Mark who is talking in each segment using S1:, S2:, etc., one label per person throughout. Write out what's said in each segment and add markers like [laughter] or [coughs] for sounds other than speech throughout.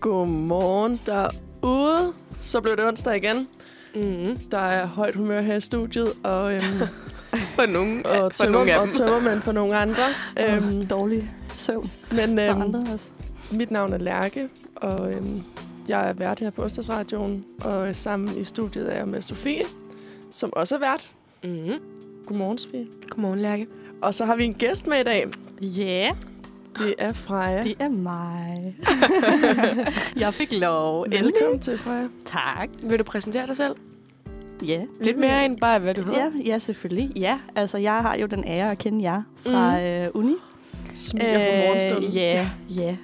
S1: Godmorgen derude. Så blev det onsdag igen.
S2: Mm.
S1: Der er højt humør her i studiet, og øhm,
S2: For nogen.
S1: og
S2: for nogle
S1: tømmer,
S2: af
S1: og
S2: dem.
S1: tømmermænd for nogle andre. Øhm,
S3: Øhm, dårlig søvn
S1: men
S3: for
S1: øhm,
S3: andre også.
S1: mit navn er Lærke, og øhm, jeg er vært her på Onsdagsradioen. Og øh, sammen i studiet er jeg med Sofie, som også er vært.
S2: Mm.
S1: Godmorgen, Sofie.
S2: Godmorgen, Lærke.
S1: Og så har vi en gæst med i dag.
S3: Ja, yeah,
S1: Det er Freja.
S3: det er mig. [laughs] jeg fik lov.
S1: Velkommen til, Freja.
S3: Tak.
S2: Vil du præsentere dig selv?
S3: Ja.
S2: Lidt mere end bare, hvad du hedder.
S3: Ja, ja, selvfølgelig. Ja, altså jeg har jo den ære at kende jer fra mm. øh, uni.
S1: Smiger på morgenstunden.
S3: Øh, Ja, ja.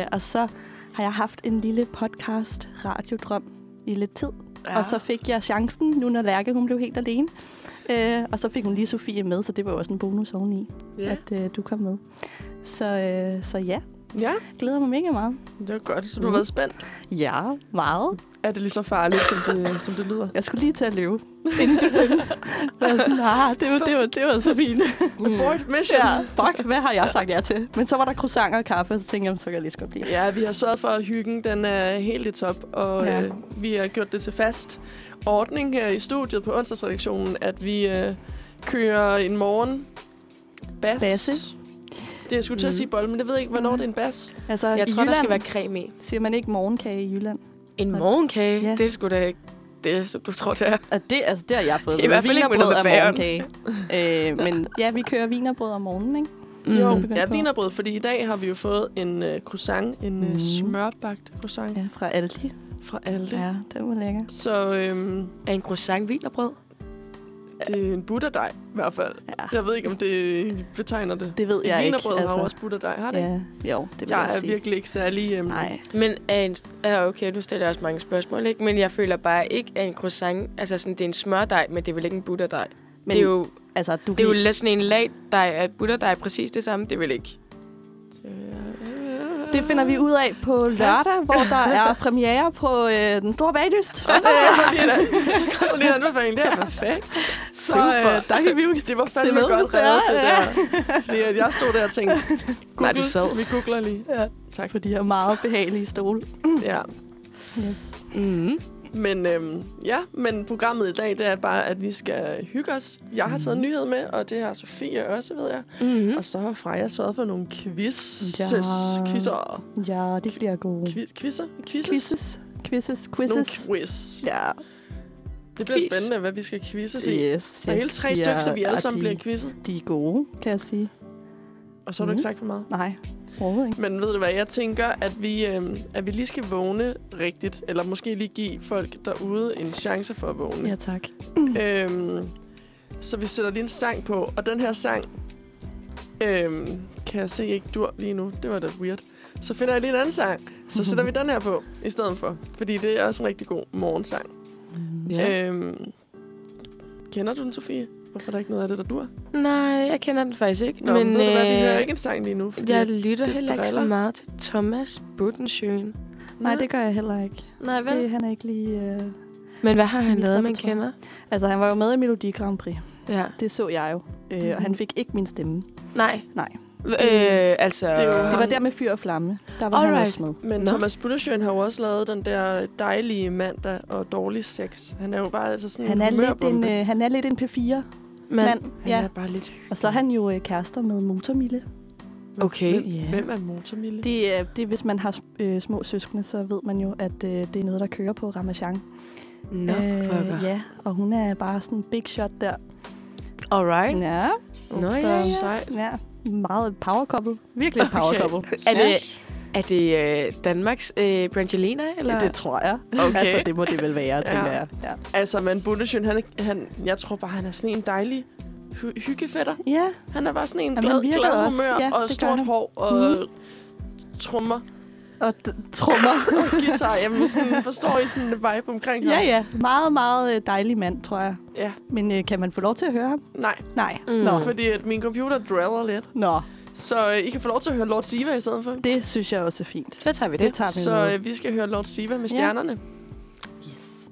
S3: Øh, og så har jeg haft en lille podcast, Radiodrøm, i lidt tid. Ja. Og så fik jeg chancen, nu når Lærke hun blev helt alene. Øh, og så fik hun lige Sofie med, så det var jo også en bonus oveni, ja.
S1: Ja.
S3: at øh, du kom med. Så, øh, så ja,
S1: ja,
S3: glæder mig mega meget.
S1: det var godt. Så du har været spændt.
S3: Ja, meget.
S1: Mm. Er det lige så farligt, som [laughs] det, som det lyder?
S3: Jeg skulle lige til at løbe, [laughs] inden du tænkte. [laughs] Jeg var sådan, ah, det var, det var, det var så [laughs] fint.
S1: Abort mission.
S3: Ja, fuck, hvad har jeg sagt ja til? Men så var der croissanter og kaffe, og så tænkte jeg, så kan jeg lige så godt blive.
S1: Ja, vi har sørget for, at hyggen den er helt i top, og ja.
S3: Ja.
S1: øh, vi har gjort det til fast ordning her i studiet på onsdagsredaktionen, at vi øh, kører en morgen bas.
S3: Basse.
S1: Det jeg skulle til at sige bold, men jeg ved ikke, hvornår det er en bas.
S3: Altså,
S2: Jeg
S3: i
S2: tror,
S3: Jylland,
S2: der skal være creme i.
S3: Siger man ikke morgenkage i Jylland?
S2: En morgenkage?
S3: Ja.
S2: Det skulle da ikke det, som du tror, det er.
S3: Og det, altså, det har jeg fået.
S2: Det er i hvert fald ikke
S3: Wienerbrød
S2: noget med
S3: er morgenkage. øh, men ja, vi kører vinerbrød om morgenen, ikke?
S1: Mm. Jo,
S3: Begyndt
S1: ja,
S3: på.
S1: vinerbrød, fordi i dag har vi jo fået en øh, croissant, en øh,
S3: Mm.
S1: smørbagt croissant ja.
S3: Ja, fra Aldi.
S1: fra Alte. Ja.
S3: Ja, det var lækker.
S1: Så øhm,
S2: Er en croissant hvilerbrød?
S1: det er en butterdej i hvert fald.
S3: Ja.
S1: Jeg ved ikke, om det betegner det.
S3: Det ved jeg ikke.
S1: Vinerbrød altså. har jo også butterdej, har det ikke?
S3: ja, jo, det vil
S1: Jeg
S3: jeg,
S1: er
S3: sige.
S1: virkelig ikke særlig... Øhm, [laughs]
S3: Nej.
S2: Men er en... Ja, okay, nu stiller jeg også mange spørgsmål, ikke? Men jeg føler bare ikke, at en croissant... Altså, sådan, det er en smørdej, men det er vel ikke en butterdej. Men
S3: Men
S2: det er jo,
S3: altså, du
S2: det er jo
S3: kan-
S2: lidt sådan en lagdej, at butterdej er præcis det samme. Det er vel ikke.
S3: Det finder vi ud af på lørdag, hvor der er premiere på øh, Den Store Bagdyst.
S1: [laughs] så kommer lige en anbefaling. Det er perfekt.
S3: Så øh, der kan vi jo
S1: Det var
S3: Se
S1: fandme
S3: med,
S1: godt
S3: hvis det er.
S1: reddet, det der. Fordi at jeg stod der og
S3: [laughs]
S1: tænkte,
S2: Nej, du
S1: Google,
S2: sad.
S1: vi googler lige.
S3: Ja.
S1: Tak.
S3: på de her meget behagelige stole.
S1: Ja.
S3: Yes.
S2: Mm.
S1: Men, øhm, ja, men programmet i dag, det er bare, at vi skal hygge os. Jeg har taget en nyhed med, og det har Sofie også, ved jeg.
S2: Mm.
S1: Og så har Freja sørget for nogle quizzes.
S3: Mhm. Ja.
S1: Quizzer.
S3: Ja, det bliver gode.
S1: Quiz, quizzer? Quizzes?
S3: Quizzes. Quizzes.
S1: Nogle
S3: Quizzes.
S1: quiz.
S3: Ja.
S1: Det bliver
S2: Quiz.
S1: spændende, hvad vi skal quizzes i.
S3: Yes,
S1: Der er hele tre
S3: de
S1: stykker, så vi
S3: er-
S1: alle sammen
S3: de,
S1: bliver quizzet.
S3: De er gode, kan jeg sige.
S1: Og så har du ikke
S3: Mm.
S1: sagt for meget.
S3: Nej, overhovedet ikke.
S1: Men ved du hvad, jeg tænker, at vi, øh, at vi lige skal vågne rigtigt, eller måske lige give folk derude en chance for at vågne.
S3: Ja, tak.
S1: Ja. Øhm, så vi sætter lige en sang på, og den her sang, øhm, kan jeg se ikke dur lige nu, det var da weird. Så finder jeg lige en anden sang, så sætter vi den her på i stedet for, fordi det er også en rigtig god morgensang.
S2: Ja.
S1: Ja. Øhm, kender du den, Sofie? Hvorfor er der ikke noget af det, der dur?
S2: Nej, jeg kender den faktisk ikke.
S1: Nå, men, men ved du hvad, vi
S2: øh,
S1: hører ikke en sang lige nu. Fordi,
S2: Jeg lytter
S1: det
S2: heller ikke så
S1: driller.
S2: meget til Thomas Buttensjøen.
S3: Nej, det gør jeg heller ikke.
S2: Nej, vel?
S3: Det,
S2: Det...
S3: han er ikke lige... Øh...
S2: Men hvad har han
S3: Mit
S2: lavet, man
S3: repertoire.
S2: kender?
S3: Altså, han var jo med i Melodi Grand Prix.
S2: Ja.
S3: Det så jeg jo. Øh, mm-hmm. Og han fik ikke min stemme.
S2: Nej.
S3: Nej.
S2: Øh, altså...
S1: det er jo
S3: Det
S1: ham.
S3: var der med Fyr og Flamme. Der var han
S2: Alright.
S3: også med.
S1: Men Nå.
S2: Nå.
S1: Thomas Buttersjøen har jo også lavet den der dejlige mandag og dårlig sex. Han er jo bare altså sådan
S3: Han er, lidt en,
S1: humørbombe.
S3: øh, han er lidt en P4-mand.
S2: Man...
S1: Han
S3: Ja.
S1: er bare lidt hyggelig.
S3: Og så er han jo øh, kærester med Motormille.
S2: Okay.
S1: Hvem,
S3: Ja.
S1: hvem er Motormille? Det,
S3: øh, Det, er- det er, hvis man har øh, små søskende, så ved man jo, at øh, det er noget, der kører på Ramachan. Øh,
S2: Nå, for pokker.
S3: ja, og hun er bare sådan en big shot der.
S2: Alright.
S3: Ja,
S2: Nå,
S1: så
S2: ja,
S1: sejt.
S3: ja. Meget power couple. Virkelig et power
S2: Okay.
S3: couple.
S2: [laughs] Er det, er det øh, Danmarks øh, Brangelina, eller?
S3: Ja, det tror jeg.
S2: Okay.
S3: Altså, det må det vel være, tænker
S1: Ja.
S3: jeg. Ja.
S1: Altså, men Buttersjøen, han, er- han, jeg tror bare, han er sådan en dejlig hy- hyggefætter.
S3: ja.
S1: Han er bare sådan en
S3: Jamen,
S1: glad,
S3: han virker
S1: glad
S3: også.
S1: humør
S3: Ja,
S1: og
S3: det gør
S1: stort
S3: han. Mhm.
S1: hår og trummer
S3: Og d-
S2: [laughs]
S3: trummer.
S1: og guitar. Jamen, sådan, forstår I sådan en vibe omkring
S3: ja,
S1: ham?
S3: ja. Meget, meget øh, dejlig mand, tror jeg.
S1: ja.
S3: Men øh, kan man få lov til at høre ham?
S1: Nej,
S3: Nej.
S2: Mm.
S3: Nå.
S1: fordi at min computer driller lidt.
S3: Nå,
S1: Så øh, I kan få lov til at høre Lord Siva i stedet for.
S3: det synes jeg også er fint.
S2: Så tager vi det.
S3: Det tager vi
S1: Så
S3: med.
S1: øh, vi skal høre Lord Siva med stjernerne. Ja.
S3: Yes.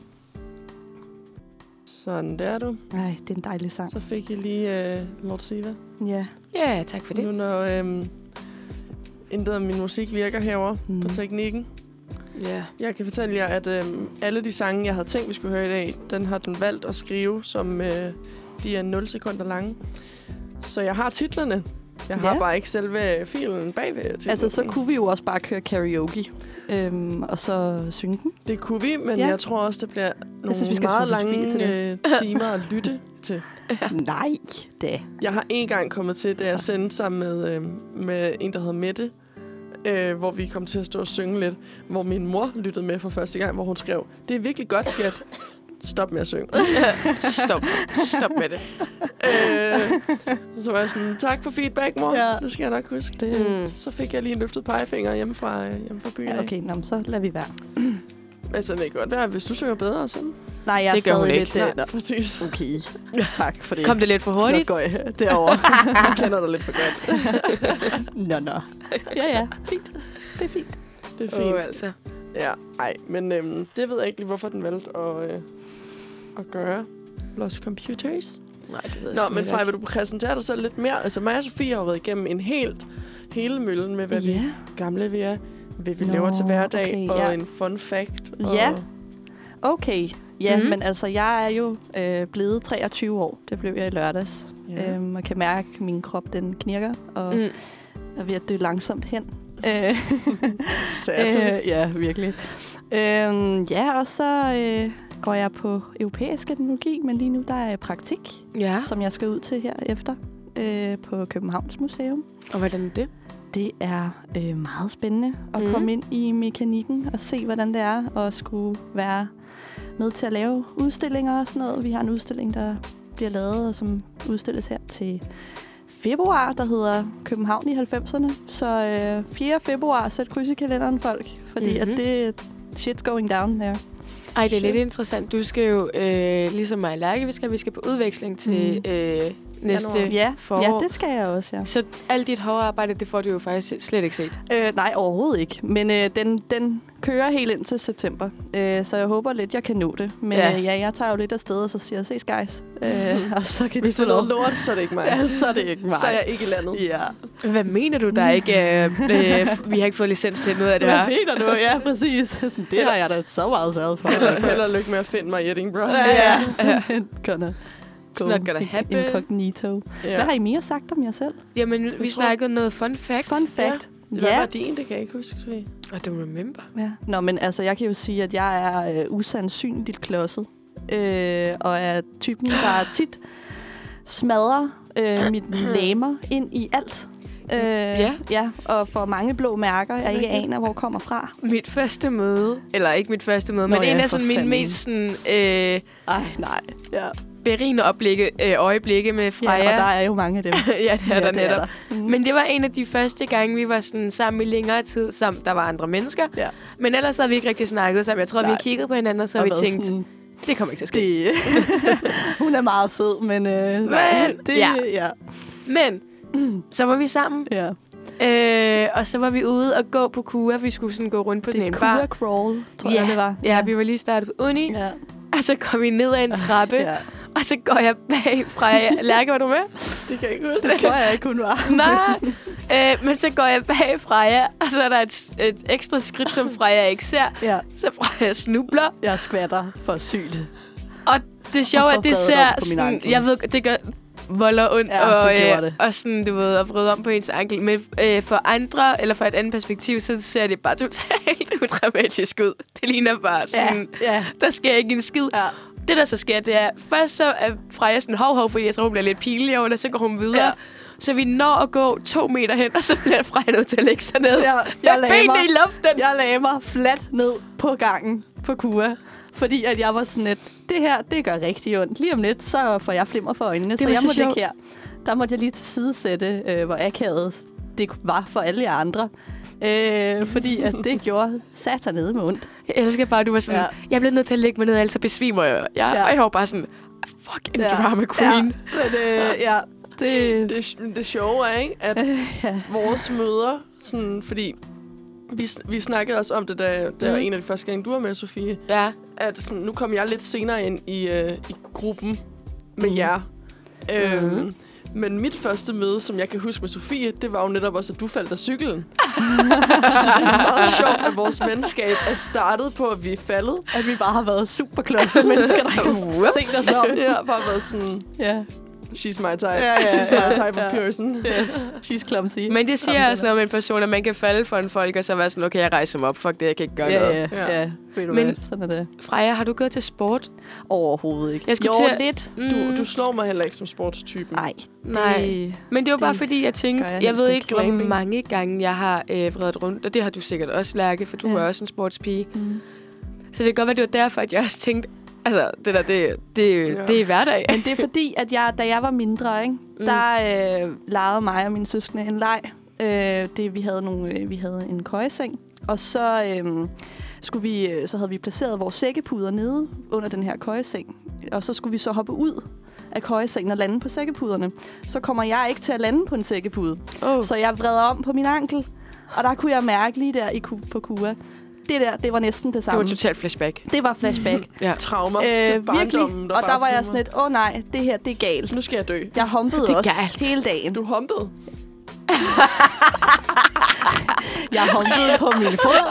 S1: Sådan der, du.
S3: Ej, det er en dejlig sang.
S1: Så fik I lige øh, Lord Siva.
S3: Ja.
S2: Ja, tak for det.
S1: øhm, Nu når øh, intet af min musik virker herover mm.
S3: Mm.
S1: på teknikken,
S2: Ja.
S1: Jeg kan fortælle jer, at øh, alle de sange, jeg havde tænkt, vi skulle høre i dag, den har den valgt at skrive, som øh, de er 0 sekunder lange. Så jeg har titlerne. Jeg har
S3: Ja.
S1: ja. bare ikke selve øh, filen bagved titlerne.
S3: Altså, så kunne vi jo også bare køre karaoke, øhm, og så synge den.
S1: Det kunne vi, men
S3: Ja.
S1: ja. jeg tror også, det bliver nogle
S3: synes,
S1: synes,
S3: vi skal
S1: meget
S3: få Sofie
S1: lange
S3: til
S1: til
S3: det.
S1: det. timer at
S3: [laughs]
S1: lytte til.
S3: Ja. Nej, da.
S1: Jeg har en gang kommet til, da jeg
S3: Så.
S1: sendte sammen med, øh, med en, der hedder Mette, øh, hvor vi kom til at stå og synge lidt, hvor min mor lyttede med for første gang, hvor hun skrev, det er virkelig godt, skat. Stop med at synge.
S2: Stop. Stop med [laughs] det.
S1: øh, så var jeg sådan, tak for feedback, mor.
S3: Ja.
S1: Ja. Det skal jeg nok huske.
S3: Det,
S2: Mm.
S1: Så fik jeg lige en løftet pegefinger hjemme fra, øh, hjemme fra byen.
S3: ja,
S1: af.
S3: okay, nå, men så lader vi være.
S1: Altså, det kan godt være, hvis du synger bedre, så...
S3: Nej, jeg er
S2: Det gør hun
S3: stadig
S2: ikke.
S3: lidt... øh,
S1: Nej, præcis.
S3: nå, Okay, [laughs] tak for det.
S2: Kom det lidt for hurtigt?
S3: Snotgøj derovre.
S1: Jeg kender dig lidt for godt.
S3: [laughs] nå, nå. Ja, ja. Fint. Det er fint.
S1: Det er
S2: Åh,
S1: fint.
S2: oh, altså.
S1: Ja, nej, men øhm, det ved jeg ikke lige, hvorfor den valgte at, øh, at gøre. Lost Computers.
S2: Nej, det ved jeg
S1: Nå,
S2: sgu
S1: men
S2: heller
S1: Frej,
S2: ikke.
S1: vil du præsentere dig selv lidt mere? Altså, mig og Sofie har jo været igennem en helt, hele møllen med, hvad yeah.
S3: Ja.
S1: vi gamle vi er, hvad vi
S3: Nå,
S1: Nå, laver til hverdag,
S3: okay,
S1: okay, og
S3: ja.
S1: en fun fact. Og
S3: Ja. Okay. Ja,
S2: Mhm.
S3: men altså, jeg er jo øh, blevet 23 år. Det blev jeg i lørdags.
S1: Ja.
S3: Øhm, og kan mærke, at min krop den knirker og
S2: Mm.
S3: er ved at dø langsomt hen. Øh,
S1: Øh,
S3: øh, ja, virkelig. Øhm, ja, og så øh, går jeg på europæisk etnologi, men lige nu der er jeg i praktik,
S2: Ja,
S3: som jeg skal ud til her efter øh, på Københavns Museum.
S2: og hvordan er det?
S3: Det er øh, meget spændende at mm.
S2: Mhm.
S3: komme ind i mekanikken og se, hvordan det er at skulle være med til at lave udstillinger og sådan noget. Vi har en udstilling, der bliver lavet og som udstilles her til februar, der hedder København i 90'erne. Så øh, 4. februar, sæt kryds i kalenderen, folk, fordi mm-hmm.
S2: Mhm.
S3: at det shit's going down there.
S2: Ej, det er lidt
S3: Shit.
S2: interessant. Du skal jo, øh, ligesom mig og Lærke, vi skal, vi skal på udveksling til
S3: Mhm.
S2: øh, næste
S1: Januar.
S3: Ja,
S2: forår.
S3: ja, det skal jeg også, ja.
S2: Så alt dit hårde arbejde, det får du jo faktisk slet ikke set.
S3: Øh, nej, overhovedet ikke. Men øh, den, den kører helt ind til september. Øh, så jeg håber lidt, jeg kan nå det. Men
S2: Ja.
S3: ja, øh, ja jeg tager jo lidt afsted, og så siger jeg, ses guys. Øh, og så kan de
S1: Hvis det
S3: få
S1: er noget
S3: lov.
S1: lort, så er det ikke mig.
S3: [laughs] Ja, så er det ikke mig.
S1: Så er jeg ikke i landet. [laughs]
S3: Ja.
S2: Hvad mener du, der er ikke [laughs] øh, øh, vi har ikke fået licens til noget af det
S3: Hvad
S2: her?
S3: mener du? Ja, præcis. Det har jeg da så meget sad for. [laughs]
S1: Held, held og lykke med at finde mig i Edinburgh.
S3: Ja, ja. Sådan gonna
S2: It's not gonna happen.
S3: Incognito.
S1: Ja.
S3: Hvad har I mere sagt om jer selv?
S2: Jamen, vi
S1: tror-
S2: snakkede noget fun fact.
S3: Fun fact.
S1: Hvad var din? Det kan jeg ikke huske, Sofie.
S2: Og du remember.
S3: Ja. Nå, men altså, jeg kan jo sige, at jeg er øh, usandsynligt klodset. Øh, og er typen,
S2: [gasps]
S3: der tit smadrer øh,
S2: [clears throat]
S3: mit læmer ind i alt. Øh,
S2: Ja.
S3: ja. Og får mange blå mærker, jeg ikke
S2: rigtigt.
S3: aner, hvor kommer fra.
S2: Mit første møde, eller ikke mit første møde,
S3: Nå
S2: men en
S3: ja,
S2: af sådan
S3: for
S2: mine
S3: fanden.
S2: mest sådan, øh,
S3: Ej, nej. Ja.
S2: berigende oplikke, øh, øjeblikke med
S3: ja.
S2: Freja.
S3: Og der er jo mange af dem.
S2: [laughs] ja, det er ja, der
S3: det
S2: netop.
S3: Er der. Mm.
S2: Men det var en af de første gange, vi var sådan sammen i længere tid, samt der var andre mennesker.
S3: Ja.
S2: Men ellers havde vi ikke rigtig snakket sammen. Jeg tror, Nej. vi
S3: Nej.
S2: har kigget på hinanden, og så
S3: Og
S2: har vi
S3: været
S2: tænkt, sådan...
S3: sådan,
S2: det kommer ikke til at ske. Det.
S3: det, [laughs] hun er meget sød, men, øh,
S2: Men-
S3: det,
S2: ja.
S3: ja,
S2: Men så var vi sammen,
S3: ja.
S2: øh, og så var vi ude og gå på kura. Vi skulle sådan gå rundt på
S3: det
S2: sådan
S3: er
S2: en
S3: Kura
S2: bar.
S3: Crawl, tror
S2: ja,
S3: jeg, det var.
S2: Ja, vi var lige startet på uni, ja.
S3: ja.
S2: og så kom vi ned ad en trappe, ja.
S3: Ah, ja.
S2: og så går jeg bag fra... Lærke, var du med?
S3: [laughs]
S1: Det kan jeg ikke huske.
S3: Det tror jeg ikke, hun var.
S2: [laughs] Nej. Øh, men så går jeg bag Freja, og så er der et, et ekstra skridt, som Freja ikke ser.
S3: Ja.
S2: Så Freja snubler,
S3: Jeg skvatter for sygt.
S2: Og det sjove er, at det
S3: Hvorfor fader
S2: ser
S3: du på min
S2: sådan...
S3: ankel?
S2: Jeg ved, det gør volder ondt,
S3: Ja,
S2: og, øh,
S3: det gjorde det.
S2: og sådan, du ved, at vride om på ens ankel. Men øh, for andre, eller fra et andet perspektiv, så ser det bare totalt [laughs] udramatisk ud. Det ligner bare sådan... Ja.
S3: ja,
S2: Der sker ikke en skid.
S3: ja.
S2: Det, der så sker, det er... Først så er Freja sådan hov, hov, fordi jeg tror, hun bliver lidt pinlig over det, så går hun videre.
S3: Ja.
S2: Ja. Så vi når at gå to meter hen, og så bliver Freja nødt til at lægge sig ned.
S3: Jeg, jeg,
S2: Jeg med
S3: lagde
S2: benene i
S3: mig,
S2: luften.
S3: jeg lagde mig fladt ned på gangen på Kua. Fordi at jeg var sådan lidt, det her, det gør rigtig ondt. Lige om lidt, så får jeg flimmer for øjnene, det så
S2: var
S3: jeg
S2: så
S3: måtte
S2: sjovt.
S3: ikke her. Der måtte jeg lige til side sætte, øh, hvor akavet det var for alle jer andre. Øh, fordi at det gjorde satanede med ondt.
S2: Jeg elsker bare, at du var sådan,
S3: Ja.
S2: ja. jeg bliver nødt til at lægge mig ned, ellers så besvimer jeg. Jeg,
S3: Ja.
S2: ja. Og jeg var bare sådan, fucking ja. drama queen.
S3: Ja, men, øh, ja det...
S1: Det, det sjove er, ikke, at
S3: Øh, ja.
S1: vores møder, sådan, fordi vi, sn- vi snakkede også om det, da, da
S2: Mhm.
S1: mm. en af de første gange, du var med, Sofie,
S2: Ja.
S1: at sådan, nu kom jeg lidt senere ind i, øh, i gruppen med
S3: Mhm.
S1: jer. Øhm,
S2: Mhm.
S3: [laughs]
S1: Men mit første møde, som jeg kan huske med Sofie, det var jo netop også, at du faldt af cyklen. så det er meget sjovt, at vores venskab er startet på, at vi er faldet.
S3: At vi bare har været super klodset mennesker, der ikke har set os om.
S1: Ja, bare været sådan,
S3: Ja.
S1: she's my type.
S3: Ja, ja,
S1: she's my
S3: ja,
S1: type of
S3: ja.
S1: person.
S3: Yes. She's clumsy.
S2: Men det siger også noget om en person, at man kan falde for en folk, og så være sådan, okay, jeg rejser mig op, fuck det, jeg kan ikke gøre
S3: Ja,
S2: noget.
S3: ja,
S1: Ja.
S3: ja. Ved du
S2: Men-
S3: hvad, sådan er det.
S2: Freja, har du gået til sport?
S3: Overhovedet ikke.
S2: Jeg skulle
S3: jo,
S2: til at-
S3: lidt.
S2: Mm,
S1: Du, du slår mig heller ikke som sportstypen.
S3: Nej,
S2: nej.
S3: det-
S2: Men det var bare
S3: Det
S2: fordi, jeg tænkte,
S3: gør
S2: jeg,
S3: jeg
S2: jeg
S3: helst
S2: ved
S3: ikke.
S2: ikke, hvor
S1: Clamping.
S2: mange gange jeg har øh, vredet rundt, og det har du sikkert også, Lærke, for du
S3: Ja.
S2: er også en sportspige.
S3: Mm.
S2: Så det kan godt være, det var derfor, at jeg også tænkte, altså, det der, det, det,
S1: Ja.
S2: ja. det er hverdag.
S3: Men det er fordi, at jeg, da jeg var mindre, ikke, mm. der øh, legede mig og mine søskende en leg. Øh, det, vi, havde nogle, øh, vi havde en køjeseng, og så, øh, skulle vi, øh, så havde vi placeret vores sækkepuder nede under den her køjeseng. Og så skulle vi så hoppe ud af køjesengen og lande på sækkepuderne. Så kommer jeg ikke til at lande på en sækkepude.
S2: Oh.
S3: Så jeg vreder om på min ankel, og der kunne jeg mærke lige der i ku- på kua. Det der, det var næsten det
S2: Det var
S3: samme.
S2: totalt flashback.
S3: Det var flashback.
S2: Ja.
S1: Traumer til
S3: øh, virkelig.
S1: barndommen.
S3: og der
S1: bare
S3: var jeg
S1: fylder.
S3: sådan lidt, åh oh, nej, det her, det er galt.
S1: Nu skal jeg dø.
S3: Jeg humpede
S2: Det er
S3: også
S2: galt.
S3: hele dagen.
S1: Du er humpet.
S3: Jeg humpede på min fod.
S2: [laughs]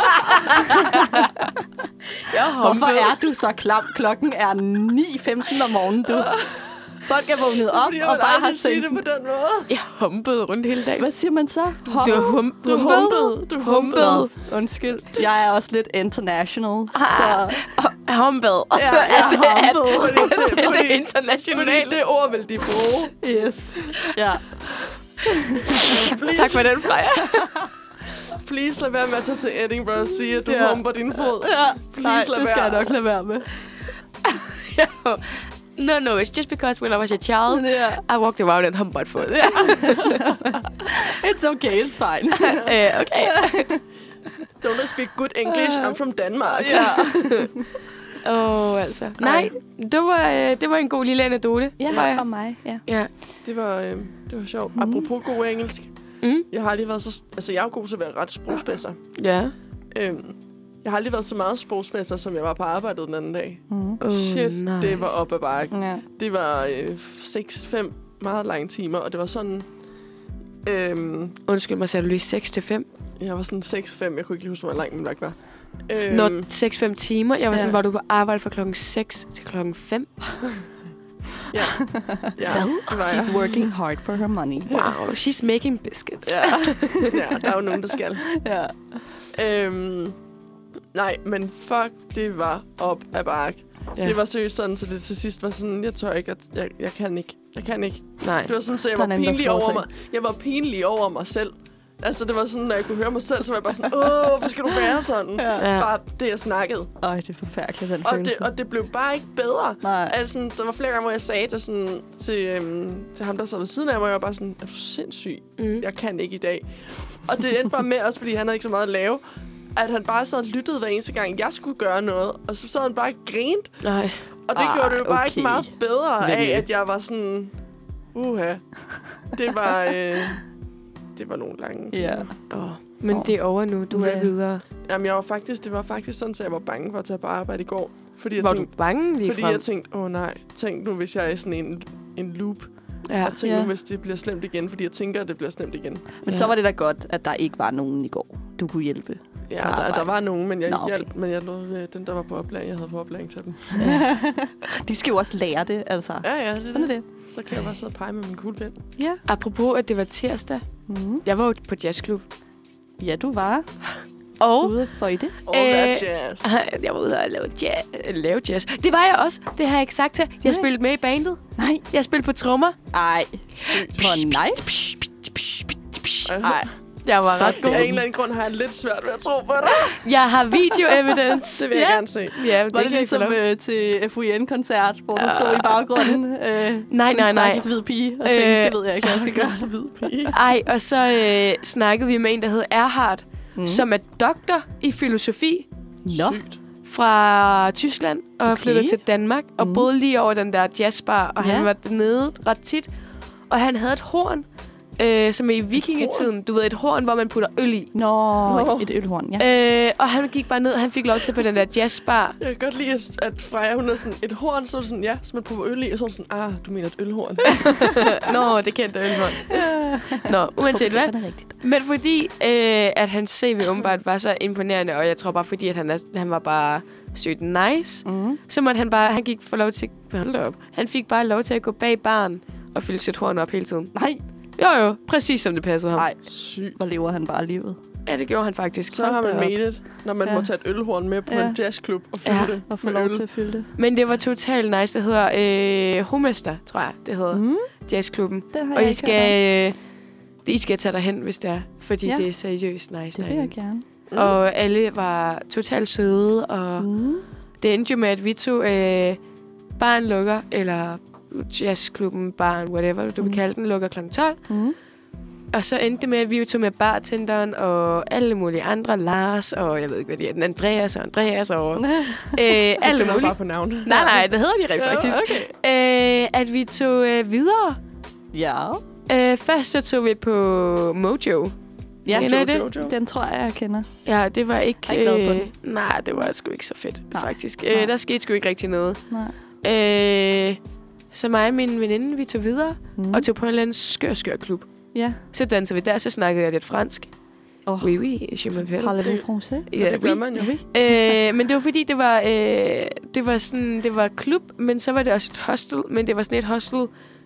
S2: Jeg
S3: [laughs] Hvorfor er du så klam? Klokken er 9.15 om morgenen, du. Folk er vågnet op
S1: Fordi jeg
S3: og
S1: vil
S3: bare har
S1: aldrig sige det
S3: tænkt,
S1: på den måde.
S2: Jeg humpede rundt hele dagen.
S3: hvad siger man så? Hum-
S2: Du er hum- humpede.
S3: du humpede.
S2: Du
S3: Nå,
S2: humpede.
S3: Undskyld. Jeg er også lidt international, så
S2: Humpede.
S3: Ah. ja, jeg humpede.
S2: [laughs] Det er det
S1: Fordi
S2: [laughs] internationale.
S1: det ord vil de bruge.
S3: Yes. Ja.
S1: Please,
S2: Tak for den, Freja.
S1: [laughs] please lad være med at tage til Edinburgh og sige, at du
S3: Ja.
S1: humper din fod.
S3: ja. Nej,
S1: Please lad
S3: det skal
S1: være.
S3: jeg nok lade være med.
S2: No, no, it's just because when I was a child,
S3: Ja.
S2: I walked around and humped my foot.
S3: [laughs] It's okay, it's fine.
S2: Øh, okay.
S1: Don't I speak good English? I'm from Denmark.
S3: ja.
S2: Åh, oh, altså. Nej, det var, øh, det var en god lille anekdote. Freja.
S3: mig. Ja.
S2: Ja.
S1: Det var, øh, det var sjovt. Apropos god engelsk.
S2: Mm.
S1: Jeg har aldrig været så... Altså, jeg er jo god til at være ret sprogspidser.
S2: Ja.
S1: Øhm, jeg har aldrig været så meget sprogspidser, som jeg var på arbejdet den anden dag.
S3: Mm.
S2: Oh,
S1: Shit,
S2: nej.
S1: det var op ad bakke.
S3: ja.
S1: Det var øh, 6-5 meget lange timer, og det var sådan... Øhm,
S2: Undskyld mig, sagde du lige 6 til 5?
S1: jeg var sådan 6-5. Jeg kunne ikke lige huske, hvor lang min vagt var.
S2: Øhm.
S1: Øhm,
S2: Når 6-5 timer. Jeg var sådan,
S1: Ja.
S2: var du på arbejde fra klokken 6 til klokken 5?
S1: ja, det var jeg.
S3: She's working hard for her money.
S2: Wow, she's making biscuits.
S3: Ja.
S1: ja, der er jo nogen, der skal.
S3: ja.
S1: Øhm, nej, men fuck, det var op ad bakke. Ja. Det var seriøst sådan, så det til sidst var sådan, jeg tør ikke, at jeg, jeg kan ikke. Jeg kan ikke.
S2: Nej.
S1: Det var sådan, så jeg
S3: Der er
S1: var
S3: en anden, der
S1: pinlig over mig.
S3: småting.
S1: Jeg var pinlig over mig selv. Altså, det var sådan, når jeg kunne høre mig selv, så var jeg bare sådan, åh, hvorfor skal du være sådan? Ja.
S2: Ja.
S1: Bare det, jeg snakkede.
S3: Øj, det er forfærdeligt, den
S1: Og det,
S3: følelse.
S1: og det blev bare ikke bedre.
S3: Nej.
S1: Altså, der var flere gange, hvor jeg sagde til, sådan, til, øhm, til ham, der sad ved siden af mig, og jeg var bare sådan, er du sindssyg?
S2: Mm.
S1: Jeg kan ikke i dag. Og det endte bare med, også fordi han havde ikke så meget at lave, at han bare sad og lyttede hver eneste gang, jeg skulle gøre noget. Og så sad han bare og grinte.
S2: Nej.
S1: Og det
S3: Ah,
S1: ah, gjorde det jo bare
S3: okay.
S1: ikke meget bedre
S3: Venlig.
S1: af, at jeg var sådan... Uha. Det var... Øh, det var nogle lange timer.
S3: Ja.
S2: Oh. Men det er over nu. Du
S3: Ja.
S2: er videre.
S1: Jamen, jeg var faktisk, det var faktisk sådan, at jeg var bange for at tage på arbejde i går. Fordi jeg,
S2: Var du
S1: tænkte,
S2: bange lige
S1: fordi
S2: frem?
S1: jeg tænkte, åh oh, nej, tænk nu, hvis jeg er i sådan en, en loop.
S2: Ja.
S1: Og tænk
S3: Ja.
S1: nu, hvis det bliver slemt igen, fordi jeg tænker, at det bliver slemt igen.
S3: Men så var det da godt, at der ikke var nogen i går, du kunne hjælpe.
S1: Ja,
S3: På
S1: der, der,
S3: arbejde.
S1: var nogen, men jeg,
S3: Nå,
S1: Nå,
S3: okay.
S1: okay. hjalp, men jeg lod øh, den, der var på oplæring, jeg havde på oplæring til dem.
S3: De skal jo også lære det, altså.
S1: Ja, ja, det, er
S3: Sådan
S1: det.
S3: er det.
S1: Så kan jeg bare sidde og pege med min kuglepind.
S3: Ja.
S2: Apropos, at det var tirsdag.
S3: Mm.
S2: Jeg var jo på jazzklub.
S3: Ja, du var
S2: Og
S3: ude for i det.
S1: All
S2: Øh,
S1: that jazz.
S2: [laughs] jeg var ude og lave jazz. lave jazz. Det var jeg også. Det har jeg ikke sagt til. Jeg
S3: Nej.
S2: spillede med i bandet.
S3: Nej.
S2: Jeg spillede på trommer.
S3: Ej. Hvor nice.
S1: Ej,
S2: Jeg var ret
S1: det
S2: god.
S1: er en eller anden grund, har jeg lidt svært ved at tro på dig.
S2: Jeg har videoevidence.
S1: Det vil jeg
S3: Ah, Ja.
S1: gerne se.
S2: ja, det,
S3: Var det,
S2: kan
S3: ligesom
S2: jeg ikke
S3: øh, til FUN-koncert, hvor du stod i [laughs] baggrunden? Øh,
S2: Nej,
S3: som
S2: nej,
S3: en
S2: nej.
S3: stakkels hvid pige, og tænkte,
S2: Øh,
S3: det ved jeg ikke, hvad jeg skal gøre. Så [laughs] hvid pige.
S2: Ej, og så øh, snakkede vi med en, der hed Erhard, mm. som er doktor i filosofi
S3: Nå.
S1: Sygt.
S2: fra Tyskland og okay.
S3: Okay.
S2: flyttede til Danmark og mm. boede lige over den der jazzbar, og
S3: Ja.
S2: han var dernede ret tit. Og han havde et horn, øh, som er i vikingetiden. Du ved, et horn, hvor man putter øl i.
S3: Nå,
S1: Nå.
S3: et ølhorn, ja.
S2: Øh, og han gik bare ned, han fik lov til på den der jazzbar.
S1: Jeg kan godt lide, at- at Freja, hun er sådan et horn, så er det sådan, ja, så man prøver øl i, og så er hun sådan, ah, du mener et ølhorn.
S2: [laughs] Nå, det kendte ølhånd.
S3: Øh,
S2: Nå, uanset hvad.
S3: Det er rigtigt.
S2: Men fordi, øh, at hans CV åbenbart var så imponerende, og jeg tror bare, fordi at han, er, han var bare sødt nice,
S3: Mm.
S2: så måtte han bare, han gik for lov til, hold da op, han fik bare lov til at gå bag barn og fylde sit horn op hele tiden.
S3: Nej,
S2: Jo jo, præcis som det passede ham.
S3: nej.
S1: Sygt.
S3: Hvor lever han bare livet?
S2: Ja, det gjorde han faktisk.
S1: Så har man
S3: Hold da
S1: made it, når man
S3: Ja.
S1: ja. må tage et ølhorn med på
S3: Ja.
S1: ja. en jazzklub og fylde
S2: Ja,
S1: ja, det
S3: Og få
S1: med
S3: lov
S1: øl.
S3: til at fylde det.
S2: Men det var totalt nice. Det hedder øh, Homester, tror jeg, det hedder. Mm. Jazzklubben.
S3: Mhm. Det har
S2: Og I
S3: jeg ikke hørt
S2: skal, øh, I skal tage derhen, hvis det er. Fordi
S3: Ja.
S2: ja. det er seriøst
S3: om.
S2: nice
S3: Det vil jeg gerne.
S1: Mm.
S2: Og alle var totalt søde, og
S3: Mm.
S2: det endte jo med, at vi tog øh, barn lukker, eller jazzklubben, barn, whatever du mm.
S3: Mm.
S2: vil kalde den, lukker kl. 12.
S3: Mm.
S2: Og så endte det med, at vi jo tog med bartenderen og alle mulige andre, Lars og jeg ved ikke, hvad de er, den Andreas og Andreas og øh,
S3: Mm.
S1: Jeg
S2: alle
S1: finder
S2: mulige.
S1: bare på navne.
S2: Nej, nej, det hedder de rent
S1: Ja,
S2: faktisk. Okay. Øh, at vi tog øh, videre.
S3: Ja.
S2: Øh, først så tog vi på Mojo.
S3: Ja,
S2: Kender I
S1: Jo,
S2: det?
S1: jo, jo.
S3: Den tror jeg, jeg kender.
S2: Ja, det var ikke... øh,
S3: Jeg er ikke glad for
S2: nej, det var sgu ikke så fedt,
S3: Nej.
S2: nej. faktisk.
S3: Nej.
S2: Øh, der skete sgu ikke rigtig noget.
S3: Nej.
S2: Øh, så mig og min veninde, vi tog videre
S3: Mm.
S2: mm. og tog på en eller anden skør, skør klub.
S3: Ja.
S2: Så dansede vi der, så snakkede jeg lidt fransk.
S3: Åh.
S2: Oh. Oui, oui, je m'appelle.
S3: Parlez-vous
S1: Det-
S3: français?
S1: For det gør man jo.
S2: Øh, men det var fordi, det var, øh, det var sådan, det var klub, men så var det også et hostel, men det var sådan et hostel,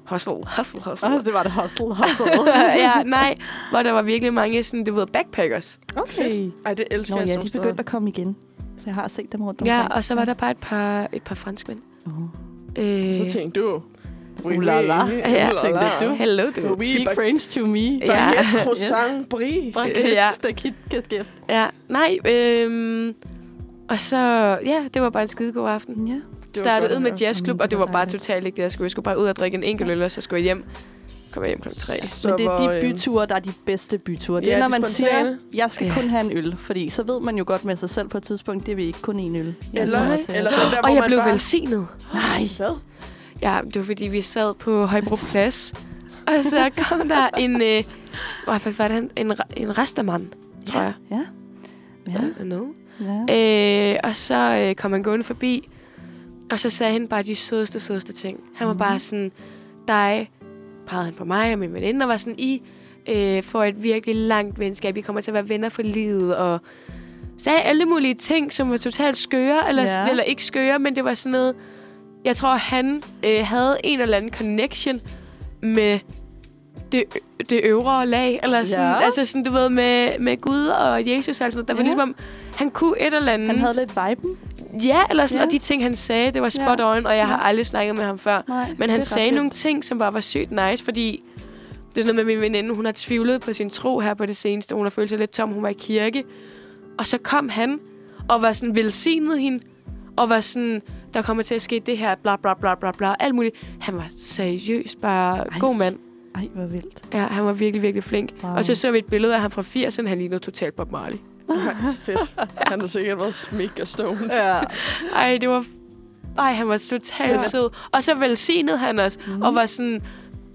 S2: hostel, hostel, hostel.
S3: det var det hustle, hustle.
S2: [laughs] ja, nej, hvor der var virkelig mange sådan, du ved, backpackers.
S3: okay.
S1: Ej, det elsker
S3: Nå
S1: jeg
S3: ja,
S1: sådan
S3: de
S1: steder.
S3: begyndte at komme igen. Så jeg har set dem rundt omkring.
S2: Ja, og så var der bare et par, et par franskmænd.
S3: Oh.
S2: Øh,
S1: Så tænkte du...
S3: Ulala.
S2: Ja,
S3: tænkte du.
S2: Hello, du.
S1: Oui,
S3: Speak
S1: bak-
S3: French to me.
S2: Ja.
S1: baguette, croissant, brie.
S2: Ja.
S3: Stakit, kat, kat.
S2: Ja, nej. Øhm, og så, ja, det var bare en skidegod aften.
S3: Ja.
S1: Det var
S2: Startede
S1: godt
S2: ud
S1: at
S2: med
S1: høre.
S2: jazzklub,
S3: Jamen,
S2: og
S3: det
S2: Mm, det
S3: var
S2: var bare
S3: dejligt.
S2: totalt ikke det, jeg skulle. Jeg skulle bare ud og drikke en enkelt øl, og så skulle jeg hjem. Kom jeg hjem klokken tre.
S1: Så
S3: Men det er
S1: hvor,
S3: de
S1: øh,
S3: byture, der er de bedste byture. Det
S1: Ja,
S3: er, når
S1: de
S3: man siger,
S1: spontane.
S3: jeg skal
S2: Ja.
S3: kun have en øl. Fordi så ved man jo godt med sig selv på et tidspunkt, det er vi ikke kun en øl. jeg
S1: Eller,
S3: kommer til.
S1: eller den der, hvor
S2: Og jeg
S1: man
S2: blev
S1: bare...
S2: velsignet.
S3: Nej.
S1: Hvad?
S2: Ja, det var fordi, vi sad på Højbro Plads. Og så kom der en... Øh, hvad fanden var det? han- En, ra- en restaurant, tror jeg.
S3: Ja. Ja.
S2: I don't know.
S3: ja.
S2: Øh, og så øh, kom han gående forbi, og så sagde han bare de sødeste, sødeste ting. Han var
S3: Mhm.
S2: mm. bare sådan, dig, pegede han på mig og min veninde, og var sådan, I øh, får et virkelig langt venskab. I kommer til at være venner for livet, og sagde alle mulige ting, som var totalt skøre, eller,
S3: Ja.
S2: ja. eller ikke skøre, men det var sådan noget, jeg tror, han øh, havde en eller anden connection med det, det øvre lag, eller sådan,
S3: Ja.
S2: ja. altså sådan, du ved, med, med Gud og Jesus, altså, der var
S3: Ja.
S2: ja. ligesom om, han kunne et eller andet.
S3: Han havde lidt viben.
S2: Ja, eller sådan,
S3: Ja.
S2: ja. og de ting, han sagde, det var spot
S3: Ja.
S2: on, og jeg har
S3: Ja.
S2: aldrig snakket med ham før.
S3: Nej,
S2: Men han sagde nogle ting, som bare var sygt nice, fordi... Det er sådan noget med min veninde, hun har tvivlet på sin tro her på det seneste. Hun har følt sig lidt tom, hun var i kirke. Og så kom han og var sådan velsignet hende, og var sådan, der kommer til at ske det her, bla bla bla bla bla, alt muligt. Han var seriøst bare
S3: Ej.
S2: Ej. god mand.
S3: Ej, hvor vildt.
S2: Ja, han var virkelig, virkelig flink.
S3: Wow.
S2: Wow. Og så så vi et billede af ham fra 80'erne, han lignede totalt Bob Marley.
S1: Ej, fedt. Han har sikkert været mega stoned.
S3: Ja.
S2: Ej, det var... Ej, han var totalt
S1: Ja.
S2: ja. sød. Og så velsignede han os, mm. og var sådan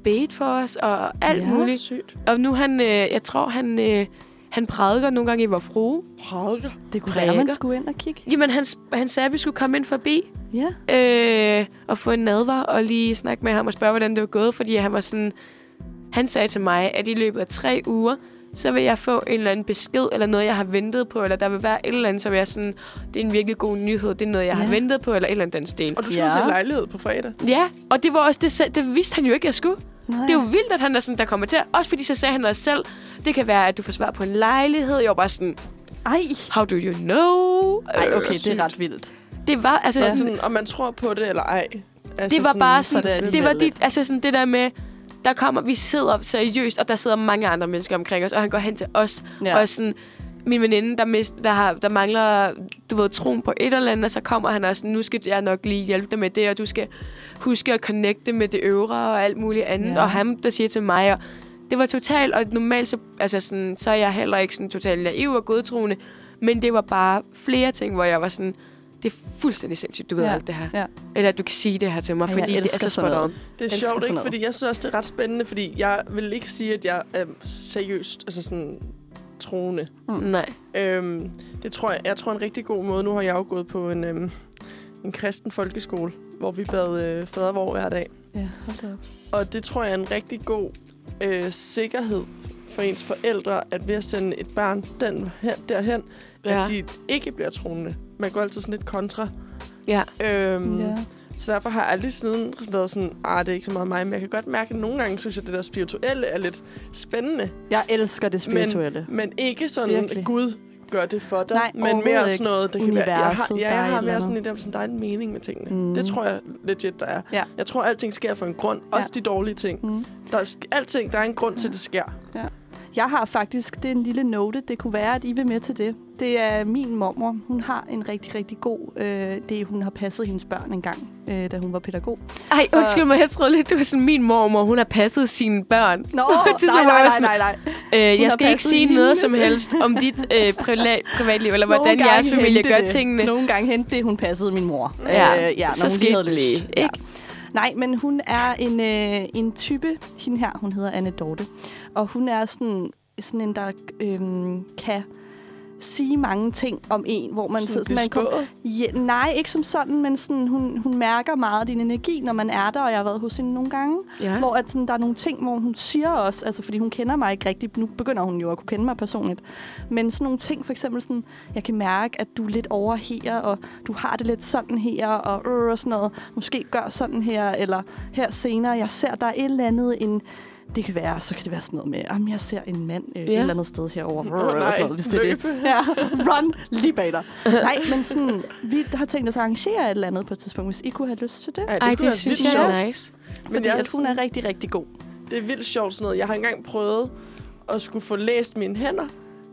S2: bedt for os, og alt
S3: Ja.
S2: ja. muligt.
S1: Sygt.
S2: Og nu han, øh, jeg tror, han, øh, han prædiker nogle gange i vor frue.
S1: Prædiker.
S3: Det kunne være, man
S2: Prikker.
S3: skulle ind og kigge.
S2: Jamen, han, s- han sagde, at vi skulle komme ind forbi
S3: Ja.
S2: øh, og få en nadver, og lige snakke med ham og spørge, hvordan det var gået, fordi han var sådan... Han sagde til mig, at i løbet af tre uger, så vil jeg få en eller anden besked, eller noget, jeg har ventet på, eller der vil være et eller andet, som jeg sådan, det er en virkelig god nyhed, det er noget, jeg ja.
S3: Ja.
S2: har ventet på, eller et eller andet den stil.
S1: Og du skulle
S3: Ja.
S1: ja. se lejlighed på fredag.
S2: Ja, og det var også det, selv- det vidste han jo ikke, jeg skulle.
S3: Nej.
S2: Det er jo vildt, at han er sådan, der kommer til. Også fordi så sagde han også selv, det kan være, at du får svar på en lejlighed. Jeg var bare sådan,
S3: Ej.
S2: how do you know?
S3: Ej,
S2: Øh,
S3: okay, det er ret vildt.
S2: Det var, altså,
S1: Ja.
S2: ja. sådan,
S1: Sådan, om man tror på det eller ej. Altså,
S2: det var bare sådan,
S3: så det er
S2: det,
S3: alligevel
S2: var
S3: lidt.
S2: dit, altså sådan det der med, der kommer, vi sidder seriøst, og der sidder mange andre mennesker omkring os, og han går hen til os,
S3: Ja.
S2: ja. og sådan, min veninde, der, mist, der, har, der mangler, du ved, troen på et eller andet, og så kommer han og sådan, nu skal jeg nok lige hjælpe dig med det, og du skal huske at connecte med det øvre og alt muligt andet,
S3: Ja.
S2: ja. og ham, der siger til mig, og det var totalt, og normalt, så, altså sådan, så er jeg heller ikke sådan totalt naiv og godtroende, men det var bare flere ting, hvor jeg var sådan, det er fuldstændig sindssygt, du ved
S3: Ja.
S2: alt det her.
S3: Ja.
S2: Eller at du kan sige det her til mig,
S3: Ja, jeg
S2: fordi det er
S3: elsker
S2: så
S3: sådan
S2: spot
S3: noget.
S2: on.
S1: Det er
S3: Elsker
S1: sjovt,
S3: sådan
S1: ikke?
S3: noget.
S1: Fordi jeg synes også, det er ret spændende, fordi jeg vil ikke sige, at jeg er seriøst, altså sådan troende.
S2: Nej.
S1: Øhm, det tror jeg, jeg tror en rigtig god måde. Nu har jeg jo gået på en, øhm, en kristen folkeskole, hvor vi bad øh, fadervor hver dag.
S3: ja, hold da op.
S1: Og det tror jeg er en rigtig god øh, sikkerhed for ens forældre, at ved at sende et barn den her, derhen, ja.
S2: Ja.
S1: at de ikke bliver troende. Man går altid sådan lidt kontra.
S2: Ja.
S1: Øhm,
S3: Ja.
S1: Så derfor har jeg aldrig siden været sådan, ah, det er ikke så meget mig, men jeg kan godt mærke, at nogle gange synes jeg, at det der spirituelle er lidt spændende.
S3: Jeg elsker det spirituelle. Men,
S1: Men ikke sådan,
S3: Virkelig.
S1: Virkelig. Gud gør det for dig.
S3: Nej,
S1: men mere
S3: overhovedet
S1: sådan noget, det kan
S3: ikke.
S1: være, jeg har,
S3: Universet,
S1: ja,
S3: der er
S1: jeg
S3: et
S1: har
S3: eller
S1: mere sådan
S3: andet.
S1: et, der, sådan, der er en mening med tingene.
S3: Mm.
S1: Mm. Det tror jeg legit, der er.
S3: Ja.
S1: Jeg tror, alting sker for en grund. Også de dårlige ting.
S3: mm.
S1: Der er, sk- alting, der er en grund til, at det sker.
S3: Jeg har faktisk, det er en lille note, det kunne være, at I vil med til det. Det er min mormor. Hun har en rigtig, rigtig god... Øh, det er, hun har passet hendes børn engang, øh, da hun var pædagog.
S2: Ej, undskyld mig, jeg troede lidt, du var sådan, min mormor, hun har passet sine børn. [laughs]
S3: Nå,
S2: nej, nej, nej,
S3: nej.
S2: Øh,
S3: har
S2: jeg skal ikke
S3: passet
S2: sige
S3: hende.
S2: noget som helst om dit øh, prila- privatliv, eller hvordan
S3: Nogle
S2: jeres
S3: gange
S2: familie
S3: hentede
S2: gør
S3: det.
S2: tingene.
S3: Nogle gange hentede det, hun passede min mor. Øh,
S2: Ja, så
S3: når hun
S2: skete
S3: havde
S2: det
S3: lyst.
S2: lige,
S3: Ja.
S2: ikke?
S3: Nej, men hun er en, øh, en type, hende her, hun hedder Anne Dorte. Og hun er sådan, sådan en, der øh, kan sige mange ting om en, hvor man
S1: Sådan
S3: sådan, man kom-
S1: bespået.
S3: Ja, nej, ikke som sådan, men sådan, hun, hun mærker meget af din energi, når man er der, og jeg har været hos hende nogle gange.
S2: Ja.
S3: Hvor at, sådan, der er nogle ting, hvor hun siger også, altså fordi hun kender mig ikke rigtigt, nu begynder hun jo at kunne kende mig personligt, men sådan nogle ting, for eksempel sådan, jeg kan mærke, at du er lidt over her, og du har det lidt sådan her, og, øh, og sådan noget, måske gør sådan her, eller her senere, jeg ser, der er et eller andet, en, det kan være, så kan det være sådan noget med, jamen, jeg ser en mand øh, et
S2: Ja.
S3: eller andet sted herovre,
S1: Åh,
S3: eller
S1: nej.
S3: sådan noget, hvis det er det.
S1: Løbe.
S3: [laughs] Ja, run lige bag dig. Nej, men sådan, vi har tænkt os at arrangere et eller andet på et tidspunkt, hvis I kunne have lyst til det.
S1: Ej, det,
S2: Ej,
S1: kunne
S2: det
S1: være
S2: synes
S1: vildt
S2: jeg
S1: sjovt.
S2: er nice.
S1: Men
S3: Fordi
S1: jeg er
S3: at hun er rigtig, rigtig god.
S1: Det er vildt sjovt sådan noget. Jeg har engang prøvet at skulle få læst mine hænder.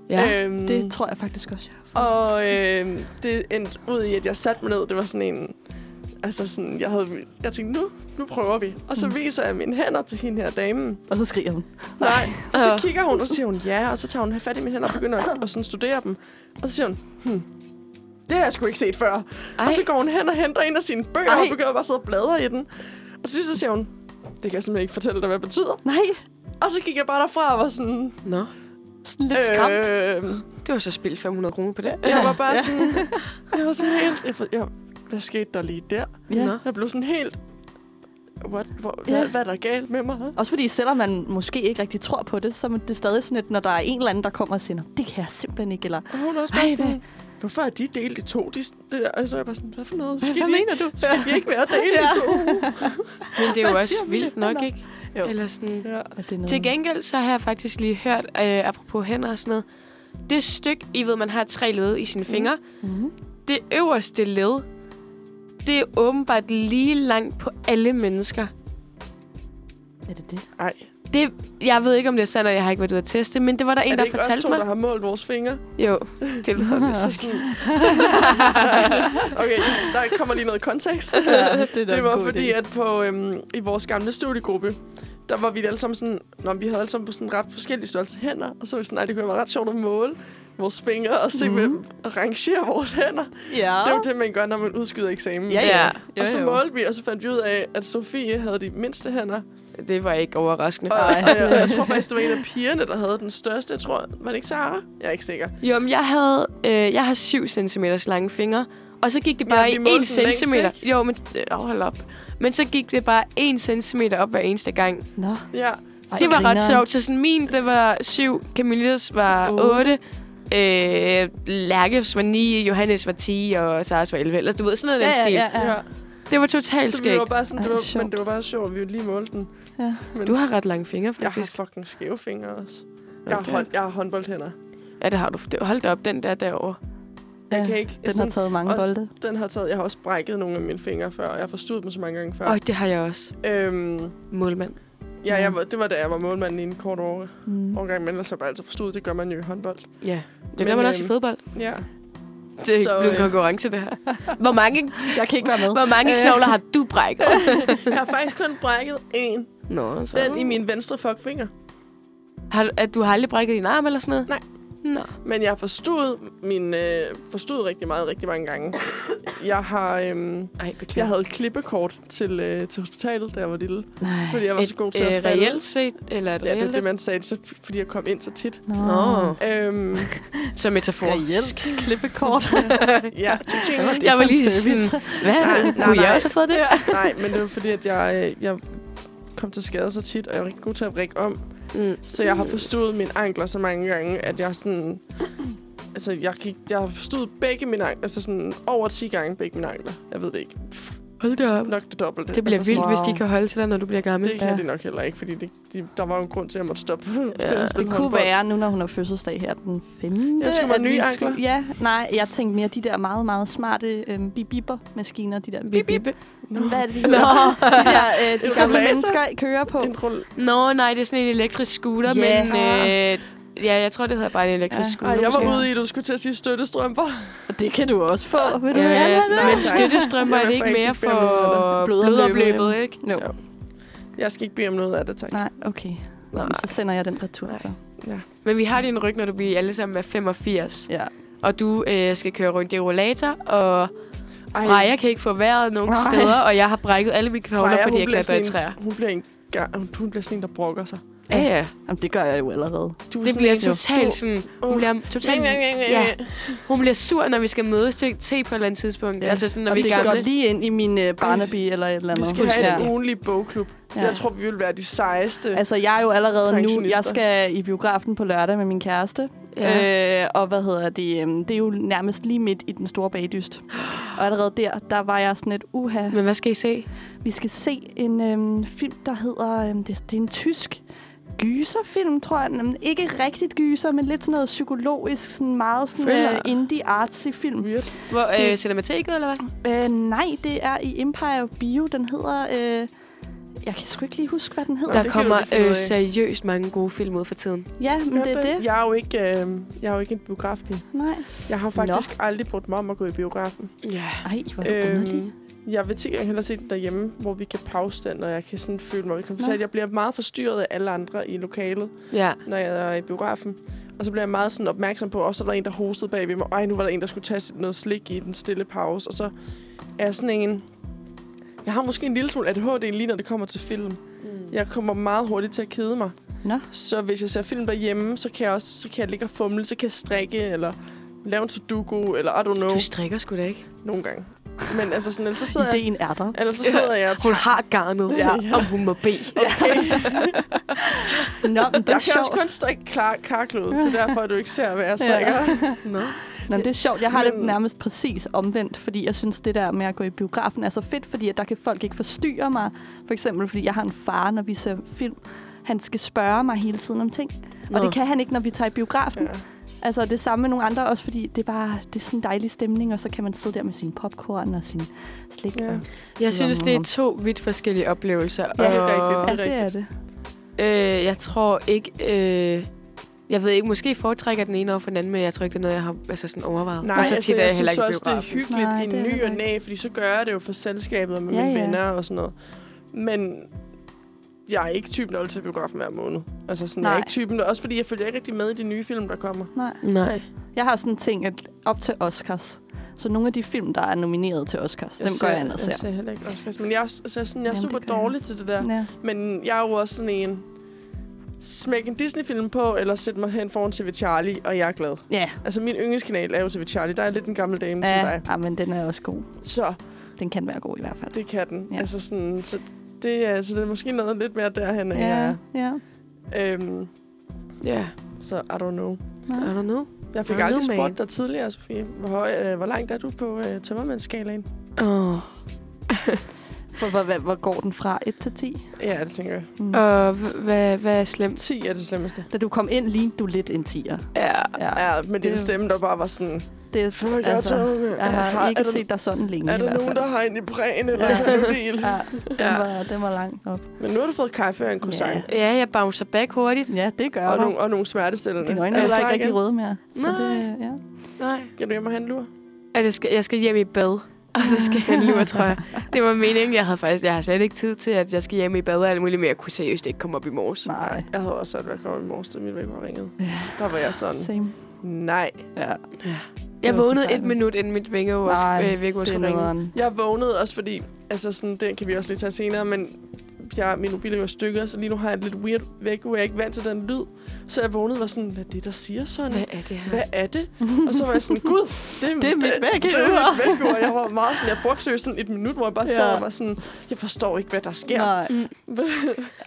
S2: Ja.
S1: Øhm,
S3: Det tror jeg faktisk også, jeg har fået.
S1: Og øh, det endte ud i, at jeg satte mig ned. Det var sådan en... Altså sådan, jeg havde... Jeg tænkte, nu, nu prøver vi. Og så viser jeg mine hænder til hende her damen.
S3: Og så skriger hun.
S1: Nej. Og så
S2: Åh.
S1: kigger hun, og så siger hun ja, og så tager hun fat i mine hænder og begynder at, at sådan studere dem. Og så siger hun, hmm, det har jeg sgu ikke set før. Ej. Og
S2: Ej.
S1: så går hun hen og henter en af sine bøger, Ej.
S3: Ej.
S1: og begynder bare at sidde og bladre i den. Og til sidst så siger hun, det kan jeg simpelthen ikke fortælle dig, hvad det betyder.
S3: Nej,
S1: Og så gik jeg bare derfra og var sådan...
S2: Nå,
S3: sådan lidt skræmt.
S1: Øh,
S2: det var så spildt 500 kroner på det.
S1: jeg var bare sådan... Jeg var sådan helt... Jeg, for- jeg, hvad skete der lige der?
S3: Ja.
S2: Nå.
S1: Jeg blev sådan helt... What, hvor,
S3: Ja.
S1: hvad, hvad er der galt med mig?
S3: Også fordi selvom man måske ikke rigtig tror på det, så er det stadig sådan lidt, når der er en eller anden, der kommer og siger, "Nå, det kan jeg simpelthen ikke, eller
S1: Og hun er også
S3: Ej,
S1: bare
S3: hvad-
S1: sådan... Hvorfor er de delt i to? De, det der? Og så er jeg bare sådan, hvad for noget? Skal de,
S3: mener du?
S1: skal de ikke være delt i to?
S2: Men det er jo
S3: Hvad
S2: også
S3: siger vi?
S2: vildt nok,
S3: Nå.
S2: ikke?
S3: Jo.
S2: Eller sådan.
S1: Ja.
S3: Og det er noget.
S2: Til gengæld så har jeg faktisk lige hørt, øh, apropos hænder og sådan noget, det stykke, I ved, man har tre led i sine fingre,
S3: Mhm.
S2: det øverste led, det er åbenbart lige langt på alle mennesker.
S3: Er det det?
S1: Ej,
S2: Det, jeg ved ikke, om det er sandt, og jeg har ikke været ude at teste, men det var der en,
S1: er det
S2: der
S1: ikke os
S2: fortalte
S1: to,
S2: mig.
S1: der har målt vores fingre? [laughs]
S2: Jo, det lyder lidt
S1: Så
S2: så
S1: sådan... [laughs] okay, der kommer lige noget kontekst. [laughs]
S3: Ja, det, er da
S1: Det
S3: en
S1: var
S3: god
S1: fordi,
S3: idé.
S1: at på, øhm, i vores gamle studiegruppe, der var vi alle sammen sådan... Nå, men vi havde alle sammen på sådan ret forskellige størrelse hænder. Og så var vi sådan, nej, det kunne være ret sjovt at måle vores fingre og se, mm.
S3: Mhm.
S1: hvem rangerer vores hænder.
S3: Ja.
S1: Det er jo det, man gør, når man udskyder eksamen.
S3: Ja, ja.
S2: Ja.
S3: Jo,
S1: Og så
S3: jo.
S1: målte vi, og så fandt vi ud af, at Sofie havde de mindste hænder.
S2: Det var ikke overraskende.
S1: Og,
S3: Ej.
S1: og jeg, jeg tror faktisk, det var en af pigerne, der havde den største. Jeg tror, var det ikke Sara? Jeg er ikke sikker.
S2: Jo, men jeg, havde, øh, jeg har 7 cm lange fingre, og så gik det
S1: Ja,
S2: bare
S1: vi
S2: ja,
S1: målte
S2: i
S1: den
S2: 1
S1: længst,
S2: cm. Jo, men øh, åh, hold op. Men så gik det bare 1 cm op hver eneste gang.
S3: Nå.
S1: Ja.
S3: Ej,
S2: det var ret
S3: grineren.
S2: sjovt. Så sådan, min, det var 7, Camilles var
S3: Åh.
S2: 8, øh, Lærkes var 9, Johannes var 10, og Saras var 11. Eller du ved, sådan noget af den stil.
S1: ja.
S2: Det var totalt
S1: Så vi
S2: skægt.
S1: var bare sådan,
S3: Ej,
S1: det var,
S3: sjovt.
S1: men det var bare sjovt, at vi lige målte den.
S3: Ja.
S1: Men
S2: Du har ret lange fingre,
S1: jeg har
S2: faktisk.
S1: fucking skæve fingre også.
S2: Ja,
S1: Jeg har,
S2: det-
S1: hånd, jeg har håndboldhænder.
S2: Ja, det har du. Det- Hold da op, den der derovre.
S1: Jeg
S3: Ja,
S1: kan ikke...
S3: Den har taget mange
S1: også,
S3: bolde.
S1: Den har taget... Jeg har også brækket nogle af mine fingre før, og jeg har forstået dem så mange gange før.
S2: Åh, det har jeg også.
S1: Øhm,
S2: Målmand.
S1: ja, jeg,
S3: Mm.
S1: var- det var da jeg var målmanden i en kort år,
S3: Mm.
S1: årgang, men ellers har jeg bare altid forstået, det gør man jo i håndbold.
S2: Ja, det
S1: Men,
S2: gør man også i
S1: øhm, [laughs]
S2: fodbold.
S1: Ja.
S2: Det
S1: så,
S2: så, blev
S1: øh,
S2: konkurrence, det her. [laughs] Hvor mange,
S3: Jeg kan ikke være med.
S2: hvor mange knogler har du
S1: [laughs]
S2: brækket?
S1: Jeg har faktisk kun brækket en.
S2: Nå, så.
S1: Den i min venstre fuckfinger.
S2: Har, du- at du har aldrig brækket din arm eller sådan noget?
S1: Nej.
S2: Nå.
S1: Men jeg har forstået, min, øh, forstået rigtig meget, rigtig mange gange. Jeg har... Øh,
S2: Ej, beklager.
S1: jeg havde klippekort til, øh, til hospitalet, da jeg var lille.
S3: Nej.
S1: Fordi jeg var så
S2: et,
S1: god til at
S2: øh,
S1: falde.
S2: reelt set, eller et
S1: Ja, det er
S2: reelt...
S1: det, man sagde, så, fordi jeg kom ind så tit.
S3: Nå.
S2: Nå,
S1: Øhm,
S2: som metafor.
S3: Reelt klippekort.
S1: [laughs]
S2: [laughs]
S1: ja, tjing.
S3: Hvad er det
S2: Jeg
S3: for
S2: var
S3: en
S2: lige
S3: service?
S2: sådan, hvad?
S1: Nej, nej,
S2: Kunne jeg
S1: nej.
S2: også have fået det? Ja.
S3: [laughs]
S1: Nej, men det var fordi, at jeg, øh, jeg kom til skade så tit, og jeg var rigtig god til at række om.
S2: Mm.
S1: Så jeg har forstået mine ankler så mange gange, at jeg sådan... Altså, jeg, kan, ikke- jeg har forstået begge mine ankler. Altså sådan over 10 gange begge mine ankler. Jeg ved det ikke.
S2: Hold da op.
S1: Nok det dobbelte.
S2: Det bliver
S1: altså,
S2: altså, vildt,
S1: sådan-
S2: hvis de kan holde til dig, når du bliver gammel.
S1: Det kan
S3: Ja.
S1: ja. de nok heller ikke, fordi det, de, der var jo en grund til, at jeg måtte [laughs] stoppe.
S2: Ja,
S1: spille-
S3: Øh, Det
S1: spille
S3: kunne
S1: håndbold.
S3: være nu, når hun har fødselsdag her den 5.
S1: Jeg tror, man
S3: at
S1: nye
S3: vi
S1: ankler.
S3: skulle- Ja, nej, jeg tænkte mere de der meget, meget smarte øhm, bip-bipper-maskiner. De der
S2: Bip, bip.
S1: Nå,
S3: Hvad er det, de,
S2: Nå.
S3: hedder? de, der, øh,
S1: En
S3: de gamle
S1: rollator?
S3: mennesker kører på?
S1: En rulle.
S2: Nå, nej, det er sådan en elektrisk scooter,
S3: Ja.
S2: men... Øh, ja, jeg tror, det hedder bare en elektrisk
S3: Ja.
S2: scooter.
S1: Ej, jeg var
S2: måske.
S1: ude i, at du skulle til at sige støttestrømper.
S3: Det kan du også få, vil du
S2: Ja,
S3: have det?
S1: nej,
S2: Øh, men
S1: tak.
S2: støttestrømper
S1: Jeg
S2: er det
S1: vil
S2: ikke
S1: faktisk
S2: mere
S1: ikke bede om noget
S2: for
S3: af det. Blodomløbet.
S2: blodomløbet, ikke?
S3: No.
S1: Ja. Jeg skal ikke bede om noget af det, tak.
S3: Nej, okay. Nå, men så sender jeg den retur, så.
S2: Men vi har din ryg, når du bliver alle sammen er 85.
S3: Ja.
S2: Og du øh, skal køre rundt i rollator, og
S1: Ej.
S2: Freja kan ikke få vejret nogen
S3: Nej.
S2: steder, og jeg har brækket alle mine knogler,
S1: Freja,
S2: fordi
S1: hun
S2: jeg
S1: bliver
S2: klatrer i
S1: sådan
S2: træer.
S1: Hun bliver en ga- hun- hun bliver sådan en, der brokker sig.
S2: Ja, ja.
S3: Jamen, det gør jeg jo allerede.
S1: Du er
S2: Det
S1: sådan
S2: bliver
S1: en, der-
S2: totalt
S1: du-
S2: sådan...
S1: Uh.
S2: Hun bliver,
S1: Totalt.
S2: totalt, Ja. hun bliver sur, når vi skal mødes til te på et eller andet tidspunkt. Ja. Altså sådan, når
S3: og
S2: vi
S3: det
S2: er
S3: går
S2: gamle.
S3: lige ind i min øh, Barnaby eller et eller
S1: Vi
S3: andet.
S1: skal have
S2: Fuldstændig.
S1: en ugenlig bogklub.
S3: Ja.
S1: Jeg tror, vi vil være de sejeste.
S3: Altså, jeg er jo allerede nu, jeg
S1: Pensionister.
S3: skal i biografen på lørdag med min kæreste.
S2: Ja.
S3: Ja. Øh, og hvad hedder det? øhm, Det er jo nærmest lige midt i den store bagdyst. Og allerede der, der var jeg sådan et uha.
S2: Men hvad skal I se?
S3: Vi skal se en øhm, film, der hedder... Øhm, det, det er en tysk gyserfilm, tror jeg. Jamen, ikke rigtigt gyser, men lidt sådan noget psykologisk, sådan meget sådan, øh,
S2: Thriller.
S3: indie-artsy film.
S1: Weird.
S2: Hvor, øh,
S3: Det-
S2: cinemateket, eller hvad?
S3: Øh, nej, det er i Empire Bio. Den hedder... Øh, jeg kan sgu ikke lige huske, hvad den hedder.
S1: Nå,
S2: Der
S1: det kan
S2: kommer
S1: du lige finde ud
S2: øh,
S1: af.
S2: seriøst mange gode film ud for tiden.
S3: Ja, men det er det.
S1: Jeg er jo ikke, øh, jeg er jo ikke en biografpige.
S3: Nej.
S1: Jeg har faktisk Nå. aldrig brugt mig om at gå i biografen. Øhm,
S2: Ja.
S3: Ej, hvor er du
S1: Øh,
S3: underlig.
S1: jeg vil til gengæld hellere se den derhjemme, hvor vi kan pause den, og jeg kan sådan føle mig komfortabel.
S3: Nå.
S1: Jeg bliver meget forstyrret af alle andre i lokalet,
S2: Ja.
S1: når jeg er i biografen. Og så bliver jeg meget sådan opmærksom på, også der var en, der hostede bag ved mig. Ej, nu var der en, der skulle tage sit- noget slik i den stille pause. Og så er jeg sådan en... Jeg har måske en lille smule ADHD lige når det kommer til film. Jeg kommer meget hurtigt til at kede mig.
S3: Mm. Nå.
S1: Så hvis jeg ser film derhjemme, så kan jeg også så kan jeg ligge og fumle, så kan jeg strikke, eller lave en sudoku, eller I don't know,
S2: Du strikker sgu da ikke.
S1: nogle gange. Men altså sådan, ellers så sidder jeg,
S3: Ideen er der.
S1: ellers så sidder jeg og
S2: Altså, Hun har garnet, ja.
S1: Ja.
S2: om hun må bede.
S3: [laughs] Nå, men det
S1: jeg
S3: er
S1: kan også
S3: sjovt.
S1: kun strikke klar, karklod. Det er derfor, at du ikke ser, hvad jeg strikker.
S2: Nå.
S3: Nå, men det er sjovt. Jeg har det
S1: Men-
S3: nærmest præcis omvendt, fordi jeg synes, det der med at gå i biografen er så fedt, fordi at der kan folk ikke forstyrre mig. For eksempel, fordi jeg har en far, når vi ser film. Han skal spørge mig hele tiden om ting. Nå. Og
S2: Nå.
S3: det kan han ikke, når vi tager i biografen.
S1: Ja.
S3: Altså det samme med nogle andre også, fordi det er bare det er sådan en dejlig stemning, og så kan man sidde der med sin popcorn og sin slik.
S1: Ja.
S3: Ja, og
S2: Jeg
S3: sidde
S2: synes,
S3: om-
S2: det er to vidt forskellige oplevelser.
S3: Ja, det
S1: er
S2: og,
S1: rigtigt.
S3: ja, det er det.
S2: Øh, jeg tror ikke... Øh, jeg ved ikke, måske foretrækker jeg den ene over for den anden, men jeg tror ikke, det er noget, jeg har altså sådan overvejet.
S1: Nej,
S2: og så
S1: så altså,
S2: tit er
S1: jeg
S2: jeg heller
S1: synes
S2: ikke i
S1: også, det er
S2: biografen.
S1: hyggeligt
S3: Nej,
S1: Nej, i
S3: det er
S1: ny
S3: heller
S1: og
S3: ikke.
S1: næ, fordi så gør jeg det jo for selskabet og med
S3: Ja,
S1: ja, mine
S3: ja.
S1: ja. venner og sådan noget. Men jeg er ikke typen, der vil til biografen hver måned. Altså sådan, jeg
S3: Nej.
S1: er ikke typen, der, også fordi jeg følger ikke rigtig med i de nye film, der kommer.
S3: Nej.
S2: Nej.
S3: Jeg har sådan en ting, at op til Oscars, så nogle af de film, der er nomineret til Oscars, dem går jeg ind og
S1: Jeg
S3: ser.
S1: ser heller ikke Oscars, men jeg, er også- altså, sådan, jeg er
S3: Jamen, det
S1: super
S3: gør jeg.
S1: dårlig til det der.
S3: Ja.
S1: Men jeg er jo også sådan en... Smæk en Disney-film på, eller sæt mig hen foran TV Charlie, og jeg er glad.
S3: Ja.
S1: Altså, min yndlingskanal er jo TV Charlie. Der er lidt en gammel dame ja. som
S3: Ja,
S1: dig.
S3: ja, men den er også god.
S1: Så
S3: Den kan være god i hvert fald.
S1: det kan den.
S3: Ja.
S1: Ja. Altså, sådan, så det, er, så det er måske noget lidt mere derhen, end jeg
S3: ja.
S1: er.
S3: ja.
S1: Øhm,
S2: Ja,
S1: så I don't know.
S2: I don't know.
S1: Jeg
S2: I
S1: fik
S2: don't
S1: aldrig
S2: know, man.
S1: spurgt dig tidligere, Sofie. Hvor, høj, øh, hvor langt er du på øh, tømmermandsskalaen?
S2: Åh.
S3: For hvor, hvor, hvor går den fra? 1 til 10?
S1: Ja, det tænker jeg.
S3: Mm.
S2: Og h- hvad, hvad er slemt?
S1: 10 er det slemmeste.
S3: Da du kom ind, lignede du lidt en 10'er.
S2: Ja.
S3: Ja.
S1: Ja, men
S3: det er-
S1: din stemme, der bare var sådan...
S3: Det er,
S1: Fuck, jeg er
S3: altså,
S1: tømmermand.
S3: jeg har
S1: er
S3: ikke
S1: der-
S3: set dig sådan længe
S1: Er
S3: i
S1: der
S3: hvert
S1: nogen,
S3: fald.
S1: der har en i præn, eller
S3: Ja.
S1: ja. en del?
S3: Ja, den,
S2: Ja.
S3: var, den var langt op.
S1: Men nu har du fået kaffe og en croissant.
S3: Ja.
S1: Ja.
S2: Ja, jeg bouncer back hurtigt.
S3: Ja, det gør
S1: Og,
S3: du.
S1: nogle, og nogle smertestillende.
S3: Dine øjne
S1: Er
S3: er
S1: du
S3: heller
S1: klar
S3: ikke rigtig
S1: igen?
S3: røde mere. Så det, ja.
S2: Nej.
S1: Skal du hjem og have en lur?
S2: at jeg skal, jeg skal hjem i bad. Og så skal jeg lure, tror [laughs] jeg. Det var meningen. Jeg havde faktisk jeg har slet ikke tid til, at jeg skal hjem i bad og alt muligt, men jeg kunne seriøst ikke komme op i morges.
S3: Nej,
S1: Jeg havde også sat, at jeg kom i morges, da mit væk var ringet. Der var jeg sådan,
S3: same.
S1: Nej.
S3: Ja.
S2: Jeg
S3: var
S2: vågnede et
S3: forfærdeligt.
S2: minut, inden mit vækkeur
S3: Nej,
S2: øh, vækkeur
S3: Det er
S2: skulle
S1: [laughs]
S2: ringe.
S3: nederen.
S1: Jeg vågnede også, fordi... Altså, sådan, den kan vi også lige tage senere, men jeg, min mobil er jo i stykker, så lige nu har jeg et lidt weird væk, hvor jeg er ikke vant til den lyd. Så jeg vågnede og var sådan, hvad er det, der siger sådan?
S2: Hvad er det her?
S1: Hvad er det? Og så var jeg sådan, gud, det
S3: Det er mit
S1: Det
S3: vækkeur.
S1: er mit vækkeur. Jeg var meget sådan, jeg brugte seriøst sådan et minut, hvor jeg bare ja. sad
S3: Ja.
S1: og var sådan, jeg forstår ikke, hvad der sker.
S3: Nej.
S2: Du er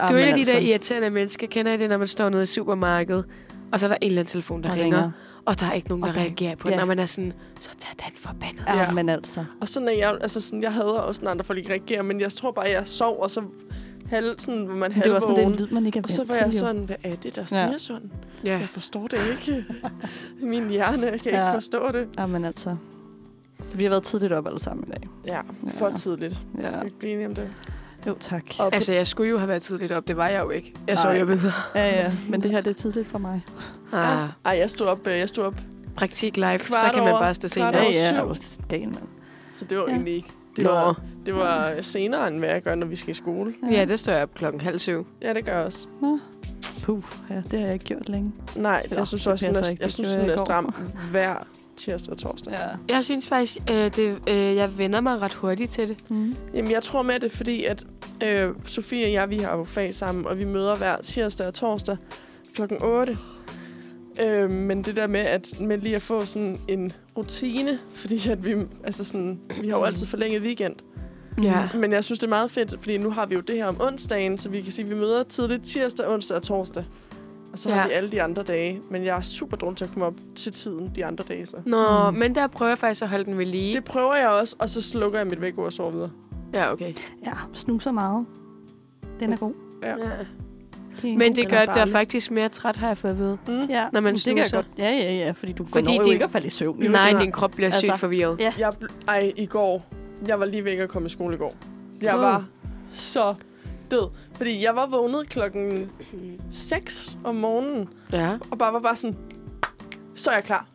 S3: Jamen
S2: en af de
S3: altså,
S2: der irriterende mennesker. Kender I det, når man står nede i supermarkedet, og så er der en eller anden telefon, der,
S3: der
S2: ringer, og der er ikke nogen,
S3: Og
S2: der
S3: der-
S2: reagerer på
S3: ja.
S2: den, og man er sådan, så tag den forbandede.
S1: Ja.
S3: Ja, men altså.
S1: Og sådan er jeg, altså sådan, jeg hader også, når andre folk ikke reagerer, men jeg tror bare, jeg sov, og så halv, sådan, hvor man
S3: Men det var sådan, det er en
S1: halvvågen.
S3: lyd, man ikke er
S1: Og så
S3: vant
S1: var jeg
S3: til, jo.
S1: sådan, hvad er det, der
S3: Ja.
S1: siger sådan?
S2: Ja.
S1: Jeg forstår det ikke. [laughs] Min hjerne kan ja.
S3: Ja.
S1: ikke forstå det.
S3: Jamen altså. Så vi har været tidligt op alle sammen i dag.
S1: Ja, for
S3: Ja.
S1: tidligt. Ja.
S3: Ja.
S1: Vi bliver enige om det.
S3: Jo, tak.
S1: Og
S2: Altså, jeg skulle jo have været tidligt op. Det var jeg jo ikke. Jeg så
S3: Nej.
S2: jo [laughs] videre.
S3: Ja, ja. Men det her, det er tidligt for mig.
S2: Ah,
S1: Ej, jeg stod op, øh, jeg stod op,
S2: praktik live, så
S1: Kvart
S2: kan man
S1: over-
S2: bare stå
S1: kvart
S2: senere.
S1: over
S2: Ja,
S1: syv.
S2: ja.
S3: og dagen, mand.
S1: så det var
S3: Ja.
S1: ja. egentlig ikke. Det
S2: Nå.
S1: var, det var senere, end hvad jeg gør, når vi skal i skole.
S2: ja, det står jeg op klokken halv syv.
S1: Ja, det gør jeg også.
S3: Puh, ja, det har jeg ikke gjort længe.
S1: Nej, det,
S3: Nå,
S1: jeg synes
S3: det
S1: også, den
S3: passer
S1: er,
S3: ikke.
S1: jeg
S3: Det
S1: synes,
S3: gjorde
S1: den
S3: jeg
S1: er
S3: i går.
S1: stram hver tirsdag og torsdag. Ja.
S2: Jeg synes faktisk, øh, det, øh, jeg vender mig ret hurtigt til det.
S3: Mm.
S1: Jamen, jeg tror med det, er fordi at øh, Sofie og jeg, vi har jo fag sammen, og vi møder hver tirsdag og torsdag klokken 8. Øh, men det der med, at med lige at få sådan en rutine, fordi at vi, altså sådan, vi har jo altid forlænget weekend.
S2: Mm. Ja.
S1: Men jeg synes, det er meget fedt, fordi nu har vi jo det her om onsdagen, så vi kan sige, at vi møder tidligt tirsdag, onsdag og torsdag. Og så ja.
S2: Ja.
S1: har vi alle de andre dage. Men jeg er super dårlig til at komme op til tiden de andre dage. Så.
S2: Nå,
S3: Mm.
S2: men der prøver jeg faktisk at holde den ved lige.
S1: Det prøver jeg også, og så slukker jeg mit væk og sover videre.
S2: Ja, okay.
S3: Ja, snuser meget. Den er god.
S1: Ja.
S2: Ja.
S3: Det er en
S2: Men det
S3: god generel.
S2: gør, at jeg er faktisk mere træt, har jeg fået at vide.
S1: Mm.
S3: Ja,
S2: når man
S3: men det kan jeg
S2: snuser.
S3: godt. Ja, ja, ja, fordi du
S2: Fordi
S3: fordi når jo
S2: din-
S3: ikke at falde i søvn. jo.
S2: Nej,
S1: det er-
S2: din krop bliver sygt
S3: altså-
S2: forvirret.
S3: Ja.
S1: Jeg, bl- ej, i går. Jeg var lige væk at komme i skole i går. Jeg
S2: Wow.
S1: var så død. Fordi jeg var vågnet klokken 6 om morgenen,
S2: Ja.
S1: og bare var bare sådan, så er jeg klar.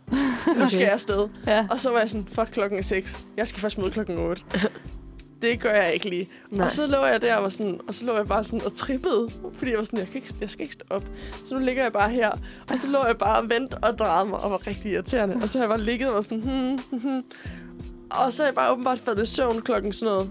S1: Nu skal
S2: Okay.
S1: jeg afsted.
S3: Ja.
S1: Og så var jeg sådan, fuck klokken er 6. Jeg skal først møde klokken 8. Det gør jeg ikke lige. Nej.
S2: Nej.
S1: Og så lå jeg der og, var sådan, og så lå jeg bare sådan og trippede, fordi jeg var sådan, jeg, kan ikke, jeg skal ikke stå op. Så nu ligger jeg bare her, og så lå jeg bare og vendte og drejede mig og var rigtig irriterende. Og så har jeg bare ligget og var sådan, hmm, hmm, hmm. Og så er jeg bare åbenbart faldet i søvn klokken sådan noget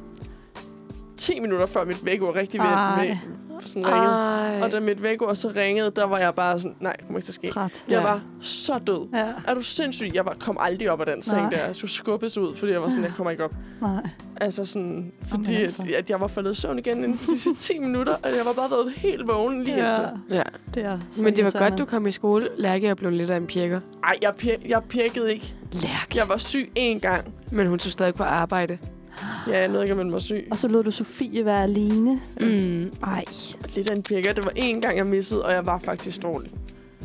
S1: 10 minutter før mit vækkeur rigtig ved,
S3: Ej.
S1: med, sådan ringede.
S2: Ej.
S1: Og da mit vækkeur så ringede, der var jeg bare sådan, nej, det kommer ikke til at ske.
S3: Træt.
S1: Jeg
S2: Ja.
S1: var så død.
S3: Ja,
S1: Er du sindssyg? Jeg var, kom aldrig op af den seng
S3: Nej.
S1: der. Jeg skulle skubbes ud, fordi jeg var sådan, jeg kommer ikke op.
S3: nej.
S1: Altså sådan, fordi
S3: Jamen,
S1: at,
S3: altså.
S1: at jeg var faldet i søvn igen inden for de sidste 10 minutter, og jeg var bare været helt vågen lige ja. indtil.
S2: Ja.
S3: det er så
S2: Men det var godt,
S3: irriterende.
S2: du kom i skole. Lærke er blevet lidt af en pjekker.
S1: Ej, jeg, pir- jeg pirkede ikke.
S3: Lærk.
S1: Jeg var syg én gang.
S2: Men hun tog stadig på arbejde.
S1: Ja, jeg ved ikke, om man var syg.
S3: Og så lod du Sofie være alene.
S2: Mm.
S3: Ej,
S1: Lidt af en pirker. Det var én gang, jeg missede, og jeg var faktisk dårlig.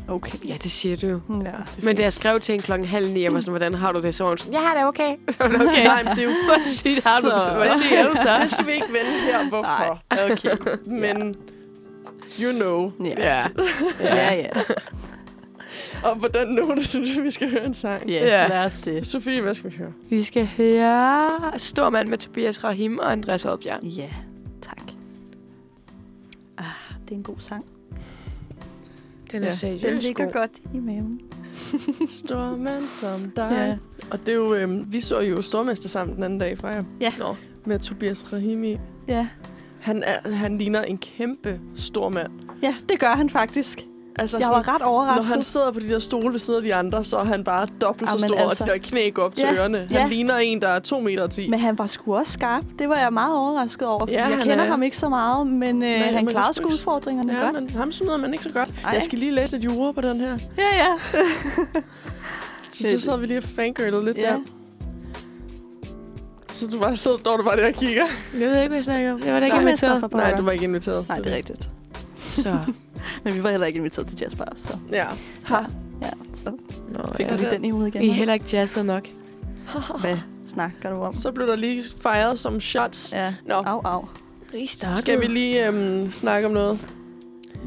S3: okay.
S2: Ja, det siger du jo.
S3: Ja.
S2: Men da jeg skrev til hende klokken halv ni, jeg var sådan, hvordan har du det? Så var hun sådan, jeg har det okay. [laughs] Så var det okay.
S1: Nej, men det er jo
S2: Hvor sygt har du det? [laughs] Hvad siger du så?
S1: [laughs] Det skal vi ikke vende her, hvorfor.
S2: [laughs]
S3: okay.
S1: Men you know.
S3: Ja, ja. ja. ja.
S1: Og på den note, synes jeg, vi skal høre en sang.
S3: Ja,
S2: Ja.
S3: lad os det.
S1: Sofie, hvad skal vi høre?
S2: Vi skal høre Stormand med Tobias Rahim og Andreas Oddbjerg.
S3: Ja, tak. Ah, det er en god sang.
S2: Den er
S1: Ja.
S2: seriøs.
S3: Den ligger
S2: god.
S3: godt i maven.
S1: Stormand som
S3: Ja.
S1: dig. Ja. Og det er jo, øh, vi så jo Stormester sammen den anden dag, Freja.
S3: Ja.
S1: Nå. Med Tobias Rahimi.
S3: Ja.
S1: Han, er, han ligner en kæmpe stor mand.
S3: ja, det gør han faktisk.
S1: Altså,
S3: Jeg var ret
S1: når
S3: overrasket.
S1: han sidder på de der stole ved siden af de andre, så er han bare dobbelt så
S3: Jamen,
S1: stor,
S3: altså.
S1: og de der knæ går op til
S3: Ja,
S1: ørerne. Han
S3: ja.
S1: ligner en, der er 2 meter 10.
S3: Men han var sgu også skarp. Det var jeg meget overrasket over, fordi
S1: Ja,
S3: ja, jeg
S1: han
S3: kender
S1: er-
S3: ham ikke så meget, men øh,
S1: Nej,
S3: han
S1: men
S3: klarede
S1: også
S3: sgu
S1: ikke-
S3: udfordringerne
S1: ja,
S3: godt.
S1: men ham snyder man ikke så godt. Ej.
S3: Ej.
S1: Jeg skal lige læse lidt jura på den her.
S3: Ja, ja.
S1: Så, så sad vi lige og fangirlede lidt ja.
S3: ja.
S1: der. Så du bare sidder, står du bare der og kigger.
S2: Jeg ved ikke, hvad jeg snakker om. Jeg var da ikke
S3: Tak.
S2: inviteret.
S3: Christoffer Bauer.
S1: Nej, du var ikke inviteret.
S3: Nej, det er rigtigt.
S2: Så.
S3: Men vi var heller ikke inviteret til jazzbar, så,
S1: Ja. Ha.
S3: ja, så
S2: Nå,
S3: fik
S2: ja.
S3: vi den i hovedet igen.
S2: I er heller ikke jazzet nok.
S3: Hvad snakker du om?
S1: Så blev der lige fejret som shots.
S3: Ja. Ah.
S1: Nå,
S3: Au, au.
S2: I startede.
S1: skal vi lige øhm, snakke om noget?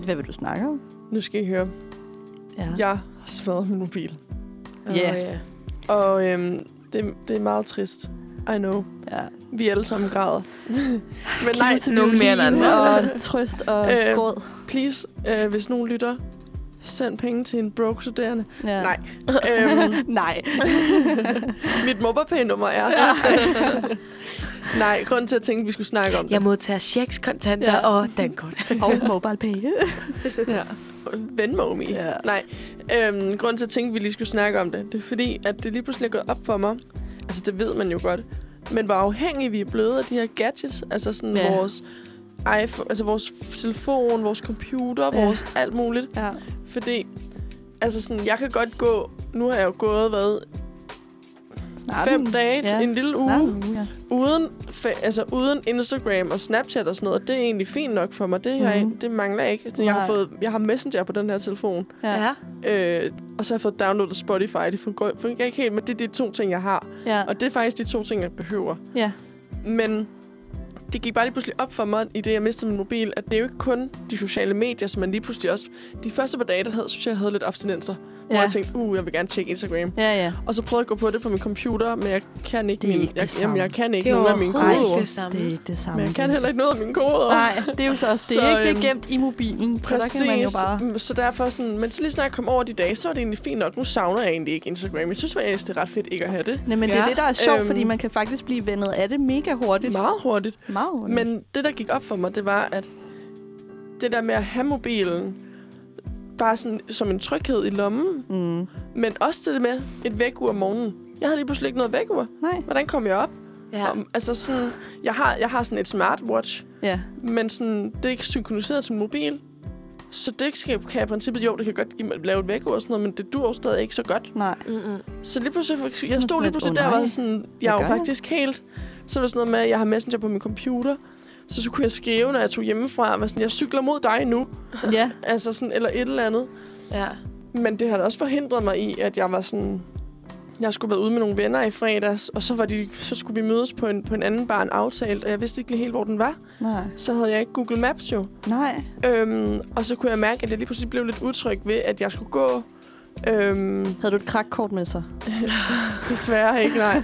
S3: Hvad vil du snakke om?
S1: Nu skal I høre.
S3: Ja.
S1: Jeg har smadret min mobil.
S2: Åh,
S3: Ja.
S2: ja.
S1: Og øhm, det, det er meget trist. I know.
S3: ja.
S1: Vi alle sammen
S3: [laughs]
S1: græder. Men nej,
S3: Kniv til
S2: nogen mere end
S3: violin
S2: andre.
S3: Og trøst
S1: [laughs]
S3: og
S1: Øh,
S3: gråd.
S1: please, øh, hvis nogen lytter, Send penge til en broke studerende.
S3: Ja.
S1: Nej. øhm,
S3: [laughs]
S1: [laughs]
S3: Nej.
S1: mit mobberpæn-nummer er... [laughs] Nej, grunden til at tænke, at vi skulle snakke om det.
S2: Jeg modtager checks, kontanter
S3: Ja.
S2: ja. og dankort.
S3: Og mobile pay.
S1: Ja. Venmo me.
S3: Ja.
S1: Nej, øhm, grunden til at tænke, at vi lige skulle snakke om det, det er fordi, at det lige pludselig er gået op for mig. Altså, det ved man jo godt. Men hvor afhængige vi er blevet af de her gadgets. Altså sådan
S3: Ja.
S1: ja. vores iPhone, altså vores telefon, vores computer,
S3: Ja.
S1: ja. vores alt muligt.
S3: ja.
S1: Fordi, altså sådan, jeg kan godt gå, nu har jeg jo gået, hvad,
S3: Snart
S1: fem
S3: en-
S1: dage,
S3: ja.
S1: ja. en lille
S3: Snart
S1: uge,
S3: en uge, ja.
S1: uden, fa- altså uden Instagram og Snapchat og sådan noget, og det er egentlig fint nok for mig. Det, her,
S3: Mhm.
S1: mm. det mangler jeg ikke. Altså, Jeg har,
S3: Nej.
S1: fået, jeg har Messenger på den her telefon,
S3: [laughs] Ja.
S1: øh, og så har jeg fået downloadet Spotify. Det fungerer, fungerer ikke helt, men det er de to ting, jeg har.
S3: Ja.
S1: Og det er faktisk de to ting, jeg behøver.
S3: ja.
S1: Men det gik bare lige pludselig op for mig, i det jeg mistede min mobil, at det er jo ikke kun de sociale medier, som man lige pludselig også... De første par dage, der havde, synes jeg, jeg havde lidt abstinenser. Ja. Hvor
S3: Ja.
S1: jeg tænkte, uh, jeg vil gerne tjekke Instagram.
S3: Ja, ja.
S1: Og så prøvede jeg at gå på det på min computer, men jeg kan ikke,
S3: Det er
S1: min,
S3: ikke det
S1: jeg,
S3: samme.
S1: jamen, jeg kan ikke
S2: Det er
S1: nogen af mine
S2: overhovedet
S1: kodeord.
S2: ikke det samme.
S3: Det er ikke det samme.
S1: Men jeg kan heller ikke noget af mine kodeord.
S3: Nej, det er jo så også det.
S1: Så,
S3: Så, ikke
S1: øhm,
S3: det er gemt i mobilen, så der kan man jo bare...
S1: Mm, Så derfor sådan, men så lige snart jeg kom over de dage, så var det egentlig fint nok. Nu savner jeg egentlig ikke Instagram. Jeg synes faktisk, det er ret fedt ikke at have det.
S3: Nej, men det er
S2: Ja.
S3: det, der er sjovt, øhm,
S1: Øhm.
S3: fordi man kan faktisk blive vendet af det mega
S1: Det
S3: hurtigt.
S1: er meget hurtigt.
S3: meget hurtigt.
S1: Men det, der gik op for mig, det var, at det der med at have mobilen, bare sådan, som en tryghed i lommen,
S3: Mm.
S1: men også det med et vækkeur om morgenen. Jeg havde lige pludselig ikke noget vækkeur.
S3: Nej.
S1: Hvordan kom jeg op?
S2: ja.
S1: Ja. Om, altså sådan, jeg har, jeg har sådan et smartwatch,
S3: Ja.
S1: men sådan, det er ikke synkroniseret til min mobil. Så det skal, kan jeg i princippet, jo, det kan godt give mig, lave et vækkeur og sådan noget, men det dur jo stadig ikke så godt.
S3: Nej.
S2: Mm-mm.
S1: Så lige pludselig,
S3: man
S1: jeg stod
S3: sådan
S1: lige
S3: lidt,
S1: pludselig
S3: "Åh,
S1: der og
S3: nej,
S1: var sådan, jeg er
S3: gør
S1: jo
S3: jeg?"
S1: faktisk helt... Så var det sådan noget med, at jeg har Messenger på min computer, så, så kunne jeg skrive, når jeg tog hjemmefra, var sådan, jeg cykler mod dig nu,
S3: Ja.
S1: altså sådan, eller et eller andet.
S2: ja.
S1: Men det har da også forhindret mig i, at jeg var sådan... Jeg skulle være ude med nogle venner i fredags, og så, var de, så skulle vi mødes på en, på en anden bar en aftalt, og jeg vidste ikke lige helt, hvor den var.
S3: Nej.
S1: Så havde jeg ikke Google Maps jo.
S3: Nej.
S1: Øhm, og så kunne jeg mærke, at jeg lige pludselig blev lidt utryg ved, at jeg skulle gå. Øhm,
S3: Havde du et krakkort med sig?
S1: desværre ikke,
S3: [laughs]
S1: nej.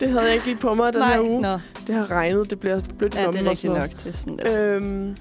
S1: Det havde jeg ikke lige på mig den her uge.
S3: Nå.
S1: Det har regnet, det bliver blødt
S3: Ja,
S1: i
S3: det
S1: lommen
S3: er
S1: og
S3: rigtigt
S1: sådan
S3: nok. Det er sådan lidt.
S1: noget. Øhm,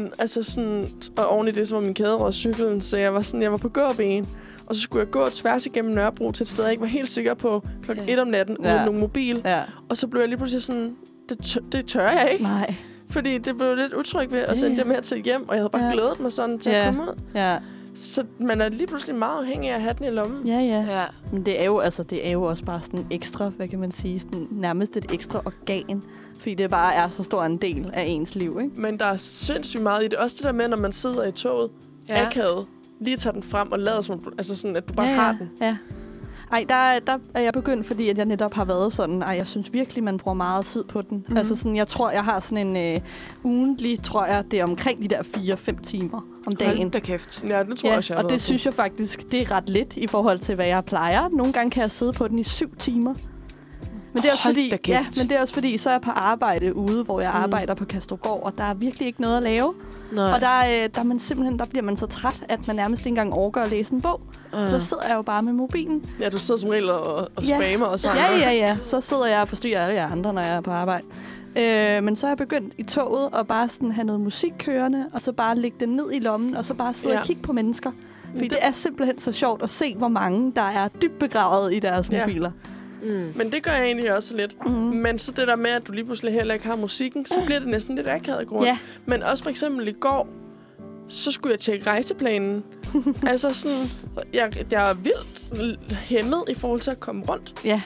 S1: men altså sådan, og oven i det, så var min kæde over cyklen, så jeg var sådan, jeg var på gåben. Og så skulle jeg gå tværs igennem Nørrebro til et sted, jeg ikke var helt sikker på klokken
S2: Ja.
S1: 1 om natten,
S3: Ja.
S1: ja. uden nogen mobil.
S3: Ja.
S1: Og så blev jeg lige pludselig sådan, det, tør, det tør jeg ikke.
S3: Nej.
S1: Fordi det blev lidt utryg ved,
S3: Ja,
S1: og så endte
S3: ja.
S1: jeg med at tage hjem, og jeg havde bare
S3: Ja.
S1: ja. glædet mig sådan til
S3: Ja.
S1: at komme ud.
S3: Ja.
S1: Så man er lige pludselig meget afhængig af at have den i lommen.
S3: Ja, ja.
S2: ja.
S3: Men det er jo, altså, det er jo også bare sådan ekstra, hvad kan man sige, sådan nærmest et ekstra organ. Fordi det bare er så stor en del af ens liv, ikke?
S1: Men der er sindssygt meget i det. Også det der med, når man sidder i toget,
S2: ja.
S1: ja. akavet, lige tager den frem og lader som om du, altså sådan, at du bare
S3: ja,
S1: ja,
S3: ja.
S1: har den.
S3: Ja. Ej, der, der er jeg begyndt, fordi at jeg netop har været sådan, ej, jeg synes virkelig, man bruger meget tid på den.
S1: Mhm.
S3: Mm-hmm. Altså sådan, jeg tror, jeg har sådan en øh, ugentlig, tror jeg, det er omkring de der 4-5 timer om dagen.
S2: Hold da kæft.
S1: Ja, det tror jeg også, jeg har
S3: og
S1: været
S3: det synes jeg faktisk, det er ret lidt i forhold til, hvad jeg plejer. Nogle gange kan jeg sidde på den i syv timer. Men det er også
S2: Hold
S3: fordi,
S2: da
S3: ja,
S2: kæft.
S3: men det er også fordi, så er jeg på arbejde ude, hvor jeg mm.
S1: Mm.
S3: arbejder på Kastrogård, og der er virkelig ikke noget at lave.
S2: Nej.
S3: Og der, øh, der, er man simpelthen, der bliver man så træt, at man nærmest ikke engang overgår at læse en bog.
S2: Øh.
S3: Så sidder jeg jo bare med mobilen.
S1: på. Ja, du sidder som regel og, og
S3: Ja.
S1: spammer og så
S3: Ja, ja, ja. Så sidder jeg og forstyrrer alle jer andre, når jeg er på arbejde. Øh, men så er jeg begyndt i toget at bare sådan have noget musik kørende, og så bare lægge det ned i lommen, og så bare sidde ja.
S1: Ja.
S3: og kigge på mennesker. Fordi det...
S1: Det-
S3: det er simpelthen så sjovt at se, hvor mange, der er dybt begravet i deres
S1: Ja.
S3: mobiler.
S2: Mm.
S1: Men det gør jeg egentlig også lidt.
S3: Mm.
S1: Men så det der med, at du lige pludselig heller ikke har musikken, så bliver det næsten lidt akavet i grund.
S3: Ja.
S1: Men også for eksempel i går, så skulle jeg tjekke
S3: [laughs]
S1: rejseplanen. altså sådan, jeg, jeg er vildt hæmmet i forhold til at komme rundt.
S3: Ja.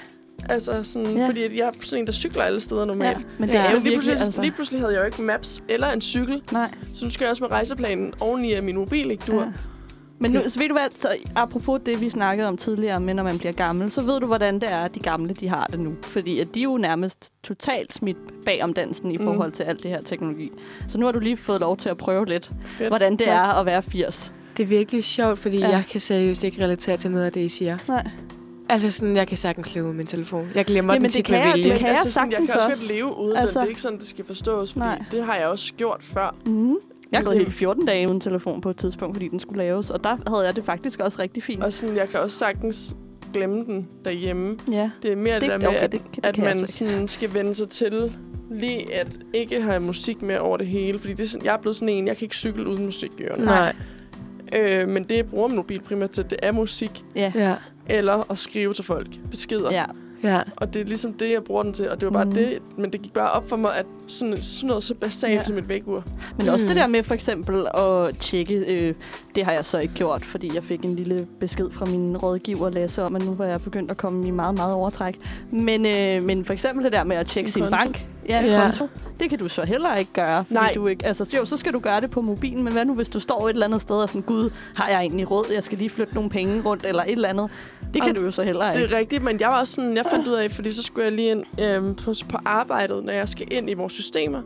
S1: Altså sådan,
S3: Ja.
S1: ja. fordi at jeg er sådan en, der cykler alle steder normalt.
S3: ja.
S1: Ja.
S3: Men det
S2: Ja.
S3: er jo
S1: Men lige
S3: virkelig,
S1: pludselig, altså.
S3: altså...
S1: lige pludselig havde jeg jo ikke maps eller en cykel,
S3: Nej.
S1: så nu skal jeg også med rejseplanen oveni af min mobil, ikke du?
S3: Ja. Men nu, så ved du hvad, så apropos det, vi snakkede om tidligere, med når man bliver gammel, så ved du, hvordan det er, at de gamle de har det nu. Fordi at de er jo nærmest totalt smidt bag om dansen i
S1: Mm.
S3: forhold til alt det her teknologi. Så nu har du lige fået lov til at prøve lidt,
S1: Fedt.
S3: hvordan det
S2: Tak.
S3: er at være 80.
S2: Det er virkelig sjovt, fordi
S3: Ja.
S2: ja. jeg kan seriøst ikke relatere til noget af det, I siger.
S3: Nej.
S2: Altså sådan, jeg kan sagtens slå ud min telefon. Jeg glemmer
S3: Jamen,
S2: den
S3: det
S2: tit
S3: kan
S2: med
S3: jeg-
S2: vilje.
S3: det kan jeg
S1: altså, sådan, jeg
S3: sagtens
S1: kan også
S3: også.
S1: godt leve uden
S3: Altså-
S1: altså, det. Det er ikke sådan, det skal forstås, fordi
S3: Nej.
S1: Nej. det har jeg også gjort før.
S3: Mm. Jeg har gået
S1: Det-
S3: hele 14 dage uden telefon på et tidspunkt, fordi den skulle laves, og der havde jeg det faktisk også rigtig fint.
S1: Og sådan, jeg kan også sagtens glemme den derhjemme.
S3: Ja,
S1: Det er mere det, der med,
S3: okay,
S1: at,
S3: det, det
S1: at
S3: kan jeg
S1: man
S3: så ikke.
S1: sådan skal vende sig til lige at ikke have musik med over det hele. Fordi det er sådan, jeg er blevet sådan en, jeg kan ikke cykle uden musik i ørerne.
S2: Nej.
S1: Øh, men det bruger min mobil primært til, det er musik.
S3: Ja.
S2: Ja,
S1: Eller at skrive til folk. Beskeder.
S3: ja.
S2: ja.
S1: Og det er ligesom det, jeg bruger den til. Og det var bare
S3: Mhm.
S1: mm. det. Men det gik bare op for mig, at sådan, sådan noget så basalt
S3: Ja.
S1: ja. som et vækkeur.
S3: Men også
S2: Mm.
S3: det der med for eksempel at tjekke, øh, det har jeg så ikke gjort, fordi jeg fik en lille besked fra min rådgiver Lasse om, at nu var jeg begyndt at komme i meget, meget overtræk. Men, øh, men for eksempel det der med at tjekke sin,
S1: Sin
S3: sin
S1: konto.
S3: bank, ja,
S2: Ja.
S3: ja. konto, det kan du så heller ikke gøre. Fordi
S1: Nej.
S3: Du ikke, altså, jo, så skal du gøre det på mobilen, men hvad nu hvis du står et eller andet sted og sådan, gud, har jeg egentlig råd, jeg skal lige flytte nogle penge rundt eller et eller andet. Det kan
S1: Og
S3: du jo så heller ikke.
S1: Det er rigtigt, men jeg var også sådan, jeg fandt ud af, fordi så skulle jeg lige ind øhm, på, på arbejdet, når jeg skal ind i vores systemer,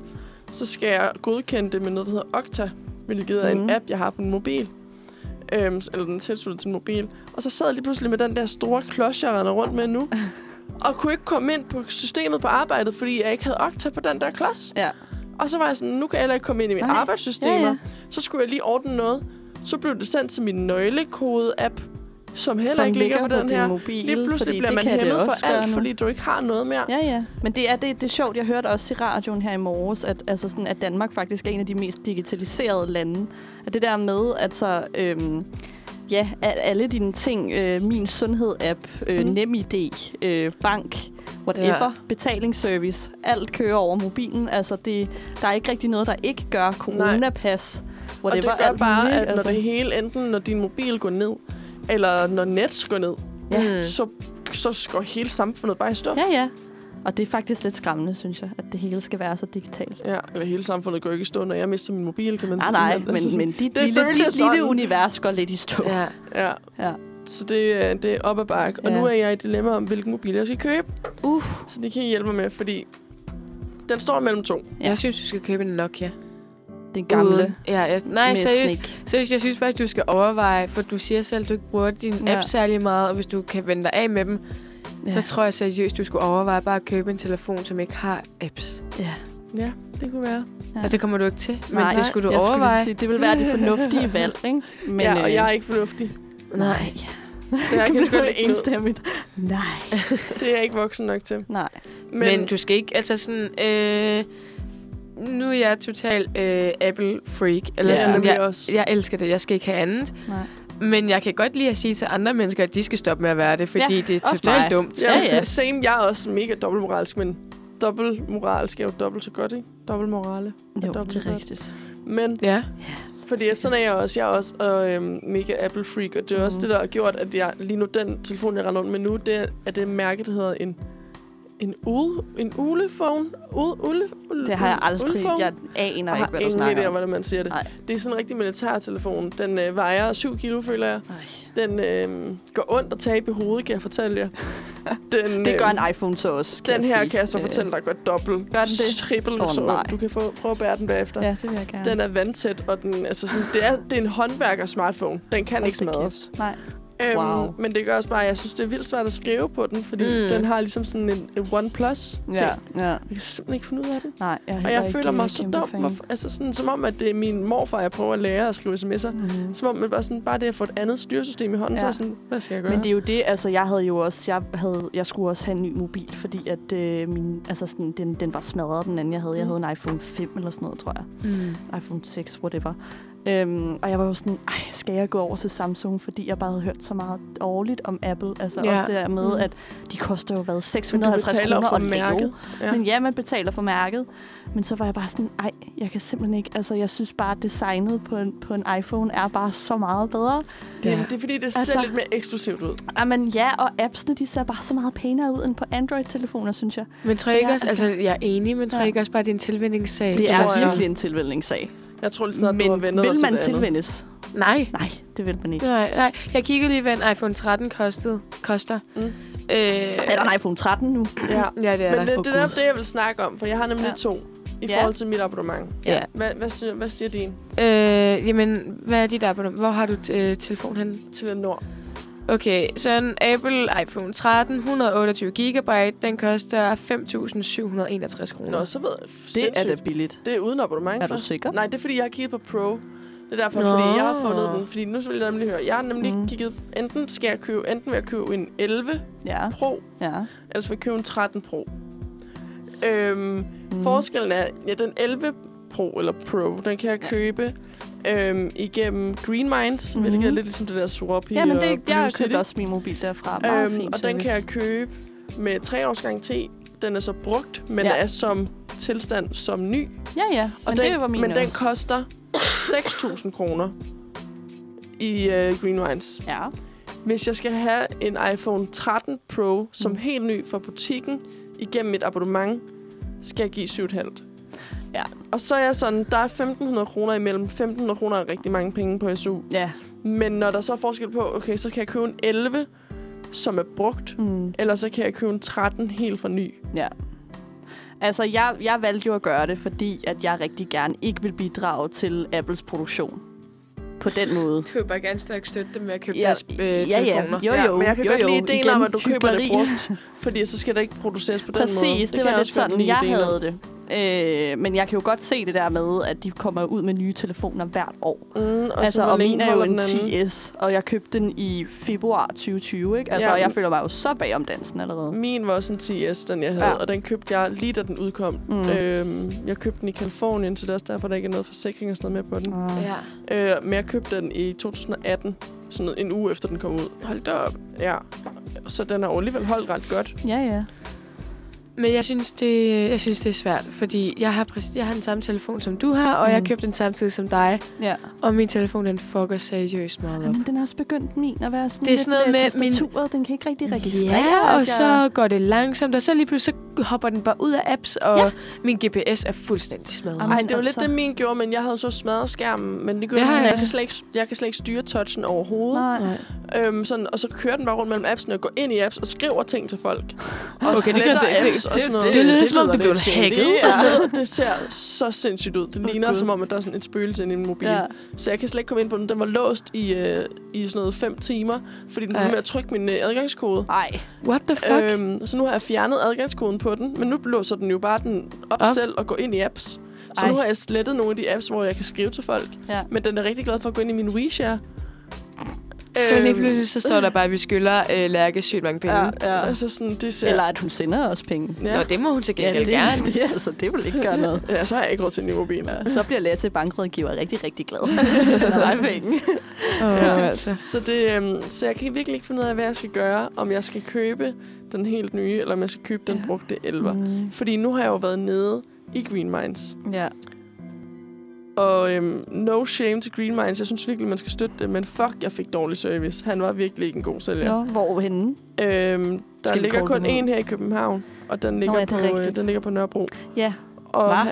S1: så skal jeg godkende det med noget, der hedder Okta, hvilket er
S3: Mhm.
S1: en app, jeg har på min mobil. Øhm, s- eller den er tilsluttet til min mobil. Og så sad jeg lige pludselig med den der store klods, jeg render rundt med
S3: [laughs]
S1: nu, og kunne ikke komme ind på systemet på arbejdet, fordi jeg ikke havde Okta på den der klods.
S3: Ja.
S1: Og så var jeg sådan, nu kan jeg heller ikke komme ind i mine
S3: Nej.
S1: arbejdssystemer.
S3: Ja,
S1: Ja,
S3: ja.
S1: ja. Så skulle jeg lige ordne noget. Så blev det sendt til min nøglekode-app, som heller
S3: Som
S1: ikke ligger på
S3: ligger på
S1: den
S3: din
S1: her.
S3: mobil,
S1: Lige pludselig
S3: fordi
S1: bliver
S3: det
S1: man
S3: kan det
S1: hæmmet
S3: også
S1: for
S3: gøre
S1: alt,
S3: nu.
S1: fordi du ikke har noget mere.
S3: Ja, ja. Men det er, det, det er sjovt. Jeg hørte også i radioen her i morges, at, altså sådan, at Danmark faktisk er en af de mest digitaliserede lande. At det der med, at så, øhm, ja, at alle dine ting, øh, min sundhed-app, øh,
S1: Mm.
S3: NemID, øh, bank, whatever,
S2: Ja.
S3: ja. betalingsservice, alt kører over mobilen. Altså, det, der er ikke rigtig noget, der ikke gør coronapas,
S1: og det
S3: whatever,
S1: gør
S3: alt
S1: bare,
S3: muligt, altså.
S1: at når det hele, enten når din mobil går ned, eller når net går ned,
S3: Ja.
S2: Mm.
S1: så, så går hele samfundet bare i stå.
S3: Ja, ja. Og det er faktisk lidt skræmmende, synes jeg, at det hele skal være så digitalt.
S1: ja. Eller hele samfundet går ikke i stå, når jeg mister min mobil, kan man
S3: Nej,
S1: sige.
S3: nej,
S1: altså
S3: men,
S1: sådan-
S3: men dit,
S1: det
S3: lille,
S1: føltes
S3: dit lille
S1: sådan.
S3: univers går lidt i stå.
S2: ja.
S1: Ja.
S3: Ja.
S1: Så det, er- det er op ad bakke. Ja. Og
S3: Ja.
S1: nu er jeg i et dilemma om, hvilken mobil jeg skal købe.
S3: Uh.
S1: Så det kan I hjælpe mig med, fordi den står mellem to.
S2: Jeg synes, du skal købe en Nokia.
S3: Den gamle.
S2: Uden- Ja, jeg, nej,
S3: med
S2: seriøst.
S3: slik.
S2: Seriøst, jeg synes faktisk, du skal overveje, for du siger selv, at du ikke bruger din
S3: Ja.
S2: ja. app særlig meget, og hvis du kan vende dig af med dem, ja. så tror jeg seriøst, du skulle overveje bare at købe en telefon, som ikke har apps.
S1: Ja, det kunne være.
S3: Ja.
S2: Ja. Altså, det kommer du ikke til, men
S3: Nej,
S2: det skulle du
S3: jeg skulle lige
S2: overveje.
S3: sige, det vil være det fornuftige valg, ikke? øh,
S1: Men, ja, og jeg er ikke fornuftig.
S2: Nej.
S1: Det er jeg kan
S3: [laughs] det
S1: sgu
S3: blev
S1: ikke enstemmig.
S3: enstemmigt. Nej.
S1: Det er jeg ikke voksen nok til.
S3: Nej.
S2: Men, men du skal ikke, altså sådan, øh, nu er jeg total øh, Apple-freak, eller
S1: ja,
S2: ja, sådan,
S1: nemlig
S2: jeg,
S1: også.
S2: jeg elsker det, jeg skal ikke have andet.
S3: Nej.
S2: Men jeg kan godt lide at sige til andre mennesker, at de skal stoppe med at være det, fordi
S3: Ja,
S2: ja, det er
S3: også mig.
S2: totalt dumt.
S1: Ja,
S3: Ja, ja.
S1: ja. Same. Jeg er også mega dobbeltmoralsk, men dobbeltmoralsk er jo dobbelt så godt, ikke? Dobbeltmorale.
S3: Jo,
S1: dobbelt
S3: det er
S1: godt.
S3: rigtigt.
S1: Men
S2: Ja.
S1: fordi at sådan er jeg også. Jeg er også og, øhm, mega Apple freak, og det er mm. også
S3: Mhm.
S1: det, der har gjort, at jeg lige nu den telefon, jeg render rundt med nu, det er, er det mærke, der hedder en en ule, en ulefone. Ule, ule, ule,
S3: Det har jeg aldrig.
S1: Ulefone?
S3: Jeg aner
S1: jeg
S3: ikke,
S1: har
S3: hvad du
S1: ingen idé
S3: snakker
S1: om,
S3: om.
S1: hvordan man siger det.
S3: Nej.
S1: Det er sådan en rigtig militærtelefon. Den øh, vejer 7 kilo, føler jeg.
S3: Ej.
S1: Den øh, går ondt at tabe i hovedet, kan jeg fortælle
S3: [laughs]
S1: jer. Den,
S3: Det
S1: øh,
S3: gør en iPhone så også, kan
S1: Den her
S3: sige.
S1: kan jeg så
S3: Øh,
S1: fortælle dig godt dobbelt.
S3: gør den det?
S1: Trippel
S3: Åh,
S1: oh, så
S3: nej.
S1: Du kan få, prøve at bære den bagefter.
S3: Ja, det vil jeg gerne.
S1: Den er vandtæt, og den, altså sådan, det, er, det er en håndværker-smartphone. Den kan
S3: Hold
S1: ikke
S3: da
S1: smadres.
S3: Nej.
S1: Øhm,
S3: Wow.
S1: Men det gør også bare, at jeg synes, det er vildt svært at skrive på den, fordi
S2: Mm.
S1: mm. den har ligesom sådan en, en OnePlus-ting.
S3: Ja,
S1: Ja.
S3: ja.
S1: Jeg kan simpelthen ikke finde ud af den.
S3: Nej, jeg er
S1: Og
S3: heller
S1: jeg
S3: ikke
S1: føler mig
S3: en
S1: så
S3: kæmpe
S1: dum.
S3: fan.
S1: Hvorfor, altså sådan, som om, at det er min morfar, jeg prøver at lære at skrive sms'er.
S3: Mhm.
S1: Som om, at bare, sådan, bare det at få et andet styresystem i hånden,
S3: Ja.
S1: ja. så er jeg sådan, hvad skal jeg gøre?
S3: Men det er jo det, altså jeg havde jo også, jeg, havde, jeg skulle også have en ny mobil, fordi at øh, min, altså sådan, den, den var smadret, den anden jeg havde. Jeg
S1: Mm.
S3: havde en iPhone 5 eller sådan noget, tror jeg.
S2: Mm.
S3: iPhone 6, whatever. Øhm, og jeg var jo sådan, ej, skal jeg gå over til Samsung? Fordi jeg bare havde hørt så meget dårligt om Apple. Altså ja.
S2: Ja.
S3: også det der med,
S1: Mm.
S3: at de koster jo hvad,
S1: Men du
S3: 650
S1: betaler
S3: kroner
S1: for
S3: at lave.
S1: mærket. Ja.
S3: Men ja, man betaler for mærket. Men så var jeg bare sådan, ej, jeg kan simpelthen ikke. Altså, jeg synes bare, at designet på en, på en iPhone er bare så meget bedre.
S1: Det,
S2: Ja.
S1: det er fordi, det ser
S3: Altså-
S1: altså, lidt mere eksklusivt ud.
S3: Jamen ja, og appsene, de ser bare så meget pænere ud end på Android-telefoner, synes jeg.
S2: Men
S3: Så
S2: tror jeg ikke
S3: jeg-
S2: også,
S3: altså-
S2: altså, jeg er enig, men tror
S3: Ja.
S2: jeg ikke også bare, det er en tilvændingssag?
S3: Det
S1: tror
S2: Eller
S1: jeg.
S3: er
S2: sådan-
S3: virkelig en tilvændingssag.
S1: Jeg tror lige snart, du har
S3: Men
S1: vendet dig
S3: vil man
S1: til det andet.
S3: tilvændes?
S2: Nej.
S3: Nej, det vil man ikke.
S2: Nej, nej. Jeg kiggede lige, hvad en iPhone 13 kostede, koster.
S1: Mm.
S2: Mm. Øh,
S3: Er der en iPhone 13 nu?
S1: Ja.
S2: Ja, det er
S1: Men
S2: der.
S1: det, det er
S3: Åh,
S1: netop det, jeg vil snakke om, for jeg har nemlig
S3: Ja.
S1: ja. to i
S3: Ja.
S1: forhold til mit abonnement.
S2: Ja.
S1: Hvad, hvad, siger, hvad siger din
S2: Øh, jamen, hvad er dit abonnement? Hvor har du øh, telefon henne?
S1: til den nord?
S2: Okay, så en Apple iPhone 13, 128 GB, den koster 5.761
S1: Nå,
S2: kroner.
S1: så ved jeg.
S3: Det er
S1: sindssygt. Altså.
S3: da billigt.
S1: Det er uden abonnement,
S3: Er du
S1: så.
S3: sikker?
S1: Nej, det er, fordi jeg har kigget på Pro. Det er derfor,
S2: Nå.
S1: fordi jeg har fundet den. Fordi nu vil jeg nemlig høre. Jeg har nemlig
S3: Mm.
S1: mm. kigget... Enten skal jeg købe... Enten vil jeg købe en 11
S3: Ja.
S1: Pro,
S3: ja.
S1: eller så vil jeg købe en 13 Pro. Øhm,
S3: Mm.
S1: Mm. Forskellen er, ja, den 11 Pro, eller Pro, den kan jeg købe øhm, igennem Green Minds, mm-hmm. hvilket er
S3: Mhm.
S1: lidt ligesom det der Swarovski
S3: Ja, men
S1: og
S3: det, jeg
S1: Blue
S3: har
S1: City.
S3: købt også min mobil derfra. Meget
S1: Øhm,
S3: fin
S1: og den
S3: service.
S1: kan jeg købe med tre års garanti. Den er så brugt, men
S3: Ja.
S1: ja. er som tilstand som ny.
S3: Ja, ja.
S1: Og
S3: Men
S1: den,
S3: det var min
S1: men den
S3: også.
S1: koster 6.000 kroner i øh, Green Wines.
S3: Ja.
S1: Hvis jeg skal have en iPhone 13 Pro, som
S3: Mm.
S1: mm. helt ny fra butikken, igennem mit abonnement, skal jeg give 7,5.
S3: Ja.
S1: Og så er jeg sådan, der er 1.500 kroner imellem. 1.500 kroner er rigtig mange penge på SU.
S3: Ja.
S1: Men når der så er forskel på, okay, så kan jeg købe en 11, som er brugt,
S3: Mm.
S1: eller så kan jeg købe en 13 helt for ny.
S3: Altså, jeg, jeg valgte jo at gøre det, fordi at jeg rigtig gerne ikke vil bidrage til Apples produktion. På den måde.
S2: Du vil bare gerne stærkt støtte dem med at købe
S3: Ja,
S2: deres øh, telefoner.
S3: Jo, jo,
S1: men jeg kan
S3: jo,
S1: godt
S3: jo.
S1: lide ideen
S3: Igen,
S1: om, at du køber det
S3: hykleri.
S1: brugt, fordi så skal det ikke produceres på den måde.
S3: Præcis, det,
S1: kan
S3: var
S1: jeg
S3: lidt
S1: også godt
S3: sådan,
S1: lide
S3: jeg
S1: ideen om.
S3: havde det. Øh, men jeg kan jo godt se det der med, at de kommer ud med nye telefoner hvert år.
S1: Mm, og
S3: Og altså,
S1: så, hvor
S3: og
S1: længe
S3: min er jo
S1: holder
S3: en
S1: den anden?
S3: 10S, og jeg købte den i februar 2020, ikke? Altså,
S1: Ja, Mm.
S3: og jeg
S1: men-
S3: føler mig jo så bag om dansen allerede.
S1: Min var også en 10S, den jeg havde,
S3: Ja.
S1: ja. og den købte jeg lige da den udkom.
S3: Mm.
S1: Mm. Øhm, jeg købte den i Kalifornien, så det er også derfor, der ikke er noget forsikring og sådan noget med på den.
S3: Ja.
S2: Ja.
S1: Øh, men jeg købte den i 2018, sådan en uge efter den kom ud. Hold da op. Ja. Så den har jo alligevel holdt ret godt.
S3: ja, ja.
S2: Men jeg synes, det, jeg synes, det er svært, fordi jeg har, præcis- jeg har den samme telefon, som du har, og mm. jeg
S3: Mhm.
S2: købte den samtidig som dig.
S3: ja.
S2: Og min telefon, den fucker seriøst meget op.
S3: Jamen, den er også begyndt min at være sådan
S2: Det er
S3: lidt
S2: sådan noget med min-
S3: tastaturet. Den kan ikke rigtig registrere. at
S2: Ja,
S3: jeg-
S2: og så går det langsomt, og så lige pludselig så hopper den bare ud af apps, og
S3: Ja.
S2: ja. min GPS er fuldstændig smadret.
S3: Jamen,
S1: Nej, det var
S3: altså.
S1: altså. lidt det, min gjorde, men jeg havde så smadret skærmen. Men det gjorde
S2: Det
S1: det
S2: har
S1: sådan,
S2: jeg
S1: jeg, kan
S2: ikke.
S1: slet ikke, jeg kan slet ikke styre touchen overhovedet.
S3: Nej.
S1: Øhm, sådan, og så kører den bare rundt mellem appsene og går ind i apps og skriver ting til folk. Og
S2: Okay, det gør-
S1: sletter
S2: det- det-
S1: apps og
S2: det-
S1: sådan noget.
S2: det- det lyder, som om du blev
S3: lidt
S2: hacket.
S3: shady,
S1: Der
S2: [laughs]
S3: ja.
S1: er noget, det ser så sindssygt ud. Det
S3: Åh,
S1: ligner,
S3: Gud.
S1: som om, at der er sådan et spøgelse inde i min mobil.
S3: Ja.
S1: Så jeg kan slet ikke komme ind på den. Den var låst i, øh, i sådan noget fem timer, fordi den blev
S2: Ej.
S1: ved med at trykke min øh, adgangskode.
S3: Ej.
S2: What the fuck? Øhm,
S1: Øhm, så nu har jeg fjernet adgangskoden på den, men nu låser den jo bare den op,
S2: Op.
S1: op. selv og går ind i apps. Så
S3: Ej.
S1: Ej. nu har jeg slettet nogle af de apps, hvor jeg kan skrive til folk.
S3: Ja.
S1: Men den er rigtig glad for at gå ind i min WeShare.
S2: så
S1: Øhm.
S2: lige pludselig så står der bare, at vi skylder øh, Lærke sygt mange penge. Ja.
S3: ja.
S1: Altså sådan, det ser...
S3: Eller at hun sender os penge.
S1: ja.
S2: Nå, det må hun til gengæld ja,
S1: [laughs]
S3: det,
S2: gerne.
S3: det, altså, det vil ikke gøre noget.
S1: ja, så har jeg ikke råd til en ny mobil. Ja.
S3: Så bliver Lasse bankrådgiver rigtig, rigtig
S1: [laughs]
S3: glad, hvis de sender dig penge.
S2: Åh,
S1: Ja.
S2: altså.
S1: Så, det, øhm, så jeg kan virkelig ikke finde ud af, hvad jeg skal gøre. Om jeg skal købe den helt nye, eller om jeg skal købe den
S3: Ja.
S1: brugte 11. Mm. Fordi nu har jeg jo været nede i Green Minds.
S3: Ja.
S1: Og øhm, no shame til Green Minds. Jeg synes virkelig, man skal støtte det. Men fuck, jeg fik dårlig service. Han var virkelig ikke en god sælger.
S3: Nå, hvorhenne?
S1: Øhm, der
S3: Skal vi
S1: ligger
S3: kåre
S1: kun
S3: dem ud?
S1: en her i København, og den ligger,
S3: ja, det
S1: på,
S3: er rigtigt.
S1: øh, den ligger på Nørrebro.
S3: Ja.
S1: Og
S3: Hva?
S1: ha-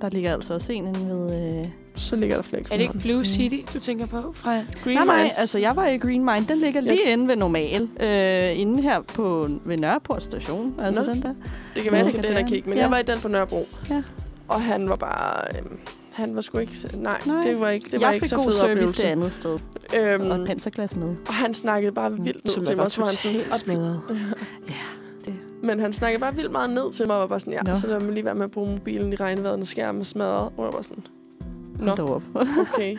S3: Der ligger altså også en inde ved... Øh...
S1: så ligger der flere i
S2: Er det ikke
S1: København.
S2: Blue City, du tænker på, Freja?
S1: Green
S3: Nej, nej,
S1: Minds.
S3: altså jeg var i Green Mine. Den ligger
S1: Ja.
S3: lige inde ved Normal. Øh, inde her på, ved Nørreport station. Altså
S1: Nå.
S3: den der.
S1: Det kan være, at jeg
S3: Nå,
S1: skal den og
S3: det er-
S1: kigge, men ja.
S3: ja.
S1: jeg var i den på Nørrebro.
S3: Ja.
S1: Og han var bare... Øhm, han var sgu ikke... s- Nej,
S3: Nej.
S1: nej. det var ikke, det var
S3: jeg
S1: ikke
S3: fik
S1: så
S3: god
S1: fed
S3: service
S1: oplevelse.
S3: det andet sted.
S1: Øhm,
S3: Og Mm, et panserglas med.
S1: og han snakkede bare vildt ned til mig. Så var han sådan, "Op."
S2: smadret.
S1: men han snakkede bare vildt meget ned til mig, og var bare sådan, ja,
S3: Nå.
S1: så lad mig lige være med at bruge mobilen i regnvejret, når skærmen er smadret. Og jeg var sådan, Nå,
S3: Hold
S1: [laughs]
S3: da op.
S1: okay.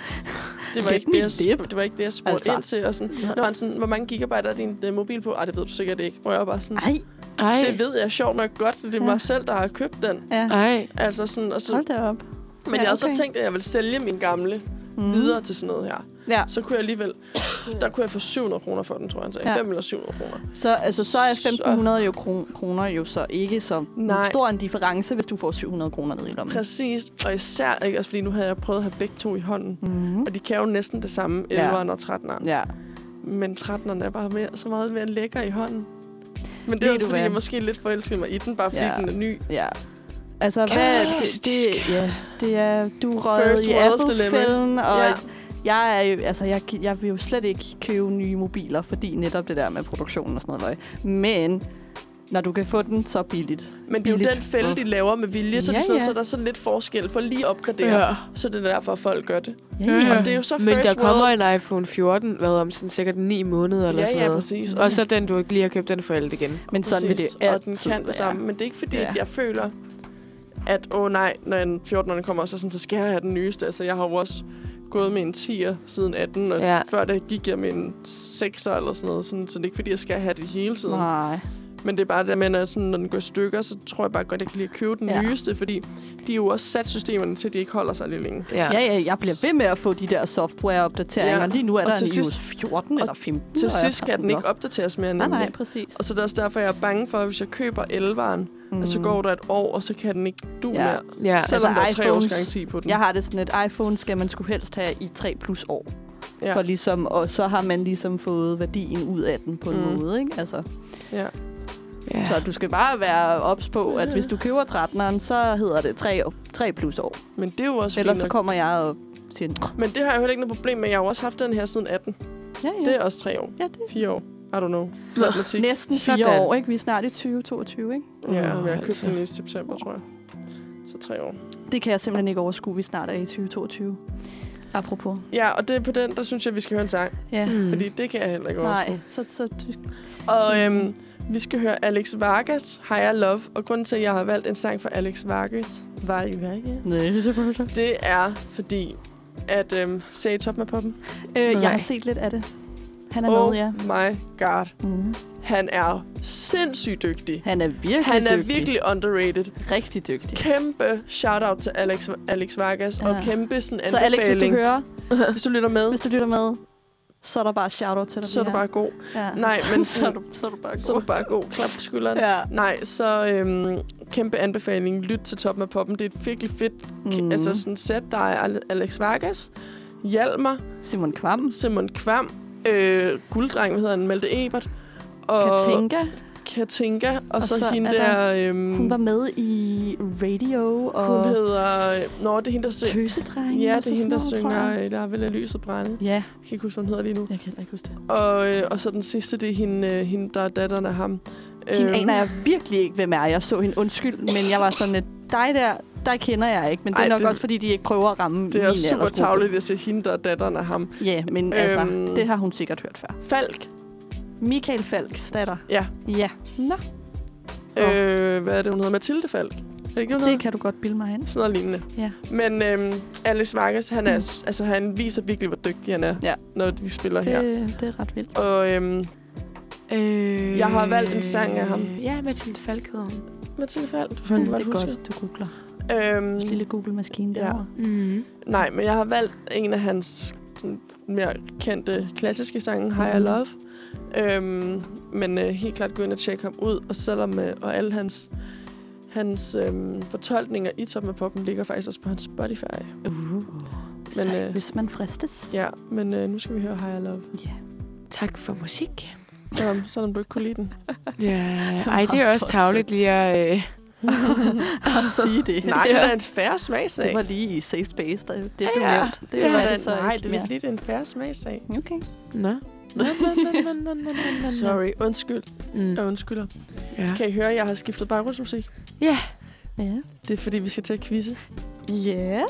S1: Det var,
S3: Let
S1: ikke
S3: me
S1: det, jeg,
S3: live.
S1: sp- det var ikke det, jeg spurgte altså.
S3: Altså.
S1: ind til. Og sådan, Nå, han sådan, hvor mange gigabyte er din øh, mobil på? Ej, det ved du sikkert ikke. Og jeg var bare sådan,
S3: Ej,
S2: Ej,
S1: det ved jeg sjovt nok godt. Det er
S3: Ja.
S1: mig selv, der har købt den.
S3: ja.
S2: ej.
S1: Altså sådan, og så,
S3: Hold da op.
S1: men
S3: ja,
S1: jeg havde
S3: okay.
S1: så tænkt, at jeg ville sælge min gamle
S3: Mm.
S1: videre til sådan noget her.
S3: Ja.
S1: Så kunne jeg alligevel...
S3: [coughs]
S1: Der kunne jeg få 700 kroner for den, tror jeg, han sagde.
S3: Ja.
S1: Ja. 5 eller 700 kroner.
S3: Så, altså, så er 1.500 jo kron- kroner jo så ikke så
S1: Nej.
S3: stor en difference, hvis du får 700 kroner ned i lommen.
S1: Præcis. Og især ikke, også fordi nu havde jeg prøvet at have begge to i hånden.
S3: Mm-hmm.
S1: Og de kan jo næsten det samme,
S3: Ja.
S1: 11'eren og 13'eren.
S3: Ja.
S1: Men 13'eren er bare mere, så meget mere lækker i hånden. Men det
S3: Ved
S1: er også,
S3: du
S1: fordi
S3: hvad?
S1: jeg måske lidt forelskede mig i den, bare fordi
S3: Ja.
S1: ja. den er ny.
S3: Ja. Altså, hvad, det, det,
S2: Kapitalistisk.
S3: ja, det er, du røg
S1: First
S3: i
S1: world
S3: Apple-fælden, og ja.
S1: Ja.
S3: jeg, er jo, altså, jeg, gi- jeg vil jo slet ikke købe nye mobiler, fordi netop det der med produktionen og sådan noget løg. Men når du kan få den så billigt.
S1: Men det er
S3: Billigt.
S1: jo den fælde, de laver med vilje, så,
S3: Ja,
S1: det er sådan,
S3: ja.
S1: så der er sådan lidt forskel for lige at opgradere. Ja. Så det er derfor, at folk gør det.
S3: Ja,
S1: Og det er jo så
S2: Men
S1: first
S2: der kommer
S1: world.
S2: en iPhone 14, hvad om sådan sikkert 9 måneder eller sådan
S1: ja, ja,
S2: noget.
S1: præcis.
S2: Og så den, du ikke lige har købt, den er forældet igen.
S3: Men sådan vil det
S1: Præcis,
S3: altid
S1: Og den kan
S3: være.
S1: det samme. Men det er ikke fordi,
S3: Ja.
S1: ja. jeg føler, at åh oh, nej, når en 14'erne kommer, så, sådan, så skal jeg have den nyeste. Altså, jeg har jo også gået med en 10'er siden 18, og
S2: Ja.
S1: ja. før det gik jeg med en 6'er eller sådan noget. Sådan, så det er ikke fordi, jeg skal have det hele tiden.
S3: Nej.
S1: Men det er bare det der med, når, sådan, når den går i stykker, så tror jeg bare godt, jeg kan lige købe den
S3: Ja.
S1: ja. nyeste, fordi de er jo også sat systemerne til, at de ikke holder sig lige længe.
S2: Ja.
S3: Ja, ja, jeg bliver ved med at få de der softwareopdateringer. Ja.
S1: Ja.
S3: Lige nu er
S1: Og
S3: der
S1: til
S3: en
S1: sidst-
S3: iOS 14 eller 15.
S1: Til
S3: og jeg
S1: sidst
S3: har
S1: kan den ikke
S3: nok.
S1: opdateres mere end
S3: Nej, nej,
S1: nemlig.
S3: præcis.
S1: Og så er det også derfor, jeg er bange for, at hvis jeg køber 11'eren, mm. og så går der et år, og så kan den ikke du
S3: Ja.
S1: ja. mere.
S2: Ja.
S1: Selvom
S3: Altså,
S1: altså, der er tre års
S3: iPhones-
S1: garanti på den.
S3: Jeg har det sådan, at iPhone skal man skulle helst have i 3 plus år. Ja.
S1: Ja.
S3: For ligesom, og så har man ligesom fået værdien ud af den på en mm.
S1: Mm.
S3: måde. Ikke? Altså,
S1: Ja.
S2: ja.
S3: Så du skal bare være ops på, at hvis du køber 13'eren, så hedder det 3, 3 plus år.
S1: Men det er jo også
S3: Ellers
S1: Ellers
S3: så
S1: fint nok.
S3: kommer jeg og siger, "Nå,
S1: Men det har jeg jo heller ikke noget problem med. Jeg har jo også haft den her siden 18.
S3: ja, ja.
S1: Det er også tre år.
S3: ja det
S1: Fire år. I don't know. Matematik.
S3: Næsten fire
S2: Sådan.
S3: år, ikke? Vi er snart i 2022, ikke?
S1: Ja,
S2: Åh,
S1: men jeg købte
S2: altså.
S1: den i september, tror jeg. Så tre år.
S3: Det kan jeg simpelthen ikke overskue, vi snart er i 2022. Apropos.
S1: Ja, og det er på den, der synes jeg, vi skal høre en sang. Mm.
S3: Ja.
S2: Mm.
S1: Fordi det kan jeg heller ikke overskue.
S3: Nej, så, så
S1: Og øhm, vi skal høre Alex Vargas, Higher Love. Og grunden til, at jeg har valgt en sang for Alex Vargas, var
S3: Nej, det var det.
S1: det er fordi, at øhm, se i toppen af poppen.
S3: Øh, jeg
S2: Nej.
S3: har set lidt af det. Han er oh.
S1: Oh
S3: med, ja.
S1: my god.
S3: Mm.
S1: Han er sindssygt dygtig.
S3: Han er virkelig
S1: Han er
S3: dygtig.
S1: virkelig underrated.
S3: rigtig dygtig.
S1: Kæmpe shout-out til Alex, Alex Vargas, ja. og
S3: Ja.
S1: kæmpe sådan
S3: Så Alex, hvis du hører,
S1: hvis du lytter med,
S3: hvis du lytter med, så er der bare shout-out til dig.
S1: så er du bare god.
S3: Ja.
S1: Nej,
S3: [laughs] så,
S1: men
S3: så, er du, så er du bare
S1: Så er
S3: god.
S1: du bare god. Klap på skulderen.
S3: Ja.
S1: Nej, så øhm, kæmpe anbefaling. Lyt til Toppen af Poppen. Det er et virkelig fedt mm. altså sådan set. Der er Ale- Alex Vargas, Hjalmar,
S3: Simon Kvam,
S1: Simon Kvam, øh, gulddreng, hvad hedder han, Malte Ebert, og
S3: Katinka,
S1: Katinka og,
S3: Og
S1: og så,
S3: så
S1: så hende
S3: er der-
S1: der... øhm,
S3: hun var med i radio og
S1: hun hedder... øh, Nå, det er hende, der synger...
S3: Tøsedreng.
S1: Ja,
S3: og
S1: det er hende,
S3: sådan
S1: der
S3: noget, tror
S1: synger...
S3: jeg.
S1: øh, Der er vel af lyset brænde.
S3: Ja,
S1: Jeg kan ikke huske, hvad hun hedder lige nu.
S3: jeg kan heller ikke huske det.
S1: Og, øh, og så den sidste, det er hende, øh, hende der er datteren af ham. Øhm,
S3: Hende aner jeg virkelig ikke, hvem er. Jeg så hende, undskyld, men jeg var sådan lidt, dig der, der kender jeg ikke. Men det er
S1: Ej,
S3: nok
S1: det-
S3: også, fordi de ikke prøver at ramme
S1: Det er
S3: min
S1: også super
S3: aldersgruppe.
S1: tavligt at se hende, der er datteren af ham.
S3: Ja, men altså,
S1: Øhm.
S3: det har hun sikkert hørt før.
S1: Falk.
S3: Michael Falks datter.
S1: Ja.
S3: Ja. Nå, Nå.
S1: Øh, hvad er det, hun hedder? Mathilde Falk. Er det ikke, hun
S3: det
S1: hedder?
S3: kan du godt bilde mig hen.
S1: Sådan noget lignende.
S3: Ja. Mm.
S1: Men øhm, Alex Vargas, han, er, s- altså, han viser virkelig, hvor dygtig han er,
S3: Ja.
S1: når de spiller
S3: Det,
S1: her.
S3: det er ret vildt.
S1: Og øhm,
S2: Øh,
S1: Jeg har valgt en sang af ham.
S2: Ja, Mathilde Falk hedder hun.
S1: Mathilde Falk, du
S3: Mm,
S1: fandt
S3: det
S1: mm,
S3: er
S1: godt.
S3: godt, du googler.
S1: Øhm,
S3: Vores lille Google-maskine
S1: Ja.
S3: derovre.
S2: Mm.
S1: nej, men jeg har valgt en af hans sådan, mere kendte klassiske sange,
S3: Mhm.
S1: Higher Love. Øhm, men øh, helt klart gå ind og tjekke ham ud, og selvom øh, og alle hans, hans øhm, fortolkninger i Toppen af Poppen ligger faktisk også på hans Spotify.
S3: Uh. Men,
S1: Men, øh,
S3: hvis man fristes.
S1: Ja, men øh, nu skal vi høre Higher Love.
S3: Ja.
S2: Tak for musik.
S1: Selvom, selvom du ikke kunne lide den.
S2: [laughs] Ja, ej, det er også tavligt lige at... Øh,
S3: [laughs] At sige
S1: [laughs]
S2: [laughs]
S3: det.
S1: Nej, det
S3: det,
S1: er en færre smagsag.
S3: det var lige i safe space, der, det blev
S1: Ja,
S3: nævnt.
S1: det
S3: var
S1: var det
S3: så
S1: Nej,
S3: ikke
S1: det er
S3: mere.
S1: lidt en færre smagsag.
S3: Okay.
S2: nå. Nå, nå, nå, nå, nå, nå, nå.
S1: Sorry, undskyld.
S2: Mm.
S1: Jeg undskylder.
S2: Ja.
S1: Kan I høre, at jeg har skiftet baggrundsmusik?
S2: ja.
S3: Ja.
S1: Det er, fordi vi skal til at quizze.
S3: Ja.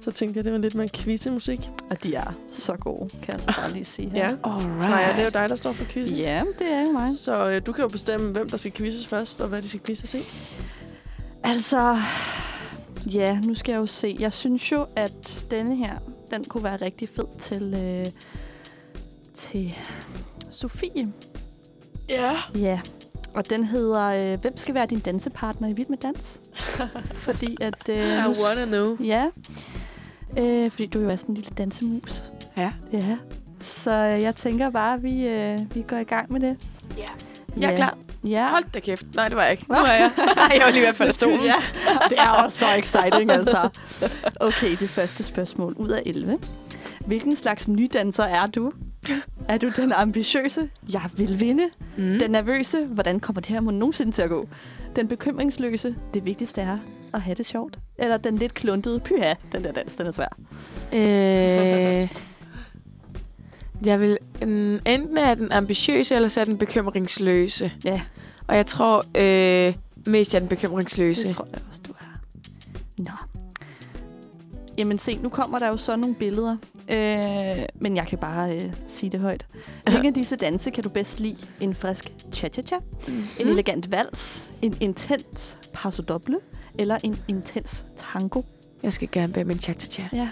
S1: Så tænkte jeg, det var lidt mere quizzemusik.
S3: Og de er så gode, kan jeg så bare lige sige her.
S1: Ja.
S2: Alright.
S1: Freja, det er jo dig, der står for quizzen.
S3: Ja, det er jo mig.
S1: Så øh, du kan jo bestemme, hvem der skal quizzes først, og hvad de skal quizzes i.
S3: Altså, ja, nu skal jeg jo se. Jeg synes jo, at denne her, den kunne være rigtig fed til, øh, til Sofie.
S1: Ja.
S3: Ja, og den hedder, øh, hvem skal være din dansepartner i Vild med
S2: [laughs]
S3: Dans? fordi at... Øh, nu-
S1: know.
S3: Ja, øh, fordi du jo er sådan en lille dansemus.
S2: Ja.
S3: Ja, så øh, jeg tænker bare, at vi, øh, vi går i gang med det.
S2: Ja. Jeg er klar.
S3: Ja.
S2: Hold da kæft. Nej, det var jeg ikke. Nu er
S3: [laughs]
S2: jeg. [laughs] Nej, jeg var lige ved at falde af [laughs] stolen.
S3: Ja, det er også så exciting, altså. Okay, det første spørgsmål ud af 11. Hvilken slags nydanser er du? Er du den ambitiøse? Jeg vil vinde.
S2: Mm.
S3: Den nervøse? Hvordan kommer det her mon nogensinde til at gå? Den bekymringsløse? Det vigtigste er at have det sjovt. Eller den lidt kluntede? Pyha, den der dans, den er svær.
S2: Øh, [laughs] jeg vil mm, enten er den ambitiøse, eller så er den bekymringsløse.
S3: Ja.
S2: Og jeg tror øh, mest, jeg er den bekymringsløse.
S3: Det tror jeg også, du er. Nå. Jamen se, nu kommer der jo så nogle billeder. Øh, men jeg kan bare øh, sige det højt. Hvilken af disse danse kan du bedst lide? En frisk cha-cha-cha? En
S2: Mm.
S3: elegant vals? En intens paso doble? Eller en intens tango?
S2: Jeg skal gerne bære min cha cha
S3: Ja.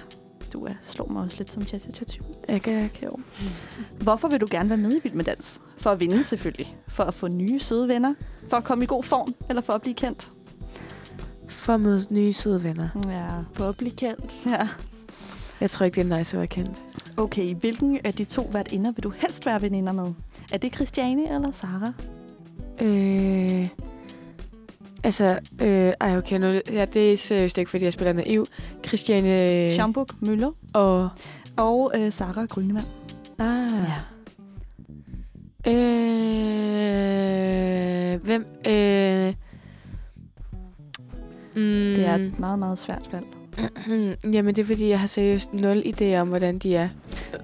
S3: Du er, slår mig også lidt som cha cha cha typen.
S2: Jeg kan kæve.
S3: Hvorfor vil du gerne være med i Vild med Dans? For at vinde selvfølgelig. For at få nye søde venner. For at komme i god form. Eller for at blive kendt.
S2: For at møde nye søde venner.
S3: Ja.
S4: For at blive kendt.
S3: ja.
S2: Jeg tror ikke, det er nice at være kendt.
S3: Okay, hvilken af de to værtinder vil du helst være veninder med? Er det Christiane eller Sara?
S2: Øh, altså, øh, ej, okay, nu, ja, det er seriøst ikke, fordi jeg spiller naiv. Christiane
S3: Øh. Schambuk Møller
S2: og...
S3: og øh, Sara Grønevand.
S2: Ah. Ja. Øh, hvem? Øh, mm,
S3: Det er et meget, meget svært valg.
S2: [clears throat] Jamen, det er fordi, jeg har seriøst nul idé om, hvordan de er.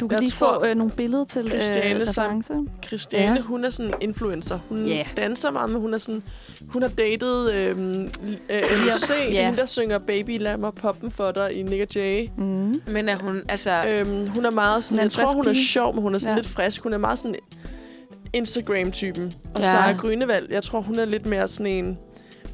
S3: Du kan jeg
S1: Jeg
S3: lige
S1: tror,
S3: få øh, nogle billeder til øh,
S1: Christiane som-
S3: reference.
S1: Christiane,
S2: Ja.
S1: ja. hun er sådan en influencer. Hun
S3: Ja.
S1: yeah. danser meget, men hun er sådan... Hun har datet øhm, l- øh, MC,
S3: Ja.
S1: yeah. hende, der synger Baby, lad mig poppen for dig i Nick Jay.
S3: Mm.
S2: Men er hun, altså... Øh,
S1: Øhm, hun er meget sådan...
S3: Hun er en
S1: jeg tror,
S3: frisk
S1: hun er
S3: pige.
S1: sjov, men hun er sådan
S3: Ja.
S1: ja. lidt frisk. Hun er meget sådan Instagram-typen. Og
S2: Ja.
S1: ja. Sara Grønevald, jeg tror, hun er lidt mere sådan en...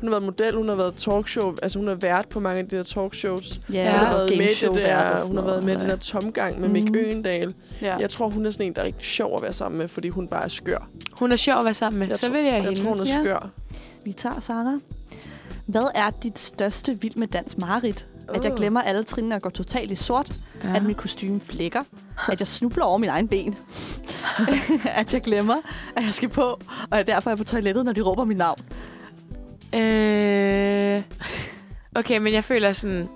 S1: Hun har været model, hun har været talkshow, altså hun har vært på mange af de der talkshows.
S3: Ja,
S1: Hun har
S2: og
S1: været med i det
S3: gameshow-vært og
S1: der,
S3: sådan
S1: hun har været med i den
S3: noget.
S1: der tomgang med Mick
S3: Mhm.
S1: Øgendal.
S3: Ja.
S1: Jeg tror, hun er sådan en, der er rigtig sjov at være sammen med, fordi hun bare er skør.
S2: hun er sjov at være sammen med.
S1: Jeg
S2: så
S1: tror-
S2: vil jeg,
S1: Jeg
S2: hende.
S1: tror, hun er
S3: Ja.
S1: skør.
S3: Vi tager Sara. Hvad er dit største vild med dans mareridt? At jeg
S1: Uh.
S3: glemmer alle trinene og går totalt i sort?
S2: ja.
S3: At mit kostume flækker? At jeg snubler over min egen ben? [laughs] at jeg glemmer, at jeg skal på? Og at derfor er jeg på toilettet, når de råber mit navn?
S2: Øh, okay, men jeg føler sådan,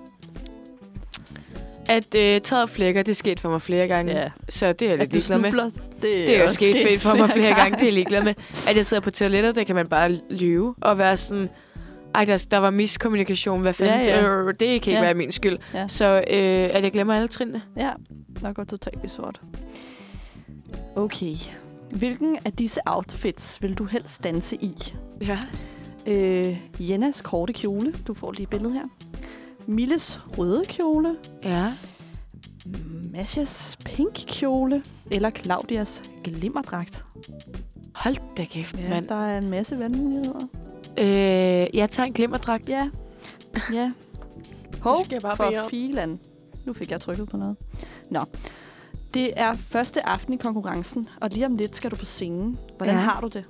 S2: at øh, tøjet flækker, det skete for mig flere gange.
S3: Ja.
S2: Så det er jeg lidt
S3: At du
S2: ligeglad med.
S3: snubler? Det,
S2: Det er jo
S3: også
S2: sket fedt for mig flere gange, det er jeg ligeglad med. At jeg sidder på toilettet, det kan man bare lyve og være sådan... Ej, der, der var miskommunikation. Hvad fanden?
S3: Ja, ja.
S2: Øh, det kan ikke
S3: Ja.
S2: ja. være min skyld.
S3: Ja.
S2: Ja. Så øh, at jeg glemmer alle trinene.
S3: Ja, der går totalt i sort. Okay. Hvilken af disse outfits vil du helst danse i?
S2: Ja.
S3: Øh, Jennas korte kjole. Du får lige billedet her. Milles røde kjole.
S2: Ja.
S3: Masjas pink kjole. Eller Claudias glimmerdragt.
S2: Hold da kæft, ja, mand.
S3: der er en masse valgmuligheder.
S2: Øh, jeg tager en glimmerdragt.
S3: Ja. Ja. Hov,
S1: Det skal jeg bare bede
S3: for
S1: om.
S3: filan. Nu fik jeg trykket på noget. Nå. Det er første aften i konkurrencen, og lige om lidt skal du på scenen. Hvordan ja.
S2: Ja.
S3: har du det?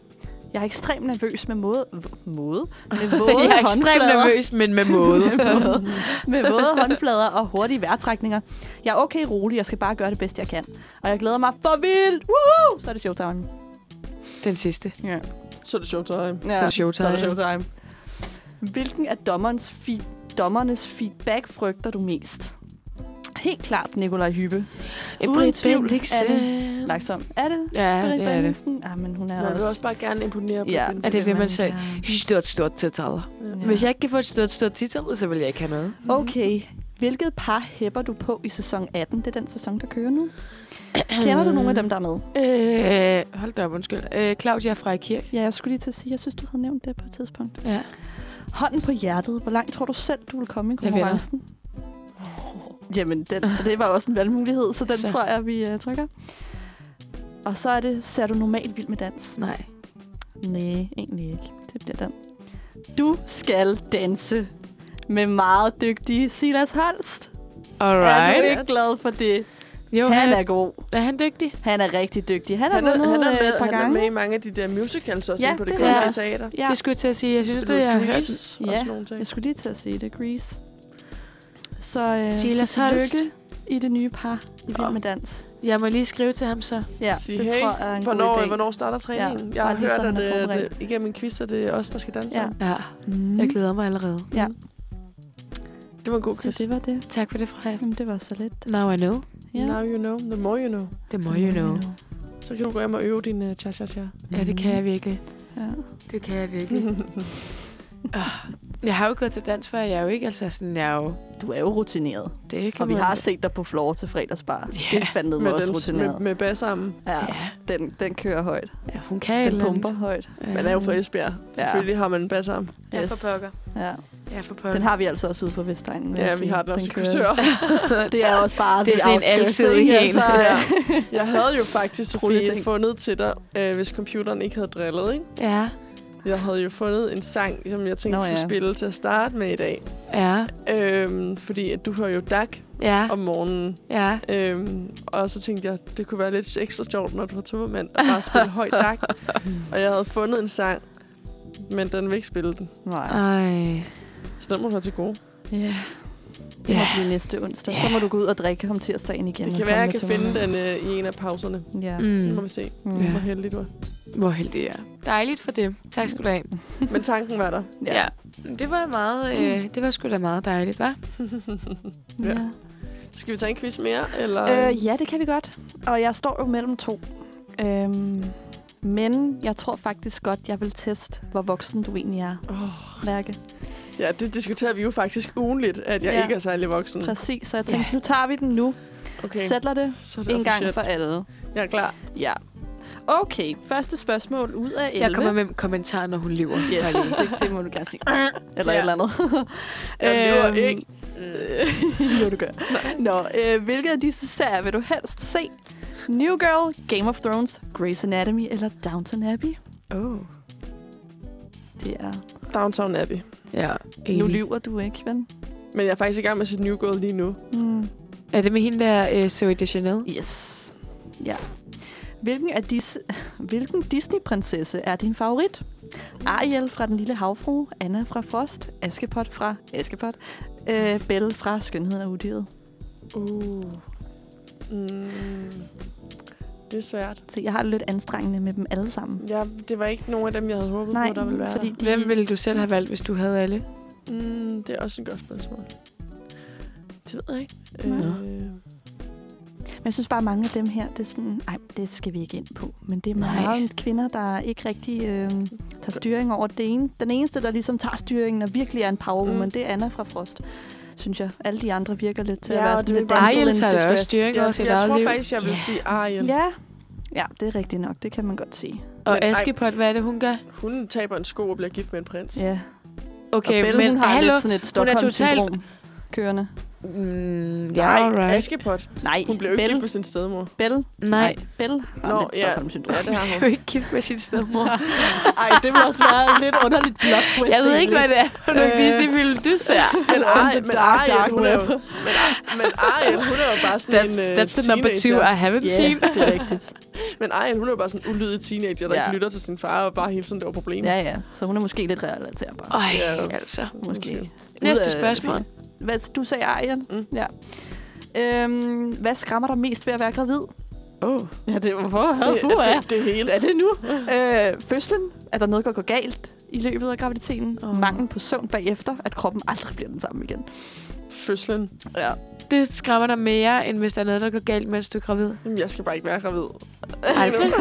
S3: Jeg er ekstremt nervøs med måde... v- Måde? Med våde
S2: Jeg er ekstremt
S3: håndflader.
S2: nervøs, men med måde.
S3: med, våde, [laughs] med våde håndflader og hurtige vejrtrækninger. Jeg er okay rolig, jeg skal bare gøre det bedste, jeg kan. Og jeg glæder mig for vildt! Woohoo! Så er det showtime.
S2: Den sidste.
S3: Ja.
S1: Så øhm. er det showtime.
S3: Ja,
S2: det showtime.
S3: Så er det showtime. Hvilken af dommerens, fi- dommernes feedback frygter du mest? Helt klart Nikolaj Hyppe. Uden
S2: Britt
S3: tvivl
S2: Bendiksen.
S3: er Langsom. Er det?
S2: øh. Ja,
S3: Britt
S2: det er det.
S3: Bendiksen? Ah, men hun er
S1: Man vil
S3: også...
S1: også bare gerne imponere på
S3: Ja,
S1: hende.
S2: Er det vil man
S3: Ja.
S2: sige. Stort, stort titel.
S3: Ja.
S2: Hvis jeg ikke kan få et stort, stort titel, så vil jeg ikke have noget.
S3: Okay. Hvilket par hæpper du på i sæson 18? Det er den sæson, der kører nu. Kender du nogle af dem, der er med?
S2: Øh, hold da op, undskyld. Øh, Claudia fra Kirk.
S3: Ja, jeg skulle lige til at sige, jeg synes, du havde nævnt det på et tidspunkt.
S2: Ja.
S3: Hånden på hjertet. Hvor langt tror du selv, du vil komme i
S2: vinder.
S3: konkurrencen? Jamen, den, det var også en valgmulighed, så den så.
S2: Så.
S3: tror jeg, vi uh, trykker. Og så er det, ser du normalt vild med dans?
S2: Nej.
S3: Nej, egentlig ikke. Det bliver den. Du skal danse med meget dygtige Silas Holst. Er du
S2: Alright.
S3: ikke glad for det?
S2: Jo,
S3: han
S2: han
S3: er god.
S2: er han dygtig?
S3: Han er rigtig dygtig. Han har
S1: Han er,
S3: vundet
S1: han, er
S3: øh,
S1: med,
S3: et par
S1: han er
S3: gange.
S1: med i mange af de der musicals også
S3: Ja,
S1: inde på det
S3: det
S2: er
S1: kongelige
S2: også-
S1: teater.
S3: Ja.
S2: Det skulle jeg til at sige. Jeg synes, det
S1: Spillede
S2: jeg har hørt.
S1: Grease
S3: hørt.
S1: og
S3: Ja.
S1: sådan nogle ting.
S3: Jeg skulle lige til at sige det, Grease. Så, øh,
S2: Silas
S3: så tillykke
S2: Holst.
S3: i det nye par i Vild
S2: Ja.
S3: med Dans.
S2: Jeg må lige skrive til ham så.
S3: Ja,
S1: Sige,
S3: det
S1: hey,
S3: tror jeg er en
S1: hvornår,
S3: god idé.
S1: hvornår starter træningen? Ja,
S3: Ja,
S1: jeg har
S3: bare lige så
S1: hørt,
S3: han
S1: at
S3: er
S1: øh,
S3: forberedt.
S1: det, igennem min quiz er det os, der skal danse.
S3: Ja.
S1: Ja.
S2: Ja,
S3: Mm.
S2: jeg glæder mig allerede.
S3: Ja.
S1: Det var en god
S3: Så
S1: quiz.
S3: det var det.
S2: Tak for det, Freja.
S3: Jamen, det var så lidt.
S2: Now I know.
S3: Ja.
S1: Now you know, the more you know.
S2: Det må you know.
S1: Så kan du gå hjem og øve din uh, cha-cha-cha.
S2: Ja, det kan jeg virkelig.
S3: Ja.
S2: Det kan jeg virkelig. jeg har jo gået til dans før. Jeg er jo ikke altså sådan, jeg er jo...
S3: Du er jo rutineret.
S2: Det kan
S3: og vi
S2: man-
S3: har set dig på floor til fredagsbar.
S2: Ja,
S3: Det er fandme
S1: med,
S3: med også
S1: dans, med,
S3: rutineret.
S1: med bassarmen.
S3: Ja,
S2: Ja.
S3: den, den kører højt.
S2: ja, hun kan et
S3: Den
S2: eller andet.
S3: pumper højt.
S2: Ja.
S1: Man er jo fra Esbjerg.
S3: Ja.
S1: Selvfølgelig har man en bassarm.
S2: Jeg er fra pokker.
S3: Ja.
S2: Jeg er fra pokker.
S3: Den har vi altså også ude på Vestegnen. vil
S1: Ja,
S3: jeg
S1: vi
S3: sige.
S1: har den også i
S3: kører.
S1: kursør.
S3: [laughs] Det
S1: [laughs]
S3: er også bare
S2: Det er
S3: the
S2: sådan en
S3: outskirts,
S2: alsidig
S3: ikke?
S2: en.
S3: Altså,
S1: Ja.
S3: [laughs] ja.
S1: Jeg havde jo faktisk, Sofie,
S3: Rulleting.
S1: fundet til dig, øh, hvis computeren ikke havde drillet, ikke?
S2: Ja.
S1: Jeg havde jo fundet en sang, som jeg tænkte,
S3: Nå,
S1: vi skulle
S3: ja.
S1: spille til at starte med i dag.
S2: Ja,
S1: Øhm, fordi at du hører jo DAG
S2: ja,
S1: om morgenen.
S2: ja.
S1: Øhm, og så tænkte jeg, det kunne være lidt ekstra sjovt, når du var tømmermand, og bare spille høj
S3: [laughs]
S1: DAG. og jeg havde fundet en sang, men den vil ikke spille den.
S3: Nej.
S2: Ej.
S1: Så den må du have til gode.
S3: Ja. Det må
S2: Ja.
S3: blive næste onsdag.
S2: Ja.
S3: Så må du gå ud og drikke om tirsdagen igen.
S1: Det
S3: og
S1: kan
S3: komme
S1: være, jeg
S3: med
S1: kan
S3: til
S1: finde
S3: mig.
S1: den øh, i en af pauserne.
S3: Ja.
S1: Nu må
S2: Mm.
S1: vi se,
S3: Mm.
S2: Ja.
S1: hvor heldig du er.
S2: Hvor heldig jeg er. Dejligt for det. Tak skal du have.
S1: Men tanken var der.
S3: Ja.
S2: Ja. Det var meget, øh, det var sgu da meget dejligt, hva'?
S1: Ja.
S3: Ja.
S1: Skal vi tage en quiz mere? Eller?
S3: Øh, ja, det kan vi godt. Og jeg står jo mellem to. Øhm, men jeg tror faktisk godt, jeg vil teste, hvor voksen du egentlig er,
S1: oh,
S3: Lærke.
S1: ja, det diskuterer vi jo faktisk ugenligt, at jeg
S3: Ja.
S1: ja. ikke er særlig voksen.
S3: Præcis, så jeg tænkte, nu tager vi den nu. Mm. Okay.
S1: Okay,
S3: Sætter det,
S1: så er det
S3: det en gang
S1: officielt.
S3: for alle.
S1: Jeg er klar.
S3: Ja. Okay, første spørgsmål ud af 11.
S2: Jeg kommer med kommentarer, når hun lever.
S3: Yes, det, det må du gerne sige. Eller
S1: Ja.
S3: et eller [laughs] andet.
S1: Jeg lever
S3: Øhm,
S1: ikke.
S3: Øh, [laughs] jo, du gør. Nå, øh, hvilke af disse serier vil du helst se? New Girl, Game of Thrones, Grey's Anatomy eller Downton Abbey?
S2: Oh.
S3: Det er...
S1: Downtown Abbey.
S2: Ja,
S3: Nu
S2: enig.
S3: lyver du ikke, ven.
S1: Men jeg er faktisk i gang med sit New Girl lige nu.
S3: Mm.
S2: Er det med hende der, øh, Zoe Deschanel?
S3: Yes. Ja. Hvilken, af disse, [laughs] hvilken Disney-prinsesse er din favorit? Ariel fra Den Lille Havfru, Anna fra Frost, Askepot fra Askepot, øh, Belle fra Skønheden og Udyret.
S1: Uh. Mm. Det er svært.
S3: Så jeg har det lidt anstrengende med dem alle sammen.
S1: Ja, det var ikke nogen af dem, jeg havde håbet
S3: Nej,
S1: på, der ville være
S3: fordi
S1: der.
S3: de...
S2: Hvem ville du selv have valgt, hvis du havde alle?
S1: Mm, det er også et godt spørgsmål. Det ved jeg ikke.
S3: Nej.
S1: Øh,
S3: Men jeg synes bare, at mange af dem her, det er sådan, nej, det skal vi ikke ind på. Men det er
S2: Nej.
S3: meget kvinder, der ikke rigtig øh, tager styring over det ene. Den eneste, der ligesom tager styringen og virkelig er en powerwoman,
S1: Mm.
S3: mm. det er Anna fra Frost, synes jeg. Alle de andre virker lidt til
S1: Ja,
S3: at være
S1: og
S3: sådan
S1: det
S3: lidt
S1: vil bare-
S3: damsel
S2: Ariel
S3: in
S2: tager da også
S3: distress.
S2: styring over
S1: jeg,
S2: sit
S1: jeg
S2: eget
S1: tror
S2: liv.
S1: faktisk, jeg vil
S2: Ja.
S1: sige Ariel.
S3: Ja. ja, det er rigtigt nok. Det kan man godt sige.
S1: Men
S2: Og
S1: ej.
S2: Askepot, hvad er det, hun gør?
S1: Hun taber en sko og bliver gift med en prins.
S3: Ja.
S2: Okay,
S3: og Belle,
S2: men
S3: hun har
S2: hallo.
S3: lidt sådan et Stockholm-syndrom kørende.
S2: Mm, ja,
S1: Nej,
S2: alright.
S1: Askepot.
S3: Nej,
S1: Hun blev jo ikke
S3: Belle,
S1: gift med sin
S3: [laughs]
S1: stedmor.
S3: Belle,
S2: Nej,
S3: Belle har
S1: Nå,
S3: lidt
S1: ja.
S3: Stockholm-syndrom.
S1: Ja, det har
S2: jeg
S1: hun.
S2: er jo ikke gift med sin stedmor.
S3: Ej, det må også være et lidt underligt plot twist.
S2: Jeg ved ikke, hvad det er for nogle
S3: Øh.
S2: Disney-film, du ser.
S1: Men
S3: On
S1: Ariel,
S3: the
S1: men
S3: dark, dark
S1: Ariel, hun er jo,
S3: web.
S1: men, men Ariel, hun er jo bare sådan
S2: That's,
S1: en uh,
S2: that's the number two
S1: teenager.
S2: I haven't
S3: Ja,
S2: seen.
S3: det er rigtigt.
S1: [laughs] Men Ariel, hun er jo bare sådan en ulydig teenager, der
S3: Ja.
S1: ja. ikke lytter til sin far og bare hele tiden laver problemer.
S3: Ja, ja. Så hun er måske lidt relaterbar.
S2: Øj,
S1: Ja.
S2: altså.
S3: Måske.
S1: Måske.
S2: Næste
S3: Ud af-
S2: spørgsmål.
S3: Hvad, du sagde Ariel?
S1: Mm.
S3: Ja. Øhm, hvad skræmmer dig mest ved at være gravid?
S1: Oh.
S3: Ja, det var hvor
S1: Det, det, det, det hele.
S3: Er det nu? Øh, fødslen? Er der noget, der går galt i løbet af graviditeten?
S1: Åh.
S3: Oh. Mangel på søvn bagefter? At kroppen aldrig bliver den samme igen?
S1: Fødslen.
S3: Ja.
S2: Det skræmmer dig mere, end hvis der er noget, der går galt, mens du er [laughs] gravid.
S1: Jamen, jeg skal bare ikke være gravid.
S2: Aldrig.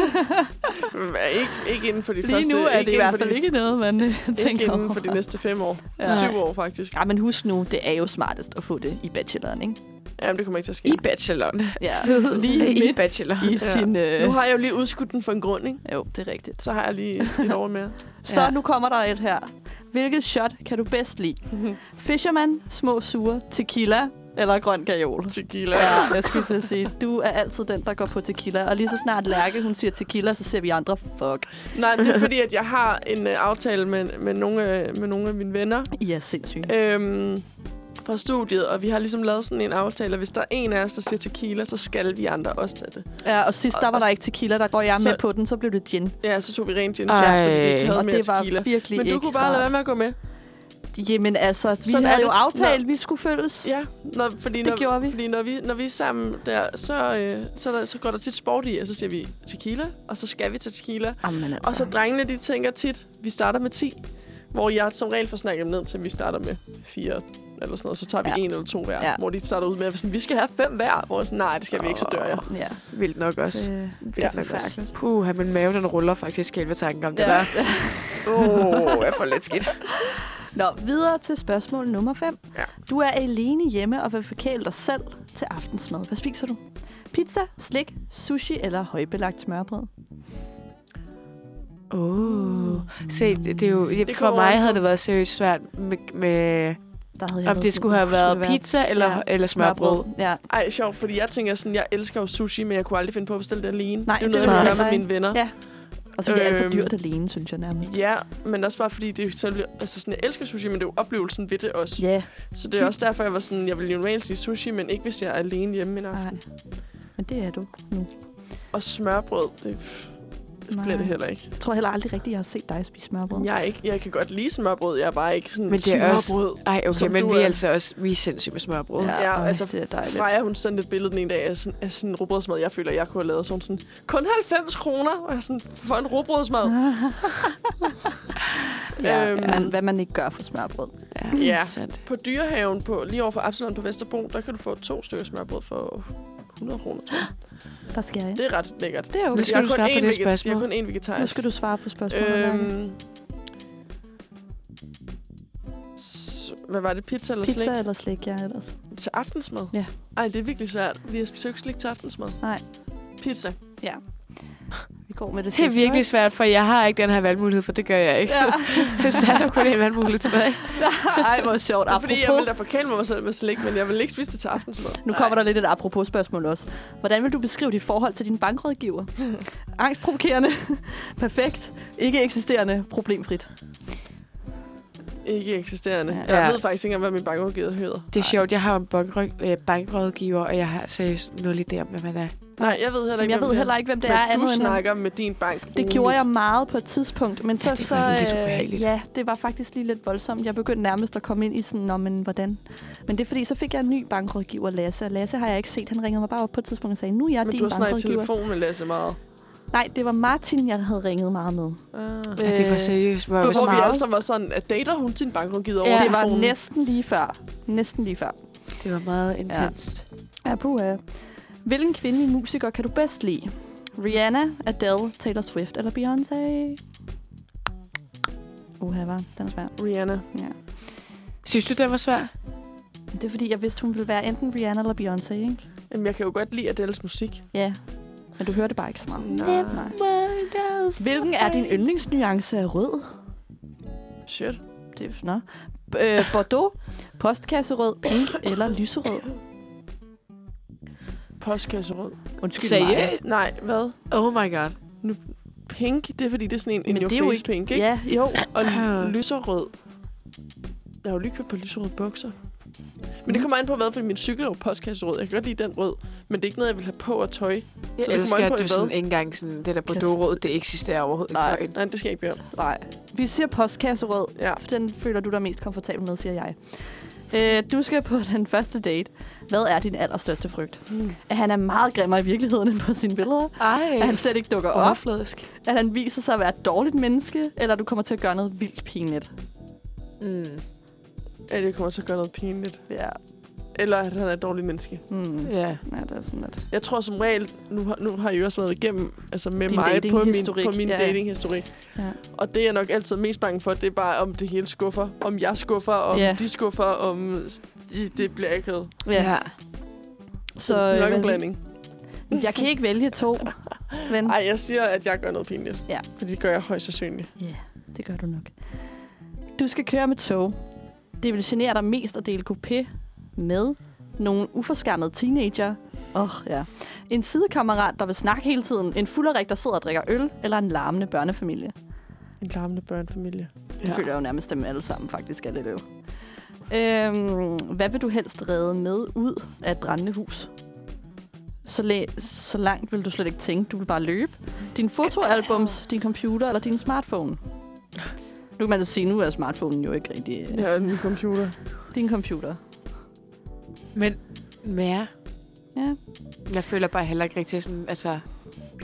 S1: Mm, ikke, ikke inden for de
S3: Lige
S1: første...
S3: nu er det i
S1: inden
S3: hvert
S1: for
S3: fald
S1: de,
S3: ikke noget, man øh,
S1: Ikke
S3: tænker
S1: inden
S3: over.
S1: for de næste fem år.
S3: Ja.
S1: Ja. Syv år, faktisk.
S3: Ja, men husk nu, det er jo smartest at få det i bacheloren, ikke?
S1: Jamen, det kommer ikke til at ske.
S2: I bacheloren.
S3: Ja,
S2: [laughs] Fed.
S3: lige
S2: I
S3: midt
S2: bachelor.
S3: i sin... Øh...
S1: Nu har jeg jo lige udskudt den for en grund, ikke?
S3: Jo, det er rigtigt.
S1: Så har jeg lige [laughs] et år mere.
S3: Så
S2: Ja.
S3: ja. nu kommer der et her. Hvilket shot kan du bedst lide? Fisherman, små sure, tequila eller grøn gajol?
S1: Tequila.
S3: Ja, jeg skulle til at sige, du er altid den, der går på tequila. Og lige så snart Lærke, hun siger tequila, så ser vi andre, fuck.
S1: Nej, det er fordi, at jeg har en øh, aftale med, med, nogle, af- med nogle af mine venner
S3: I er sindssyge.
S1: øhm, fra studiet, og vi har ligesom lavet sådan en aftale, at hvis der er en af os, der siger tequila, så skal vi andre også tage det.
S3: Ja, og sidst der var
S1: og-
S3: der ikke tequila, der går jeg
S1: Øh, så-
S3: med på den, så blev det gin.
S1: Ja, så tog vi rent gin
S2: Ej.
S1: shots, fordi vi ikke havde
S3: Og
S1: mere
S3: det var
S1: tequila.
S3: virkelig
S1: Men du
S3: ikke
S1: kunne bare lade være
S3: rart.
S1: med at gå med.
S3: Jamen altså, vi
S1: Sådan
S3: Sådan
S1: er
S3: havde jo
S1: det.
S3: aftalt, vi skulle følges.
S1: Ja, når, fordi,
S3: Det
S1: når,
S3: gjorde vi.
S1: Fordi når vi, når vi er sammen der, så, øh, så, er der, så går der tit sport i, og så siger vi tequila, og så skal vi til tequila.
S3: Jamen altså.
S1: Og så drengene, de tænker tit, vi starter med 10, hvor jeg som regel får snakket dem ned til, at vi starter med 4 eller sådan noget, så tager vi
S3: Ja.
S1: en eller to hver,
S3: Ja.
S1: ja. hvor de starter ud med, at vi sådan, vi skal have fem hver, hvor jeg sådan, nej, det skal vi ikke, så dør jeg.
S3: Ja,
S2: Vildt nok også.
S3: det
S1: Ja.
S3: er forfærdeligt.
S2: Puh, min mave den ruller faktisk helt ved tanken om det
S3: Ja.
S2: der. Åh, oh, jeg får lidt skidt.
S3: Nå, videre til spørgsmål nummer 5.
S1: Ja.
S3: Du er alene hjemme og vil forkæle dig selv til aftensmad. Hvad spiser du? Pizza, slik, sushi eller højbelagt smørbrød?
S2: [laughs] Åh. Oh. Se, det, det er jo, det for
S1: kommer an
S2: mig
S1: på-
S2: havde det været seriøst svært med, med
S3: Der havde
S2: om
S3: noget
S2: det skulle have
S3: sådan,
S2: været
S3: skulle det
S2: pizza eller,
S3: Ja.
S2: ja. eller smørbrød.
S3: Ja.
S1: Ej, sjovt, fordi jeg tænker sådan, jeg elsker jo sushi, men jeg kunne aldrig finde på at bestille det alene.
S3: Nej,
S1: det er jo
S3: det
S1: noget, jeg
S2: vil
S1: vil
S2: jeg
S1: gøre med
S3: heller
S1: mine venner.
S3: Ja. Og så er det alt for
S1: Øhm.
S3: dyrt alene, synes jeg nærmest.
S1: Ja, men også bare fordi, det er selv, altså sådan, jeg elsker sushi, men det er jo oplevelsen ved det også.
S3: Ja,
S1: Så det er også derfor, jeg var sådan, jeg ville jo normalt sige sushi, men ikke hvis jeg er alene hjemme en
S3: nej.
S1: aften.
S3: Men det er du nu.
S1: Og smørbrød, det det
S3: Nej.
S1: bliver det heller ikke.
S3: Jeg tror heller aldrig rigtigt, jeg har set dig spise smørbrød.
S1: Jeg, er ikke, jeg kan godt lide smørbrød, jeg er bare ikke sådan
S2: Men det er også-
S1: smørbrød.
S2: Ej, okay,
S1: Som
S2: men
S1: du
S2: vi er
S1: er.
S2: altså også... Vi er sindssygt med smørbrød. Ja.
S1: Ja, altså,
S3: det er dejligt.
S1: Freja, hun sendte et billede den ene dag af sådan, af sådan en rugbrødsmad, jeg føler, jeg kunne have lavet. Så hun sådan, kun 90 kroner og jeg er sådan, for en
S2: [laughs]
S1: rugbrødsmad.
S3: ja,
S1: Øhm.
S3: man, hvad man ikke gør for smørbrød.
S1: Ja.
S2: Sandt.
S1: På dyrehaven på, lige over for Absalon på Vesterbro, der kan du få to stykker smørbrød for 100 kroner. tror jeg.
S3: Der skal jeg.
S1: Det er ret lækkert.
S3: Det er
S2: Nu
S3: okay.
S2: skal
S1: jeg
S2: du
S1: er kun
S2: svare på
S1: én
S2: det
S1: vege- Jeg
S2: spørgsmål.
S1: er kun én vegetarisk.
S3: Nu skal du svare på spørgsmålet. Øhm,
S1: Øhm, s- hvad var det? Pizza eller
S3: Pizza
S1: slik?
S3: eller slik, ja ellers.
S1: Til aftensmad?
S3: Ja.
S1: Ej, det er virkelig svært. Vi har spist jo ikke slik til aftensmad.
S3: Nej.
S1: Pizza.
S3: Vi går med det
S2: Det er
S3: safe
S2: virkelig
S3: choice.
S2: svært, for jeg har ikke den her valgmulighed, for det gør jeg ikke.
S3: [laughs]
S2: [laughs]
S3: Ja.
S2: så er der kun en valgmulighed tilbage.
S3: Ej, hvor sjovt.
S1: Det er fordi, jeg ville da
S3: Apropos,
S1: forkæle mig selv med slik, men jeg vil ikke spise det til aftensmad.
S3: nu kommer der lidt et apropos spørgsmål også. Hvordan vil du beskrive dit forhold til din
S1: [laughs]
S3: bankrådgiver? Angstprovokerende, [laughs] perfekt, ikke eksisterende, problemfrit.
S1: Ikke eksisterende.
S3: Ja.
S1: Ja. Jeg ved faktisk ikke engang, hvad min bankrådgiver hedder.
S2: Det er sjovt, jeg har jo en bankråd- øh, bankrådgiver, og jeg har seriøst nul idé om, hvad man er.
S1: Nej, jeg ved heller
S3: Jamen,
S1: ikke,
S3: jeg
S1: hvem
S3: ved
S1: det
S3: heller ikke, hvem det
S1: men
S3: er.
S1: du
S3: end-
S1: snakker med din bank.
S3: Det gjorde jeg meget på et tidspunkt, men så...
S2: det
S3: så,
S2: var lidt
S3: øh,
S2: ubehageligt.
S3: Ja, det var faktisk lige lidt voldsomt. Jeg begyndte nærmest at komme ind i sådan, Nå, men hvordan? Men det er fordi, så fik jeg en ny bankrådgiver, Lasse, og Lasse har jeg ikke set. Han ringede mig bare op på et tidspunkt og sagde, nu er jeg
S1: Men du
S3: din
S1: har snakket i
S3: bankrådgiver.
S1: telefon med Lasse meget.
S3: Nej, det var Martin, jeg havde ringet meget med.
S1: Ah.
S2: Ja, det var
S3: Øh,
S2: seriøst. Hvor,
S1: Hvor vi
S2: meget.
S1: alle sammen var sådan, at dater hun sin bankrådgiver
S2: Ja.
S1: over
S3: Det var
S1: telefonen?
S3: næsten lige før. Næsten lige før.
S2: Det var meget intenst.
S3: Ja, puha. Hvilken kvindelig musiker kan du bedst lide? Rihanna, Adele, Taylor Swift eller Beyoncé? Uha, var den er svær.
S1: Rihanna.
S3: Ja.
S2: Synes du, det var svært?
S3: Men Det er fordi, jeg vidste, hun ville være enten Rihanna eller Beyoncé, ikke?
S1: Jamen, jeg kan jo godt lide Adeles musik.
S3: Ja, men du hører det bare ikke så meget.
S1: Nej.
S3: Nej. Hvilken er din yndlingsnuance af rød?
S1: Shit.
S3: Det er, nå. B- øh, Bordeaux, postkasserød, pink eller lyserød?
S1: Postkasserød.
S3: Undskyld mig.
S2: Seriøst?
S1: Nej, hvad?
S2: Oh my god.
S1: Pink, det er fordi, det er sådan en in
S3: Men
S1: your
S3: det er jo
S1: face
S3: ikke-
S1: pink, ikke?
S3: Ja, jo. [clears throat]
S1: Og
S2: Ah.
S1: l- lyserød. Jeg har jo lige købt på lyserød bukser.
S3: Mm.
S1: Men det kommer an på, hvad, fordi min cykel er jo postkasserød. Jeg kan godt lide den rød, men det er ikke noget, jeg vil have på og tøj.
S2: Jeg
S1: Så det
S2: elsker,
S1: kommer an på,
S2: at du
S1: i
S2: sådan
S1: hvad?
S2: ikke engang sådan, det der bordeaux det eksisterer overhovedet ikke.
S3: Nej.
S2: for en.
S1: Nej, det skal jeg ikke bede om.
S3: Nej. Vi siger postkasserød.
S1: Ja.
S3: Den føler du dig mest komfortabel med, siger jeg. Øh, du skal på den første date. Hvad er din allerstørste frygt?
S1: Hmm.
S3: At han er meget grimmere i virkeligheden end på sine billeder?
S1: Øh,
S3: At han
S2: Ej,
S3: slet ikke dukker op?
S2: overfladisk.
S3: At han viser sig at være et dårligt menneske? Eller at du kommer til at gøre noget vildt pinligt?
S2: Mm.
S1: Ja, det kommer til at gøre noget pinligt.
S3: Ja.
S1: Eller at han er et dårligt menneske.
S3: Mm.
S1: Øh.
S2: Ja.
S3: Ja, det er sådan lidt.
S1: Jeg tror som regel, nu har, nu har I jo også været igennem altså med
S3: Din
S1: mig på min,
S3: datinghistorik.
S1: på min
S3: Ja,
S1: ja,
S3: ja.
S1: datinghistorik.
S3: Ja.
S1: Og det er jeg nok altid mest bange for, det er bare, om det hele skuffer. Om jeg skuffer, om
S3: Ja.
S1: yeah. de skuffer, om de, det bliver akavet.
S2: ja.
S1: Så
S3: Så,
S1: det er nok en
S3: øh,
S1: blanding.
S3: jeg kan ikke vælge
S1: [laughs]
S3: to. Men
S1: Ej, jeg siger, at jeg gør noget pinligt.
S3: Mm. Ja.
S1: Fordi det gør jeg højst sandsynligt.
S3: ja, det gør du nok. Du skal køre med tog. Det vil genere dig mest at dele coupé med nogle uforskammede teenager. Åh, oh, ja. En sidekammerat, der vil snakke hele tiden. En fulderik, der sidder og drikker øl. Eller en larmende børnefamilie.
S1: En larmende børnefamilie.
S3: Det ja. føler jeg jo nærmest dem alle sammen faktisk er lidt øv. Øhm, hvad vil du helst redde med ud af et brændende hus? Så, la- så langt vil du slet ikke tænke. Du vil bare løbe. Din fotoalbums, din computer eller din smartphone? Nu kan man jo sige, nu er smartphonen jo ikke rigtig... Ja.
S1: Ja, min computer.
S3: Din computer.
S2: Men mere.
S3: Ja.
S2: Jeg føler bare heller ikke rigtig sådan, altså,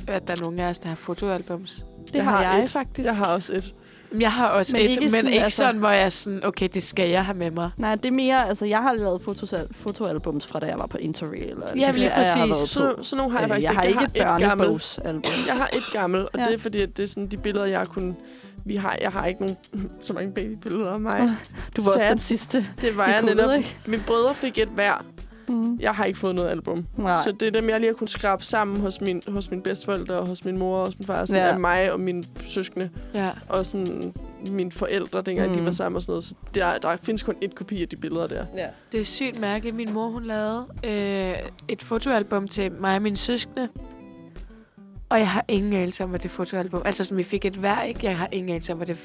S2: at der er nogen af os, der har fotoalbums.
S3: Det
S1: Jeg
S3: har,
S1: har
S3: jeg
S1: et.
S3: faktisk.
S1: Jeg har også et.
S2: Jeg har også
S3: Men
S2: men et,
S3: ikke
S2: ikke men
S3: sådan,
S2: sådan, ikke
S3: altså-
S2: altså... sådan, hvor jeg er sådan, okay, det skal jeg have med mig.
S3: Nej, det er mere... Altså, jeg har lavet fotosal- fotoalbums fra, da jeg var på Interrail. Eller
S2: Ja, lige
S3: jeg har
S2: præcis.
S3: været på.
S1: Så, så nogle har jeg
S3: Øh,
S1: faktisk
S3: jeg har ikke et
S1: et gammelt.
S3: børnebogsalbum.
S1: Jeg har et gammelt, og
S3: Ja.
S1: ja. det er fordi, at det er sådan de billeder, jeg har kunnet... Vi har, jeg har ikke nogen, [laughs] så mange babybilleder af mig.
S3: Åh, Du var også
S1: Sad.
S3: den sidste.
S1: Det var
S3: i
S1: jeg
S3: covid,
S1: netop.
S3: ikke?
S1: Mine brødre fik et hver.
S3: Mm.
S1: Jeg har ikke fået noget album.
S3: Nej.
S1: Så det er dem, jeg lige har kunnet skrabe sammen hos, min, hos mine bedsteforældre, og hos min mor og hos min far. Sådan
S3: Ja.
S1: ja. af mig og mine søskende,
S2: Ja.
S1: og sådan mine forældre, dengang mm.
S3: Mm.
S1: de var sammen og sådan noget. Så der, der findes kun et kopi af de billeder der.
S3: Ja.
S2: Det er sygt mærkeligt. Min mor, hun lavede øh, et fotoalbum til mig og mine søskende. Og jeg har ingen anelse om, hvad det fotoalbum... Altså, som vi fik et hver, ikke? Jeg har ingen anelse om, hvad det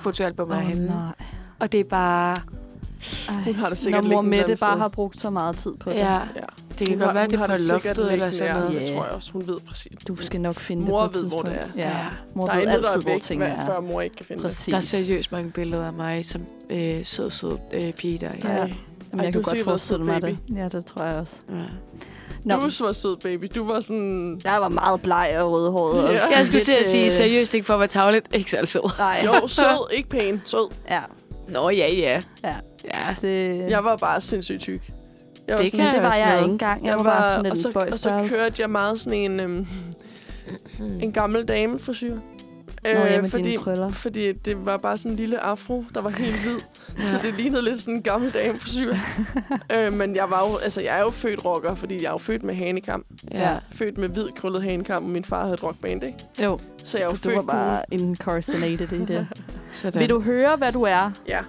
S2: fotoalbum er henne. Og det er bare...
S1: Hun har det sikkert
S3: Når mor
S1: liggende et eller
S3: Mette
S1: andet
S3: bare
S1: sted.
S3: har brugt så meget tid på det.
S2: Ja,
S1: Ja.
S2: det kan
S1: Hun
S2: godt
S1: har-
S2: være,
S1: hun
S2: det er
S1: har
S2: på
S1: sikkert
S2: loftet eller
S1: liggende
S2: sådan
S1: der.
S2: noget.
S1: Det
S3: Ja.
S1: tror jeg også, hun ved præcis.
S3: Du skal nok finde
S1: Mor
S3: det på
S1: ved,
S3: et
S1: hvor
S3: tidspunkt.
S1: det er.
S2: Ja.
S3: Ja. Mor
S1: Der er
S3: ved
S1: intet, der
S3: altid,
S1: er
S3: hvor
S1: væk,
S3: ting
S1: hvad- før
S3: er.
S1: mor ikke kan finde det.
S3: Præcis.
S2: Der er seriøst mange billeder af mig som øh, sød, sød øh, pige der. ikke?
S3: Ja.
S1: Ej.
S3: Jamen,
S1: Ej, du
S3: jeg kunne
S1: har
S3: godt
S1: sikkert været
S3: forestille
S1: sød
S3: mig
S1: baby.
S3: det. Ja, det tror jeg også.
S2: Ja.
S3: Nå,
S1: Du var sød, baby. Du var sådan...
S3: jeg var meget bleg og rødhåret. og
S1: Ja.
S3: sådan
S2: Jeg skulle til
S3: lidt,
S2: at sige
S3: øh,
S2: seriøst ikke for at være tavlet. Ikke særlig sød.
S3: Nej,
S1: Jo,
S3: [laughs]
S1: sød. Ikke pæn. Sød.
S3: ja.
S2: Nå, ja, ja.
S3: Ja.
S2: ja.
S3: Det,
S1: Jeg var bare sindssygt tyk. Jeg
S2: Det
S1: sådan-
S2: kan
S3: det var
S2: også
S3: jeg
S2: noget.
S3: ikke engang. Jeg, var bare sådan lidt
S1: og,
S3: en
S1: så,
S3: spøjs
S1: og så kørte jeg meget sådan en, øhm, en gammel dame for syre.
S3: Nå, ja, med
S1: øh, fordi,
S3: dine krøller.
S1: fordi det var bare sådan en lille afro, der var helt hvid.
S2: Ja.
S1: Så det lignede lidt sådan en gammel dame for
S3: [laughs]
S1: syre. øh, men jeg, var jo, altså, jeg er jo født rocker, fordi jeg er jo født med hanekam.
S2: ja.
S1: Født med hvid krøllet hanekam, og min far havde et rockband, ikke?
S3: Jo,
S1: Så jeg er jo
S3: du
S1: født
S3: var
S1: cool.
S3: bare incarcerated i
S1: [laughs]
S3: det.
S2: Sådan.
S3: Vil du høre, hvad du er?
S1: Ja,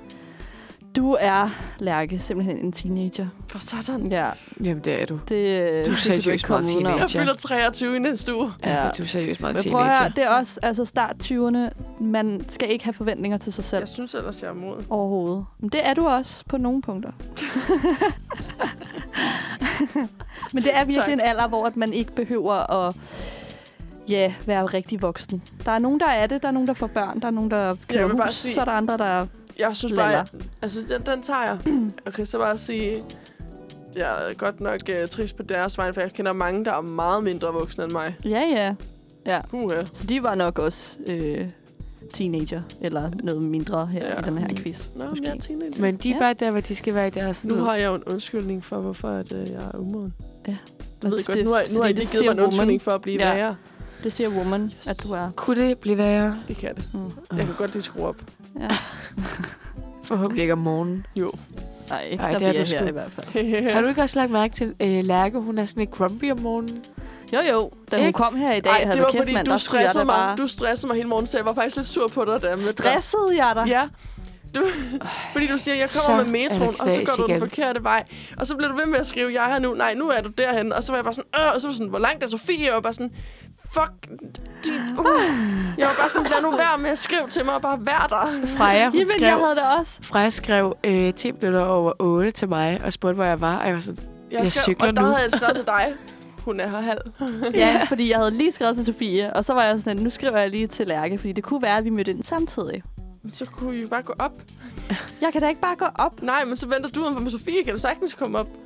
S3: Du er, Lærke, simpelthen en teenager.
S1: for satan.
S3: Ja,
S2: Jamen, det er du.
S3: det, øh,
S2: Du er
S3: det kan du
S2: seriøst
S3: ikke komme
S2: meget
S3: udenom.
S1: Jeg
S2: teenager.
S1: fylder 23 i næste uge.
S3: Ja.
S2: Ja. Du er seriøst meget
S3: Men prøv at høre,
S2: teenager.
S3: det er også altså start 20'erne. Man skal ikke have forventninger til sig selv
S1: Jeg synes ellers, jeg er moden.
S3: overhovedet. Men det er du også på nogle punkter. [laughs] Men det er virkelig
S1: Tak.
S3: en alder, hvor at man ikke behøver at ja, være rigtig voksen. Der er nogen, der er det. Der er nogen, der får børn. Der er nogen, der køber
S1: vil bare
S3: hus.
S1: sige-
S3: Så er der andre, der...
S1: Jeg synes bare, jeg, altså den, den tager jeg. [clears throat] Jeg kan så bare sige, jeg er godt nok uh, trist på deres vej, for jeg kender mange, der er meget mindre voksne end mig.
S3: Ja, ja.
S1: Puha.
S3: Så de var nok også øh, teenager. Eller noget mindre her
S1: Ja.
S3: ja. i den her quiz.
S1: Nå, men jeg er teenager.
S2: Men de er
S3: Ja.
S2: bare der, hvor de skal være i deres...
S1: nu har jeg jo en undskyldning for, hvorfor at, uh, jeg er umoden. Du
S3: Og
S1: ved
S3: Altså, det-
S1: godt, nu har, nu har
S3: fordi
S1: I lige
S3: det
S1: givet mig en
S3: siger
S1: undskyldning for at blive
S3: Ja.
S1: ja. værre.
S3: woman. Det siger woman, yes. at du er.
S2: Kunne det blive værre?
S1: Det kan det.
S3: Mm.
S1: Jeg kan godt lige skrue op. [laughs]
S3: Ja.
S2: Forhåbentlig ikke om morgenen.
S1: Jo.
S3: Nej, ikke
S2: Ej,
S3: Ej, der
S2: det er
S3: bliver
S2: du
S3: her
S2: sgu.
S3: i hvert fald.
S2: Har du ikke også lagt mærke til øh, Lærke? Hun er sådan lidt grumpy om morgenen.
S3: Jo, jo. Da hun
S2: Ikke?
S3: kom her i dag,
S1: Ej,
S3: havde
S1: det var
S3: kæft,
S1: fordi,
S3: mand,
S1: du
S3: der skulle jeg
S1: stressede
S3: da
S1: mig.
S3: bare...
S1: Du stressede mig hele morgenen, så jeg var faktisk lidt sur på dig, da jeg mødte dig.
S3: Stressede jeg dig?
S1: Ja. Du, fordi du siger, jeg kommer
S2: Så
S1: med
S2: er
S1: metroen,
S2: det
S1: og så går du den
S2: knas igen.
S1: forkerte vej. Og så bliver du ved med at skrive, jeg er her nu, nej, nu er du derhen. Og så var jeg bare sådan, øh, og så var sådan, hvor langt er Sofie? Og jeg var bare sådan, fuck, de, uh. Jeg var bare sådan, lad nu være med at skrive til mig, og bare vær der.
S2: Freja, hun
S3: [laughs] Jamen,
S2: skrev,
S3: jeg havde det også.
S2: Freja skrev øh, 10 minutter over 8 til mig og spurgte, hvor jeg var. Og jeg var sådan, Jeg cykler
S1: og der
S2: nu.
S1: havde jeg altså skrevet til dig. Hun er her halv.
S3: Ja, fordi jeg havde lige skrevet til Sofie, og så var jeg sådan, at nu skriver jeg lige til Lærke, fordi det kunne være, at vi mødte ind samtidig.
S1: Så kunne vi jo bare gå op.
S3: Jeg kan da ikke bare gå op.
S1: Nej, men så venter du om med Sofie. Kan du sagtens komme op? [laughs]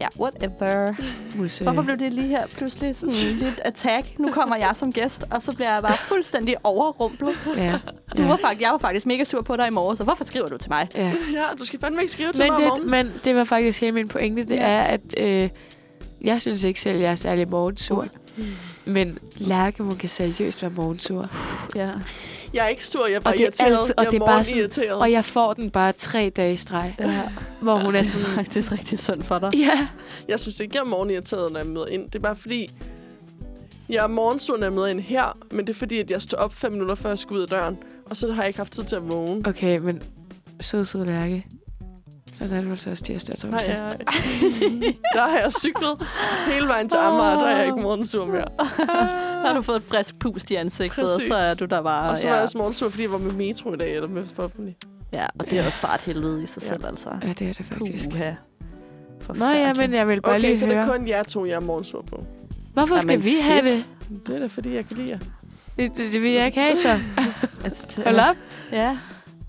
S3: Ja, whatever.
S2: Musse.
S3: Hvorfor blev det lige her pludselig sådan lidt attack? Nu kommer jeg som gæst, og så bliver jeg bare fuldstændig overrumplet.
S2: Ja.
S3: Du
S2: ja.
S3: var faktisk, jeg var faktisk mega sur på dig i morges, så hvorfor skriver du til mig?
S2: ja.
S1: Ja, du skal fandme ikke skrive til
S2: Men
S1: mig om
S2: det,
S1: morgenen.
S2: men det var faktisk hele min pointe. Det
S3: Ja.
S2: er, at øh, jeg synes ikke selv, jeg er særlig morgensur. Men Lærke, hun kan seriøst være morgensur.
S3: Ja.
S1: Jeg er ikke sur, jeg er bare
S2: Og det er
S1: irriteret.
S2: altid- og
S1: jeg
S2: det er bare
S1: morgen
S2: sådan-
S1: irriteret.
S2: Og jeg får den bare tre dage i streg,
S3: ja.
S2: hvor hun er
S3: Det er
S2: sådan...
S3: faktisk rigtig synd for dig.
S2: Ja,
S1: Jeg synes ikke, jeg er morgenirriteret, når jeg møder ind. Det er bare fordi, jeg er morgensur, når jeg møder ind her, men det er fordi, at jeg står op fem minutter, før jeg skal ud af døren, og så har jeg ikke haft tid til at vågne.
S2: okay, men sød, sød Lærke. Sådan er det altså også også tirsdag og
S1: Nej,
S2: torsdag.
S3: [laughs]
S1: jeg, [laughs] der har jeg cyklet hele vejen til Amager, der er jeg ikke morgensur mere.
S3: Der [laughs] har du fået et frisk pust i ansigtet, Præcis. og så er
S1: Præcis.
S3: du der bare...
S1: Og så
S3: ja.
S1: var jeg også morgensur, fordi jeg var med metro i dag, eller med forhåbentlig.
S3: Ja, og det er også bare et helvede i sig
S1: Ja.
S3: ja. selv, altså.
S2: Ja, det er det faktisk.
S3: Puha.
S2: Nå ja, men jeg vil bare
S1: Okay,
S2: lige
S1: så det
S2: høre.
S1: er kun jer to, jeg er morgensur på.
S2: Hvorfor skal
S3: Jamen,
S2: vi have det?
S3: fedt.
S1: Det er da fordi, jeg kan lide jer.
S2: det? Det, det vil jeg ikke have, så.
S3: Altså,
S2: Hold op.
S3: Ja,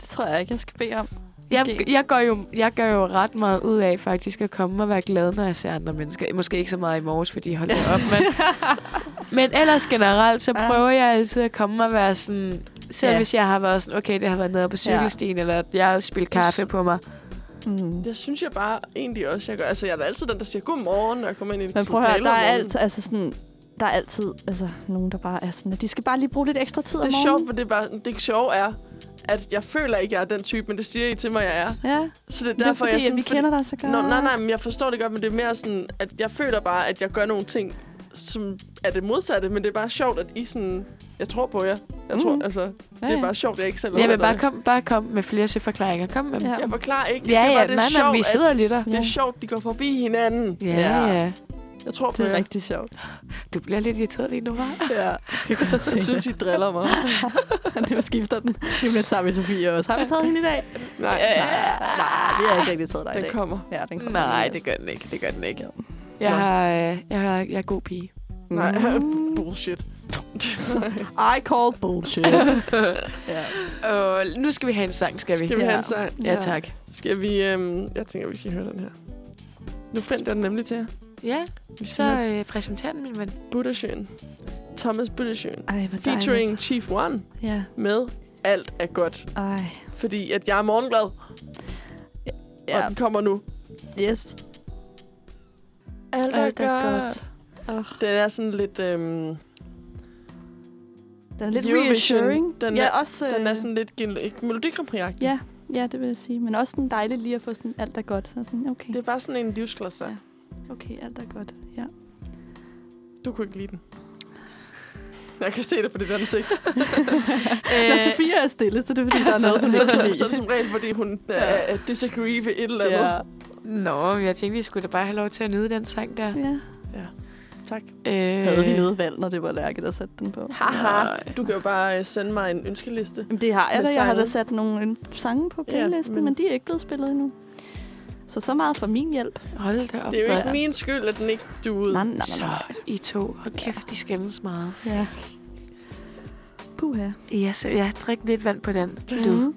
S3: det tror jeg ikke, jeg skal [laughs] bede om.
S2: Jeg,
S3: Måske.
S2: jeg, gør jo, jeg gør jo ret meget ud af faktisk at komme og være glad, når jeg ser andre mennesker. Måske ikke så meget i morges, fordi hold da op, men, men ellers generelt, så
S3: Ja.
S2: prøver jeg altid at komme og være sådan... Selv
S3: Ja.
S2: hvis jeg har været sådan, okay, det har været nede på cykelstien, eller at jeg har spillet kaffe på mig.
S3: Mm.
S1: Det synes jeg bare egentlig også, jeg gør. Altså, jeg er da altid den, der siger godmorgen, når jeg kommer ind i
S3: Men prøv at høre,
S1: lokalet
S3: der
S1: om
S3: er
S1: morgenen.
S3: altid, altså sådan, der er altid altså, nogen, der bare er sådan, at de skal bare lige bruge lidt ekstra tid
S1: Det
S3: om
S1: er sjovt,
S3: morgenen.
S1: men det, er bare, det sjove er, at jeg føler ikke, jeg er den type, men det siger I til mig, jeg er.
S3: Ja,
S1: Så det er
S3: det er
S1: derfor,
S3: fordi,
S1: jeg sådan...
S3: at vi kender dig så godt.
S1: Nå, nej, nej, men jeg forstår det godt, men det er mere sådan, at jeg føler bare, at jeg gør nogle ting, som er det modsatte, men det er bare sjovt, at I sådan... Jeg tror på jer. Jeg tror,
S3: Mhm.
S1: altså,
S3: Ja,
S1: det er
S3: ja.
S1: bare sjovt, at jeg ikke selv
S2: Ja, men
S1: opfatter
S2: bare
S1: det.
S2: kom, bare kom med flere søforklaringer. Kom med dem.
S3: Ja.
S1: Jeg forklarer ikke. Jeg
S2: Ja,
S1: siger
S2: ja,
S1: bare, det
S2: nej,
S1: er
S2: nej,
S1: sjovt,
S2: vi
S1: at-
S2: sidder og lytter.
S1: Det er sjovt, de går forbi hinanden.
S2: Ja, ja.
S1: Jeg tror på
S3: Det er
S1: jer.
S3: rigtig sjovt.
S2: Du bliver lidt irriteret lige nu, var.
S3: [laughs] Ja, jeg kan godt se
S1: Jeg [laughs] synes, I driller mig.
S3: [laughs] det. Nu skifter den. Lige om lidt tager vi Sofie også. Har vi taget hende i dag?
S1: Nej,
S3: Nej, nej, vi har ikke rigtig taget dig i
S1: den
S3: dag.
S1: kommer.
S3: Ja, den kommer.
S2: Nej, det gør den ikke. Det gør den ikke.
S3: Jo.
S2: [laughs] Jeg,
S1: Nå.
S2: har, øh, jeg, har, jeg er god
S1: [laughs]
S2: pige.
S1: Nej, [laughs]
S3: Mm.
S1: bullshit.
S3: I call bullshit. ja.
S2: Og nu skal vi have en sang, skal vi?
S1: Skal vi
S3: Ja.
S1: have en sang?
S2: Ja, tak.
S1: Skal vi... Øhm, jeg tænker, vi skal høre den her. Nu fandt jeg den nemlig til jer.
S2: Ja,
S1: Vi
S2: så
S1: skal have
S2: øh, præsenter den, min
S1: [laughs]
S2: ven.
S1: Buttersjøen. Thomas Buttersjøen.
S3: Ej, hvor
S1: Featuring Chief One
S3: Ja,
S1: med Alt er godt.
S3: ej.
S1: Fordi at jeg er morgenglad, ja. og
S3: Ja,
S1: den kommer nu.
S3: yes.
S1: Alt
S3: Alt er godt.
S1: Den er sådan lidt... Øhm,
S3: Den er lidt
S1: Eurovision,
S3: reassuring.
S1: den
S3: ja,
S1: er-
S3: også,
S1: den er
S3: øh,
S1: sådan lidt gen- ikke melodikrampriagtig.
S3: Ja, ja, det vil jeg sige. Men også sådan dejligt lige at få sådan, alt er godt. Så sådan, okay,
S1: Det er bare sådan en livsklasse.
S3: Ja. okay, alt er godt. Ja.
S1: Du kunne ikke lide den. Jeg kan se det på dit ansigt.
S3: Når Sofia er stille, så det er fordi, [laughs] der er noget, hun
S1: så,
S3: ikke kan
S1: så,
S3: lide.
S1: så er det som regel, fordi hun uh,
S3: Ja.
S1: disagree ved et eller andet.
S3: ja.
S2: Øh, Nå, men jeg tænkte, I skulle da bare have lov til at nyde den sang der.
S3: ja.
S1: Tak.
S2: Øh,
S3: Havde de noget valg, når det var Lærke, der satte den på?
S1: Haha,
S2: Nej.
S1: du kan jo bare øh, sende mig en ønskeliste.
S3: Jamen, det har jeg
S1: Med
S3: da. Jeg har da
S1: sange.
S3: sat nogle øh, sange på
S1: Ja, men-
S3: playlisten, ja, men... men de er ikke blevet spillet endnu. Så så meget for min hjælp.
S2: Hold da op.
S1: Det er jo ikke
S3: Ja.
S1: min skyld, at den ikke duede.
S3: Nej, nej, nej,
S2: Så
S3: nej.
S2: I to. Hold kæft, de skændes meget.
S3: Ja. Puha.
S2: Ja, så jeg drikker lidt vand på den.
S1: Mm.
S2: Du.
S3: Mhm.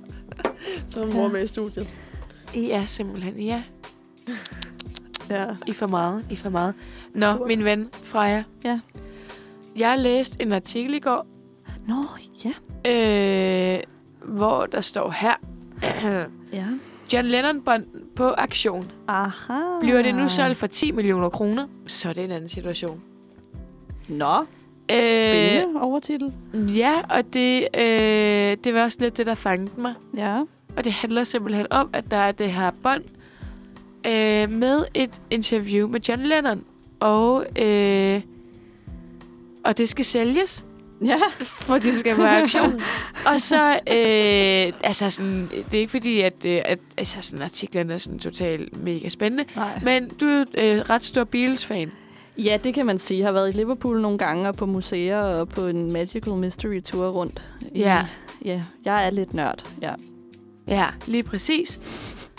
S1: Så er min mor med i studiet.
S2: I er simpelthen, ja.
S3: Ja.
S2: I for meget, I for meget. Nå, min ven Freja.
S3: Ja.
S2: Jeg læste en artikel i går,
S3: Nå, ja.
S2: øh, hvor der står her. [clears throat]
S3: Ja.
S2: John Lennon bånd på aktion.
S3: Aha.
S2: Bliver det nu solgt for 10 millioner kroner, så er det en anden situation.
S3: Nå,
S2: Øh,
S3: spændende overtitel.
S2: ja, og det, øh, det var også lidt det, der fangede mig.
S3: Ja.
S2: Og det handler simpelthen om, at der er det her bånd øh, med et interview med John Lennon. Og, øh, og det skal sælges,
S3: Ja.
S2: for det skal på
S3: [laughs]
S2: aktion. og så, øh, altså sådan, det er ikke fordi, at, øh, at altså sådan, artiklerne er sådan totalt mega spændende.
S3: Nej.
S2: Men du er jo øh, ret stor Beatles-fan.
S3: Ja, det kan man sige. Jeg har været i Liverpool nogle gange, og på museer og på en Magical Mystery Tour rundt. i-
S2: Ja.
S3: Ja, jeg er lidt nørd, ja.
S2: Ja, lige præcis.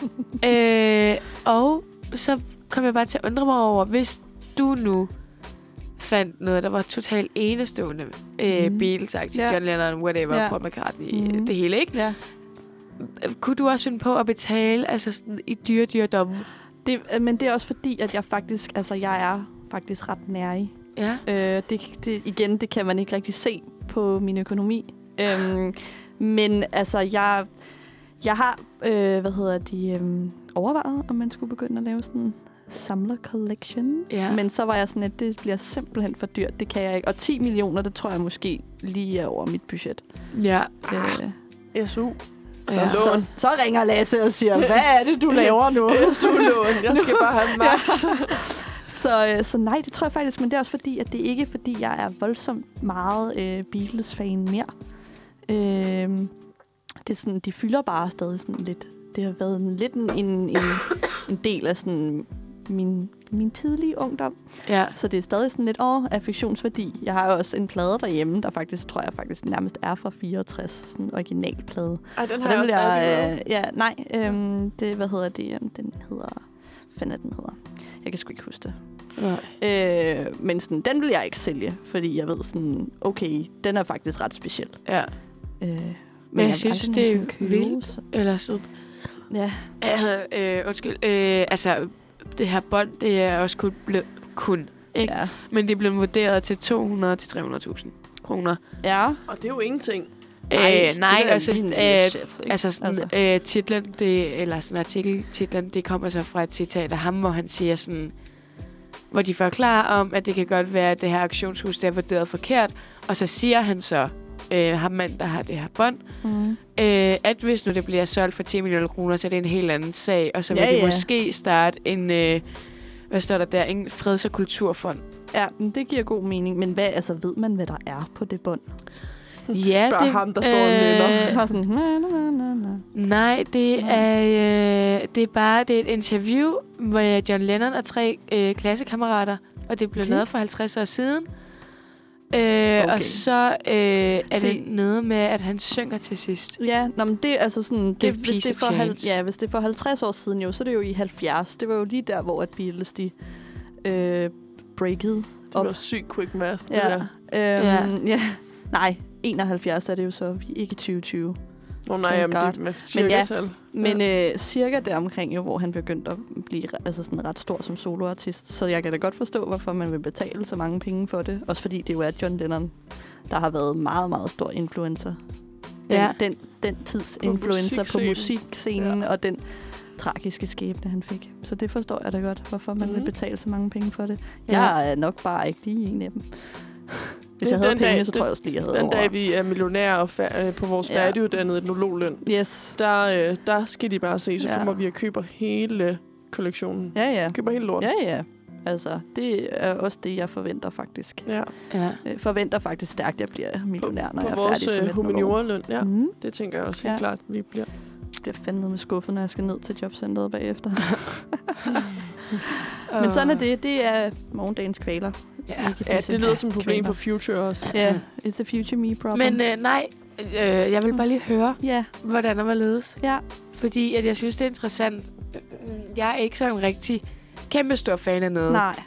S2: [laughs] øh, og så kom jeg bare til at undre mig over, hvis du nu fandt noget, der var totalt enestående øh,
S3: Mhm.
S2: mm. Beatles-agtigt,
S3: Ja.
S2: John Lennon, whatever,
S3: Ja.
S2: Paul McCartney,
S3: Mhm.
S2: mm. det hele, ikke?
S3: ja.
S2: Kunne du også finde på at betale altså sådan, i dyre dyredomme?
S3: Det, øh, men det er også fordi, at jeg faktisk, altså jeg er faktisk ret nær i.
S2: Ja.
S3: Øh, det, det, igen, det kan man ikke rigtig se på min økonomi. Øhm, men altså, jeg, jeg har, øh, hvad hedder de, øhm, overvejet, om man skulle begynde at lave sådan en samler collection.
S2: Ja.
S3: Men så var jeg sådan, at det bliver simpelthen for dyrt. Det kan jeg ikke. Og 10 millioner, det tror jeg måske lige er over mit budget.
S2: Ja.
S3: Ah, øh,
S1: SU.
S3: så,
S2: ja.
S3: så,
S1: lån.
S3: så ringer Lasse og siger, hvad er det, du laver
S1: [laughs]
S3: nu?
S1: SU-lån. Jeg skal bare
S3: [laughs]
S1: have max.
S3: Så, øh, så nej, det tror jeg faktisk, men det er også fordi, at det ikke er, fordi jeg er voldsomt meget øh, Beatles-fan mere. Øh, det er sådan, de fylder bare stadig sådan lidt. Det har været en, lidt en, en, en, en del af sådan min, min tidlige ungdom.
S2: ja.
S3: Så det er stadig sådan lidt over affektionsværdi. Jeg har jo også en plade derhjemme, der faktisk, tror jeg faktisk nærmest er fra 64. Sådan en original plade.
S1: Ej, den
S3: Og
S1: har
S3: den
S1: jeg også
S3: bliver,
S1: aldrig
S3: øh, ja, nej, øhm, det, hvad hedder det? Øhm, Den hedder, hvad fanden er den hedder? Jeg kan sgu ikke huske det. Øh, men sådan, den vil jeg ikke sælge, fordi jeg ved sådan, okay, den er faktisk ret speciel.
S2: ja.
S3: Øh, men,
S2: jeg
S3: vil
S2: synes,
S3: aldrig
S2: det er
S3: nogensinde købe,
S2: vildt.
S3: så-
S2: Eller sådan.
S3: Ja,
S2: øh, undskyld. Øh, altså, det her bånd, det er også kun, blevet, kun ikke?
S3: ja.
S2: Men det blev vurderet til 200-300.000 kroner.
S3: ja.
S1: Og det er jo ingenting.
S2: Øh,
S3: det
S2: nej,
S3: der er
S2: og så,
S3: en
S2: øh,
S3: shit, ikke?
S2: altså, sådan,
S3: Altså.
S2: altså. Øh, titlen, det, eller sådan artikeltitlen, det kommer så fra et citat af ham, hvor han siger sådan, hvor de forklarer om, at det kan godt være, at det her auktionshus, det er vurderet forkert, og så siger han så, øh, ham mand, der har det her bånd,
S3: Mm.
S2: øh, at hvis nu det bliver solgt for 10 millioner kroner, så er det en helt anden sag, og så vil
S3: Ja,
S2: ja, de
S3: ja.
S2: måske starte en, øh, hvad står der der, en freds- og kulturfond.
S3: Ja, men det giver god mening, men hvad, altså, ved man, hvad der er på det bånd? Øh,
S2: Ja, øh,
S1: Spørg ham, der står og nynner.
S3: [laughs] Bare sådan, na, na, na, na, na.
S2: Nej, det
S3: Nå.
S2: er, øh, det er bare det er et interview med John Lennon og tre øh, klassekammerater og det blev
S3: Okay.
S2: okay. lavet for 50 år siden. Øh,
S3: Okay.
S2: Og så øh, er
S3: Se.
S2: Se. det noget med, at han synger til sidst.
S3: Ja, nå, men det er altså sådan... Det,
S2: Give
S3: hvis,
S2: peace
S3: det er for
S2: a
S3: hal-
S2: chance.
S3: ja, hvis det er for 50 år siden jo, så er det jo i 70. Det var jo lige der, hvor at Beatles, de øh, breakede.
S1: Det
S3: Op.
S1: var sygt quick math.
S3: Ja.
S1: Ja.
S3: Øhm, ja. ja. Nej, 71 er det jo så. Vi er ikke i 2020.
S1: Nå nej,
S3: Thank
S1: jamen,
S3: God.
S1: det er med cirkatal.
S3: Men ja. øh, cirka deromkring jo, hvor han begyndte at blive re- altså sådan ret stor som soloartist. Så jeg kan da godt forstå, hvorfor man vil betale så mange penge for det. Også fordi det jo er John Lennon, der har været meget, meget stor influencer. Den, ja.
S2: Ja.
S3: den, den tids på influencer
S1: musikscenen.
S3: på musikscenen ja.
S1: Ja.
S3: og den tragiske skæbne, han fik. Så det forstår jeg da godt, hvorfor man mm. vil
S1: Mhm.
S3: betale så mange penge for det.
S2: Ja.
S3: Ja. Jeg er nok bare ikke lige en af
S1: [laughs]
S3: dem. Hvis
S1: Det-
S3: jeg havde
S1: den
S3: penge,
S1: dag-
S3: så tror jeg også lige, jeg havde
S1: Den
S3: over.
S1: dag, vi er millionærer og fa- øh, på vores
S3: Ja.
S1: ja. færdiguddannede etnologløn,
S3: Yes.
S1: der, øh, der skal de bare se. Så
S3: Ja.
S1: kommer vi og køber hele kollektionen.
S3: Ja, ja.
S1: Køber hele lorten.
S3: Ja, ja. Altså, det er også det, jeg forventer faktisk.
S1: ja.
S2: Ja.
S3: Jeg forventer faktisk stærkt, at jeg bliver millionær, når
S1: på
S3: jeg er
S1: vores
S3: færdig som
S1: øh, humanioraløn, ja.
S3: Ja. Mm.
S1: Det tænker jeg også helt
S3: Ja.
S1: ja. klart, vi bliver.
S3: Jeg bliver fandme med skuffet, når jeg skal ned til
S1: [laughs]
S3: jobcentret bagefter. Men sådan er det. Det er morgendagens kvaler.
S2: Ja.
S3: Ikke
S1: Ja,
S3: disse
S1: det lyder som et problem
S3: kvaler.
S1: for Future også.
S3: Ja, yeah, it's a future me problem.
S2: Men øh, nej, øh, jeg vil bare lige høre,
S3: ja,
S2: hvordan og hvorledes.
S3: ja.
S2: Fordi at jeg synes, det er interessant. Øh, Jeg er ikke sådan en rigtig kæmpe stor fan af noget.
S3: Nej.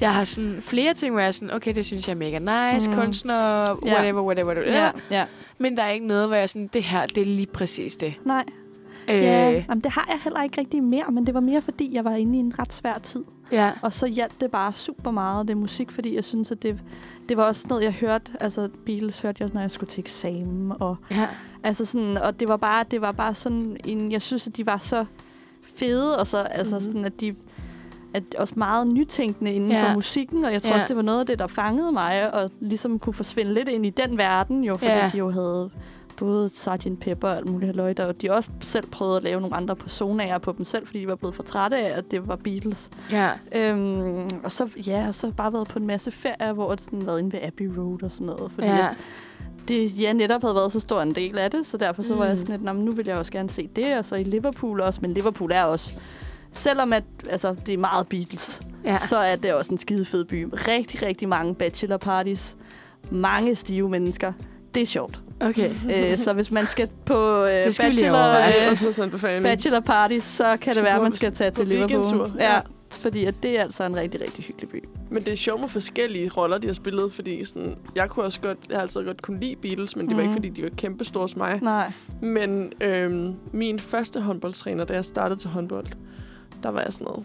S2: Jeg har sådan flere ting, hvor jeg er sådan, okay, det synes jeg er mega nice,
S3: Mm.
S2: mm. kunstner,
S3: Ja.
S2: whatever, whatever, whatever.
S3: Ja,
S2: Ja.
S3: ja.
S2: Men der er ikke noget, hvor jeg er sådan, det her, det er lige præcis det.
S3: Nej.
S2: Øh,
S3: Ja. Jamen, det har jeg heller ikke rigtig mere, men det var mere, fordi jeg var inde i en ret svær tid.
S2: ja.
S3: Og så hjalp det bare super meget, det musik, fordi jeg synes, at det, det var også noget, jeg hørte. Altså, Beatles hørte jeg, når jeg skulle til eksamen, og
S2: ja.
S3: Altså sådan, og det var bare, det var bare sådan en, jeg synes, at de var så fede, og så, altså
S1: Mhm.
S3: sådan, at de at også meget nytænkende inden ja.
S2: Ja.
S3: for musikken, og jeg tror ja.
S2: Ja.
S3: også, det var noget af det, der fangede mig, og ligesom kunne forsvinde lidt ind i den verden, jo, fordi ja.
S2: Ja.
S3: de jo havde både Sgt. Pepper og alt muligt halløj, der, og de også selv prøvede at lave nogle andre personager på dem selv, fordi de var blevet for trætte af, at det var Beatles.
S2: ja.
S3: Øhm, og så, ja, og så bare været på en masse ferier, hvor det sådan været inde ved Abbey Road og sådan noget, fordi ja. at,
S2: ja.
S3: det, jeg netop havde været så stor en del af det, så derfor så var jeg
S2: Mm.
S3: sådan lidt, "Nå, men nu vil jeg også gerne se det, og så i Liverpool også, men Liverpool er også, selvom at, altså, det er meget Beatles, ja.
S2: ja.
S3: så er det også en skide fed by. Rigtig, rigtig mange bachelor parties, mange stive mennesker. Det er
S2: [laughs]
S3: sjovt.
S2: Okay.
S3: Æ, så hvis man skal på øh,
S2: Det skal vi lige
S3: bachelor,
S2: overveje.
S3: øh,
S1: Og så sådan på fanden.
S3: bachelor parties, så kan det
S1: Skal
S3: være, at
S1: på-
S3: man skal tage til
S1: på
S3: Liverpool.
S1: weekendtur.
S3: Ja,
S1: Ja.
S3: fordi at det er altså en rigtig, rigtig hyggelig by.
S1: Men det er sjovt med forskellige roller, de har spillet, fordi sådan, jeg kunne også godt, jeg har altid godt kunne lide Beatles, men det var
S3: Mhm.
S1: ikke, fordi de var kæmpe store som mig.
S3: Nej.
S1: Men øhm, min første håndboldtræner, da jeg startede til håndbold, der var jeg sådan noget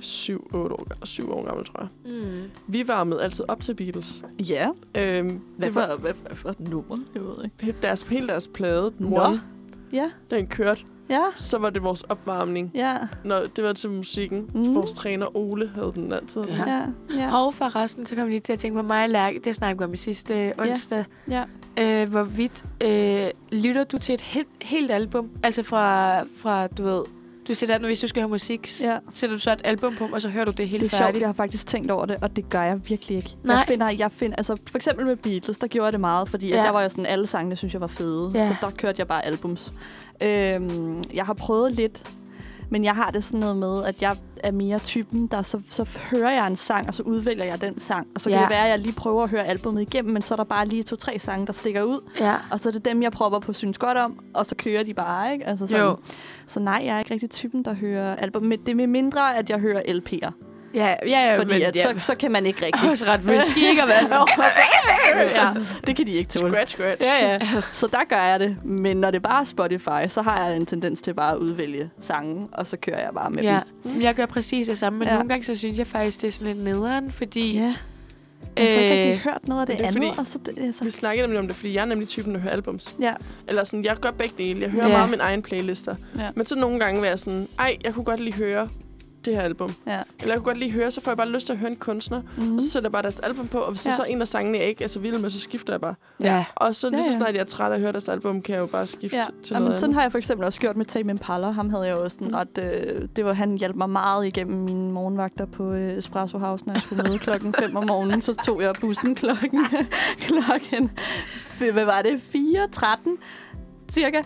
S1: 7 8 år, ga- syv år gammel, tror jeg.
S2: Mm.
S1: Vi varmede altid op til Beatles.
S3: Ja.
S1: Øhm, det var
S3: hvad, hvad for et nummer? Jeg ved ikke.
S1: deres, hele deres plade,
S3: Nå.
S1: One,
S3: Ja.
S1: den kørte.
S3: Ja.
S1: Så var det vores opvarmning.
S3: Ja.
S1: Når det var til musikken.
S3: Mm.
S1: Mm. Vores træner Ole havde den altid.
S2: Ja.
S3: Ja. ja.
S2: Og forresten, så kom jeg lige til at tænke på mig og Lærke. Det snakkede vi om i sidste øh, onsdag.
S3: Ja.
S2: Øh, hvorvidt øh, lytter du til et helt, helt album? Altså fra, fra du ved, du sætter, hvis du skal høre musik,
S3: Ja.
S2: ja. sætter du så et album på, og så hører du det helt
S3: Det er sjovt,
S2: færdigt.
S3: jeg har faktisk tænkt over det, og det gør jeg virkelig ikke. Jeg
S2: Nej.
S3: finder, jeg finder, altså for eksempel med Beatles, der gjorde jeg det meget, fordi ja.
S2: Ja.
S3: der var jo sådan, alle sangene synes jeg var fede, ja.
S2: Ja.
S3: så der kørte jeg bare albums. Øhm, jeg har prøvet lidt, men jeg har det sådan noget med, at jeg er mere typen, der så, så hører jeg en sang, og så udvælger jeg den sang. Og så kan
S2: Ja.
S3: det være, at jeg lige prøver at høre albumet igennem, men så er der bare lige to-tre sange, der stikker ud.
S2: Ja.
S3: Og så er det dem, jeg propper på synes godt om, og så kører de bare, ikke? Altså sådan.
S2: Jo.
S3: Så nej, jeg er ikke rigtig typen, der hører album. Men det er med mindre, at jeg hører LP'er.
S2: Ja, ja, ja
S3: Fordi
S2: men,
S3: at
S2: ja.
S3: så, så kan man ikke
S2: det er
S3: rigtig.
S2: også ret risky ikke at være
S3: [laughs]
S2: sådan.
S3: ja, det kan de ikke tåle.
S1: Scratch, scratch.
S3: Ja, ja. Så der gør jeg det. Men når det er bare er Spotify, så har jeg en tendens til bare at udvælge sangen, og så kører jeg bare med
S2: Ja,
S3: dem.
S2: men jeg gør præcis det samme, men
S3: Ja.
S2: ja. nogle gange så synes jeg faktisk, det er sådan lidt nederen, fordi...
S3: Ja, man får ikke rigtig
S2: Øh,
S3: hørt noget af det,
S1: det er
S3: andet.
S1: fordi-
S3: og så det, altså.
S1: Vi snakkede nemlig om det, fordi jeg er nemlig typen, der hører albums.
S3: Ja.
S1: Eller sådan, jeg gør begge dele. Jeg hører
S2: Ja.
S1: meget mine egne playlister.
S3: Ja.
S1: Men så nogle gange være sådan, ej, jeg kunne godt lige høre det her album.
S3: Ja.
S1: Eller jeg kunne godt lige høre, så får jeg bare lyst til at høre en kunstner. Mm.
S3: Mm.
S1: Og så sætter jeg bare deres album på, og hvis ja.
S3: Ja.
S1: der så er en af sangene, jeg ikke er så vild med, så skifter jeg bare.
S2: ja.
S1: Og så lige
S3: Ja,
S1: så
S3: ja.
S1: snart jeg er træt af at høre deres album, kan jeg jo bare skifte
S3: Ja,
S1: ja. til
S3: Jamen,
S1: noget
S3: sådan
S1: andet.
S3: har jeg for eksempel også gjort med Tame Impala. Ham havde jeg også sådan
S1: Mm.
S3: ret... Øh, det var, han hjalp mig meget igennem mine morgenvagter på øh, Espresso House, når jeg skulle møde klokken 5 om morgenen. Så tog [laughs] jeg bussen klokken... klokken... Hvad var det? 4.13 cirka.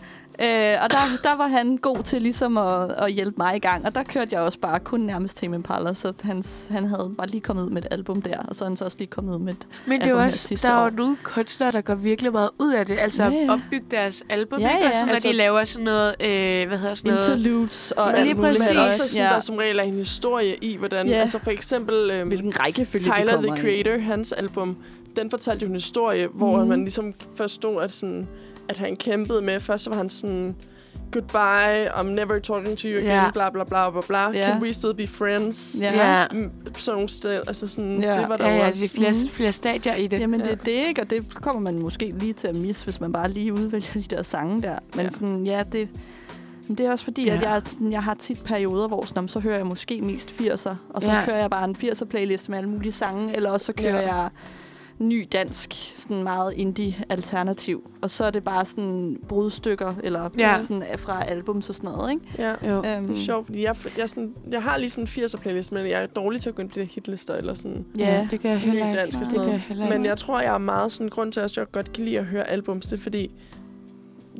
S3: Øh, og der, der var han god til ligesom at, at hjælpe mig i gang, og der kørte jeg også bare kun nærmest Tame Impala, så hans, han havde bare lige kommet ud med et album der, og så er han så også lige kommet ud med et
S2: Men det er
S3: album
S2: jo
S3: her
S2: også,
S3: sidste
S2: der er
S3: år.
S2: jo nogle kunstnere, der går virkelig meget ud af det. Altså
S3: Ja,
S2: at
S3: ja.
S2: opbygge deres album,
S3: Ja,
S2: ja, ikke?
S3: ja.
S2: Og sådan,
S1: Altså-
S2: altså, når de laver sådan noget, øh, hvad hedder sådan noget?
S3: interludes og
S2: Men
S3: alt
S2: lige
S3: muligt.
S2: præcis.
S1: Men også sådan,
S3: ja.
S1: ja. der som regel er en historie i, hvordan...
S3: Ja.
S1: Yeah. Altså for eksempel øhm,
S3: Hvilken rækkefølge de
S1: Tyler,
S3: kommer
S1: The Creator, hans album, den fortalte jo en historie, hvor
S3: Mhm.
S1: mm. man ligesom forstod, at, sådan, at han kæmpede med... Først så var han sådan... Goodbye, I'm never talking to you again,
S2: Ja.
S1: yeah. bla bla bla bla bla.
S3: Ja.
S1: Yeah. Can we still be friends?
S3: Ja.
S2: Ja,
S1: Mm, Sådan nogle steder. Altså sådan,
S3: Ja.
S1: det var der
S2: ja,
S1: jo
S2: ja,
S1: også.
S2: det er flere,
S3: Mhm.
S2: flere stadier i
S3: i.
S2: det.
S3: Jamen det er
S1: Ja.
S3: det, ikke? Og det kommer man måske lige til at misse, hvis man bare lige udvælger de der sange der. Men ja.
S1: Ja.
S3: sådan, ja, det... Men det er også fordi, ja. at
S2: Ja.
S3: jeg, er sådan, jeg har tit perioder, hvor sådan, "Nå, men så hører jeg måske mest 80'er, og så ja.
S2: Ja.
S3: kører jeg bare en 80'er playlist med alle mulige sange, eller også så kører ja.
S1: Ja.
S3: jeg ny dansk, sådan meget indie-alternativ. Og så er det bare sådan brudstykker, eller ja.
S2: Ja.
S3: sådan fra albums og sådan noget, ikke? Øhm,
S1: Ja.
S2: Jo.
S3: Mm.
S1: Det er sjovt, fordi jeg, jeg, er sådan, jeg har lige sådan en 80'er playlist, men jeg er dårlig til at gå ind på de der hitlister eller sådan.
S3: Ja.
S2: det gør jeg heller ikke.
S1: dansk og
S2: det
S1: sådan
S2: gør jeg
S1: noget.
S2: heller ikke.
S1: Men jeg tror, jeg er meget sådan grund til, at jeg godt kan lide at høre albums. Det er fordi,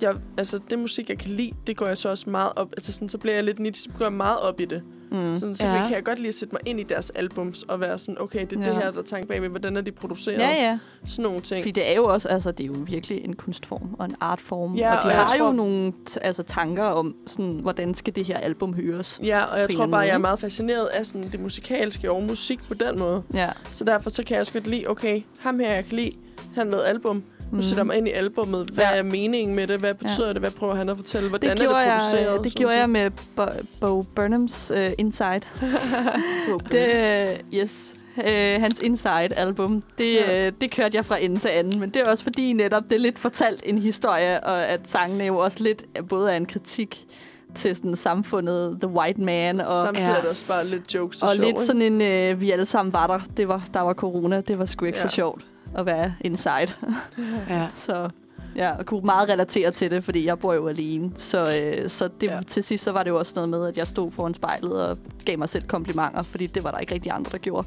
S1: jeg, altså, det musik, jeg kan lide, det går jeg så også meget op. Altså, sådan, så bliver jeg lidt nitisk, så går jeg meget op i det.
S3: Mm.
S1: Sådan, så
S2: Ja.
S1: ja. kan jeg godt lige sætte mig ind i deres albums og være sådan, okay, det er ja.
S3: Ja.
S1: det her, der er tanken bagved, hvordan er de produceret?
S3: Ja, ja.
S1: Sådan nogle ting.
S3: Fordi det er jo også, altså det er jo virkelig en kunstform og en artform,
S1: Ja,
S3: og de
S1: og jeg
S3: har jo
S1: tror-
S3: nogle t- altså, tanker om, sådan, hvordan skal det her album høres.
S1: Ja, og jeg
S3: på en
S1: tror
S3: anden
S1: bare,
S3: måde,
S1: jeg er
S3: ikke?
S1: meget fascineret af sådan, det musikalske og musik på den måde.
S3: Ja.
S1: Så derfor så kan jeg også godt lide, okay, ham her jeg kan lide, han lavede album. Nu
S3: Mm.
S1: sætter jeg mig ind i albummet. Hvad
S3: Ja.
S1: er meningen med det? Hvad betyder det? Hvad prøver han at fortælle? Hvordan
S3: Det gjorde,
S1: er det produceret?
S3: jeg, øh, det
S1: Sådan
S3: gjorde
S1: noget.
S3: jeg med Bo, Bo Burnhams uh, Inside. det, yes. Uh, hans Inside-album, det,
S1: Ja.
S3: ja. uh, det kørte jeg fra ende til anden, men det er også fordi netop det er lidt fortalt en historie, og at sangene jo også lidt er- både er en kritik til sådan, samfundet, the white man, og
S1: Samtidig
S2: Ja.
S1: er det også bare lidt jokes og,
S3: og
S1: sjov,
S3: lidt sådan en, øh, vi alle sammen var der. Det var, der var corona. Det var sgu ikke ja.
S1: Ja.
S3: så sjovt at være inside. [laughs]
S2: Ja.
S3: Så ja, og kunne meget relatere til det, fordi jeg bor jo alene. Så, øh, så det, ja.
S1: Ja.
S3: til sidst så var det jo også noget med, at jeg stod foran spejlet og gav mig selv komplimenter, fordi det var der ikke rigtig andre, der
S1: [laughs]
S3: gjorde.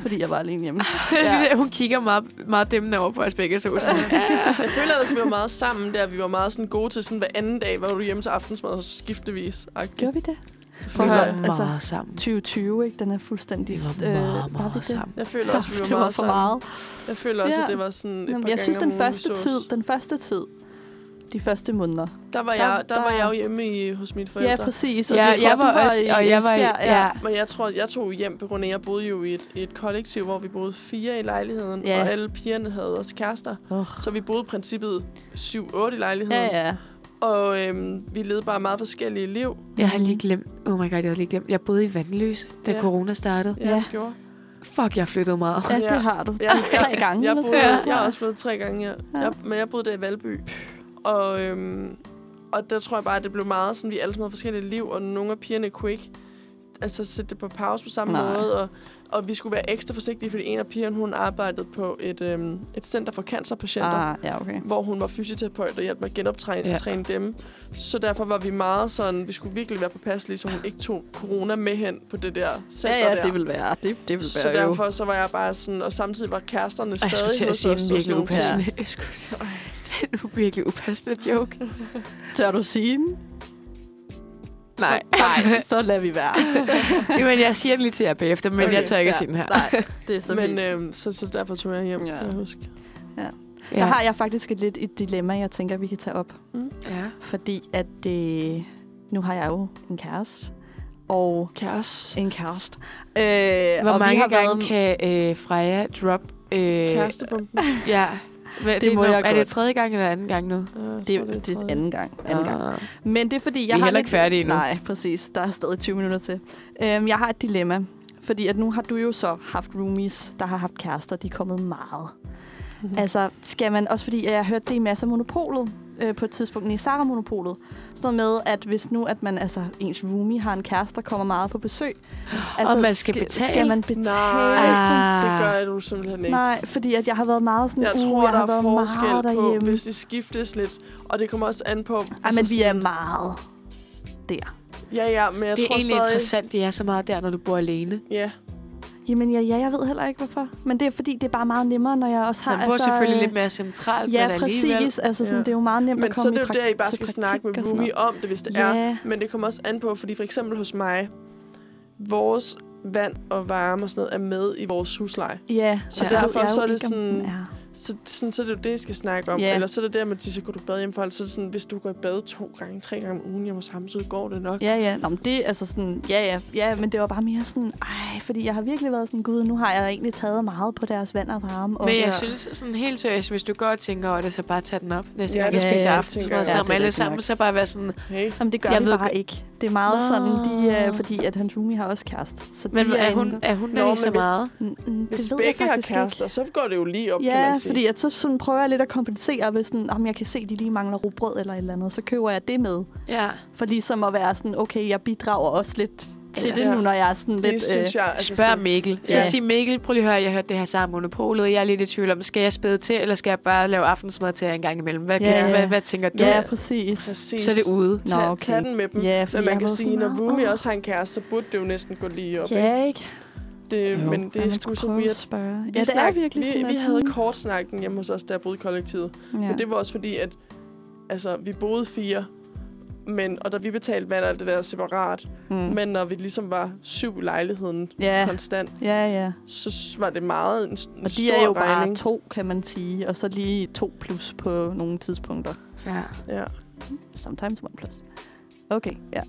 S3: fordi jeg var alene hjemme.
S1: Ah,
S3: Ja.
S2: Ja. Hun kigger meget, meget dæmmende over på os begge to. Sådan.
S1: Jeg føler ellers, vi var meget sammen der. Vi var meget sådan gode til sådan hver anden dag, var du hjemme til aftensmad hos skiftevis.
S3: Gjorde vi det?
S2: Vi
S3: Prøv at høre,
S2: var
S3: altså-
S2: meget sammen.
S3: 2020, ikke? Den er fuldstændig...
S2: Vi var
S3: øh,
S2: meget,
S3: var vi
S2: meget
S3: det?
S2: sammen.
S1: Jeg føler også, vi
S3: Der,
S1: var,
S3: det var
S1: meget
S3: for
S1: sammen.
S3: meget.
S1: Jeg føler også,
S3: Ja.
S1: at det var sådan et
S3: Nå, men
S1: par
S3: Jeg synes,
S1: gange om
S3: den
S1: ugen, vi
S3: første,
S1: sås.
S3: tid, den første tid, de første måneder,
S1: Der var,
S3: der-
S1: jeg, der,
S3: der-
S1: var jeg jo hjemme i, hos mine forældre.
S3: Ja, præcis.
S2: Ja,
S3: det tror
S2: jeg
S3: du
S2: var også,
S3: i
S2: og jeg var i,
S3: Esbjerg,
S2: ja.
S1: Men jeg tror, jeg tog hjem på grund af, at jeg boede jo i et, i et kollektiv, hvor vi boede fire i lejligheden,
S3: Ja.
S1: og alle pigerne havde også kærester.
S3: Oh.
S1: Så vi boede i princippet 7-8 i lejligheden.
S3: Ja, ja.
S1: Og øhm, vi levede bare meget forskellige liv.
S2: Jeg har lige glemt, oh my god, jeg har lige glemt, jeg boede i Vandløse, da
S1: Ja.
S2: corona startede.
S1: Ja,
S3: Ja.
S1: ja. gjorde.
S2: Fuck, jeg flyttede meget.
S3: Ja,
S1: Ja.
S3: det har du.
S1: [laughs] Ja,
S3: Ja, tre
S1: jeg-
S3: gange.
S1: Jeg,
S3: eller
S1: boede,
S3: sådan
S1: ja.
S3: noget, tror
S1: jeg har også blevet tre gange, ja. ja. Jeg, men jeg boede der i Valby. Og, øhm, og der tror jeg bare, at det blev meget sådan, vi alle sammen havde forskellige liv, og nogle af pigerne kunne ikke altså, sætte det på pause på samme
S3: Nej.
S1: Nej. måde. Og, og vi skulle være ekstra forsigtige, fordi en af pigerne, hun arbejdede på et, øhm, et center for cancerpatienter. Ah.
S3: Ah, ja, okay.
S1: hvor hun var fysioterapeut og hjalp mig genoptræne
S2: Ja.
S1: ja. træne dem. Så derfor var vi meget sådan, vi skulle virkelig være på pas, så hun ikke tog corona med hen på det der center
S3: Ja, ja,
S1: der.
S3: det vil være. Det, det vil
S1: Så
S3: være jo.
S1: derfor så var jeg bare sådan, og samtidig var kæresterne
S2: Og jeg skulle til
S1: stadig
S2: at
S1: hos
S2: sige en
S1: os. og sådan
S2: virkelig
S1: nogle ting.
S2: upassende, jeg skulle til- Øj, det er en virkelig upassende joke.
S3: Tør du sige den?
S2: Nej,
S3: Nej, [laughs] så lader vi være.
S2: [laughs] men jeg siger den lige til jer bagefter, men okay,
S1: Okay,
S2: jeg tør ikke ja.
S3: ja.
S2: sige den her.
S3: Nej, det er så
S1: Men
S3: Men, øh,
S1: øhm, så, så derfor tog jeg hjem,
S3: Ja.
S1: ja. jeg husker.
S2: Ja.
S3: Der har jeg faktisk et lidt et dilemma, jeg tænker, vi kan tage op.
S2: ja.
S3: Fordi at øh, nu har jeg jo en kæreste. Og
S1: Kæreste.
S3: en kæreste. Øh,
S2: Hvor
S3: og vi
S2: mange
S3: har
S2: gange
S3: været,
S2: kan øh, Freja drop... Øh,
S3: [laughs]
S1: Kærestebomben.
S2: Ja. Hvad, det,
S3: må
S2: nu-
S3: jeg
S2: Er
S3: godt.
S2: det tredje gang eller anden gang nu?
S1: Øh,
S3: Det, det, det er anden gang. Anden gang.
S2: Ah.
S3: Men det er fordi, jeg
S2: er
S3: har
S2: heller
S3: lidt-
S2: ikke færdige endnu.
S3: Nej, præcis. Der er stadig 20 minutter til. Øhm, jeg har et dilemma. Fordi at nu har du jo så haft roomies, der har haft kærester. De er kommet meget.
S2: Mhm.
S3: Altså, skal man... Også fordi, at jeg hørte det i masser af monopolet øh, på et tidspunkt, i Sara Monopolet. Sådan noget med, at hvis nu, at man, altså, ens roomie har en kæreste, der kommer meget på
S2: [gasps]
S3: besøg.
S2: Og man skal
S3: sk-
S2: betale?
S3: Skal man betale?
S1: Nej,
S2: Ah.
S1: det gør jeg du simpelthen ikke.
S3: Nej, fordi at jeg har været meget sådan,
S1: Jeg
S3: uh,
S1: tror,
S3: jeg
S1: der
S3: har
S1: er
S3: været meget
S1: forskel på,
S3: derhjemme.
S1: hvis de skiftes lidt. Og det kommer også an på...
S3: Ej, men vi er
S1: sådan-
S3: meget der.
S1: Ja, ja, men jeg
S2: Det er
S1: tror
S2: egentlig
S1: stadig...
S2: interessant, det er så meget der, når du bor alene.
S1: Ja,
S3: Jamen, ja, ja, jeg ved heller ikke, hvorfor. Men det er, fordi det er bare meget nemmere, når jeg også har...
S2: Man bor selvfølgelig
S3: øh,
S2: lidt mere centralt,
S3: Ja,
S2: men alligevel.
S3: præcis. Altså, sådan,
S1: Ja.
S3: det er jo meget nemt
S1: Men
S3: at
S1: så er
S3: komme
S1: det jo
S3: i prak-
S1: der, I bare
S3: til
S1: skal snakke
S3: praktik
S1: med
S3: og sådan
S1: Rumi om det, hvis det
S3: noget.
S1: er.
S3: Ja,
S1: Men det kommer også an på, fordi for eksempel hos mig, vores vand og varme og sådan noget er med i vores husleje.
S3: ja.
S1: Så
S3: og der
S1: derfor
S3: ved jeg
S1: så
S3: jo
S1: er det
S3: ikke, om den
S1: sådan-
S3: er.
S1: Så, sådan, så er det jo det, I skal snakke om.
S3: Ja.
S1: Yeah. Eller så er det der med, at de så går du bade hjemme for, så er det sådan, hvis du går i bad to gange, tre gange om ugen hjemme hos ham, så går det nok.
S3: Ja, ja. Nå, men det er altså sådan... Ja, ja. Ja, men det var bare mere sådan... Ej, fordi jeg har virkelig været sådan... Gud, nu har jeg egentlig taget meget på deres vand og varme. Og
S2: Men jeg
S1: Ja.
S2: synes sådan helt seriøst, hvis du går og tænker over det, så bare tag den op næste
S1: Ja,
S2: gang,
S3: det
S2: du
S3: tænker
S2: spiser
S3: jeg.
S1: Tænker
S2: aftensmad
S1: jeg
S2: sammen
S3: også.
S2: alle sammen, så bare være sådan,
S1: Hey.
S3: Jamen, det gør
S2: Jeg
S3: jeg vi
S2: ved
S3: bare ikke. Det er meget
S2: Nå.
S3: sådan, de, øh, fordi at hans roomie har også kæreste. Så
S2: men
S3: de
S2: er hun,
S3: inde-
S2: er hun
S1: Nå,
S2: der lige så
S1: men hvis-
S2: meget?
S3: Mm, mm,
S1: Hvis
S3: ved jeg
S1: begge har
S3: faktisk ikke.
S1: kærester, så går det jo lige op, kan
S3: Ja,
S1: man sige.
S3: fordi at så sådan prøver jeg lidt at kompensere, hvis sådan, om jeg kan se, at de lige mangler rugbrød eller et eller andet. Så køber jeg det med.
S2: Ja.
S3: For ligesom at være sådan, okay, jeg bidrager også lidt til
S2: Ellers-
S3: det nu, når jeg er sådan
S1: det
S3: lidt... øh,
S1: synes jeg... Altså,
S2: Spørg
S1: sådan-
S2: Mikkel. Så
S3: Ja.
S2: sig Mikkel, prøv lige at høre, jeg hørte det her sammen monopolet. Jeg er lidt i tvivl om, skal jeg spæde til, eller skal jeg bare lave aftensmad til jer en gang imellem? Hvad,
S3: Ja,
S2: ja,
S3: ja.
S2: hvad, hvad tænker du?
S3: Ja, præcis.
S1: Præcis.
S2: Så er det ude.
S3: Nå,
S1: Tag,
S3: okay.
S1: tag den med dem.
S3: Ja, fordi
S1: Men
S3: jeg
S1: man kan
S3: var
S1: sige,
S3: sådan,
S1: når
S3: "Åh,
S1: Rumi
S3: åh."
S1: også har en kæreste, så burde det jo næsten gå lige op. ikke?
S3: Ja, ikke?
S1: Det,
S2: Jo.
S1: men det
S3: Ja,
S1: er
S3: man
S1: sgu
S3: skulle
S1: så
S3: prøve at
S1: weird.
S3: Spørge.
S1: Vi
S3: Ja, det er
S1: snak-
S3: virkelig
S1: vi,
S3: sådan,
S1: Vi
S3: at- hmm.
S1: havde kort snakken hjemme hos os, der boede i kollektivet. Ja. Men det var også fordi, at altså, vi boede fire, men, og da vi betalte vand og alt det der separat, mm. men når vi ligesom var syv i lejligheden ja.
S3: Hmm. Ja,
S1: konstant,
S3: ja, ja.
S1: så s- var det meget en, s- en
S3: Og de
S1: stor
S3: er jo bare
S1: regning.
S3: to, kan man sige. Og så lige to plus på nogle tidspunkter.
S2: Ja.
S1: Ja,
S3: Sometimes one plus. Okay, ja.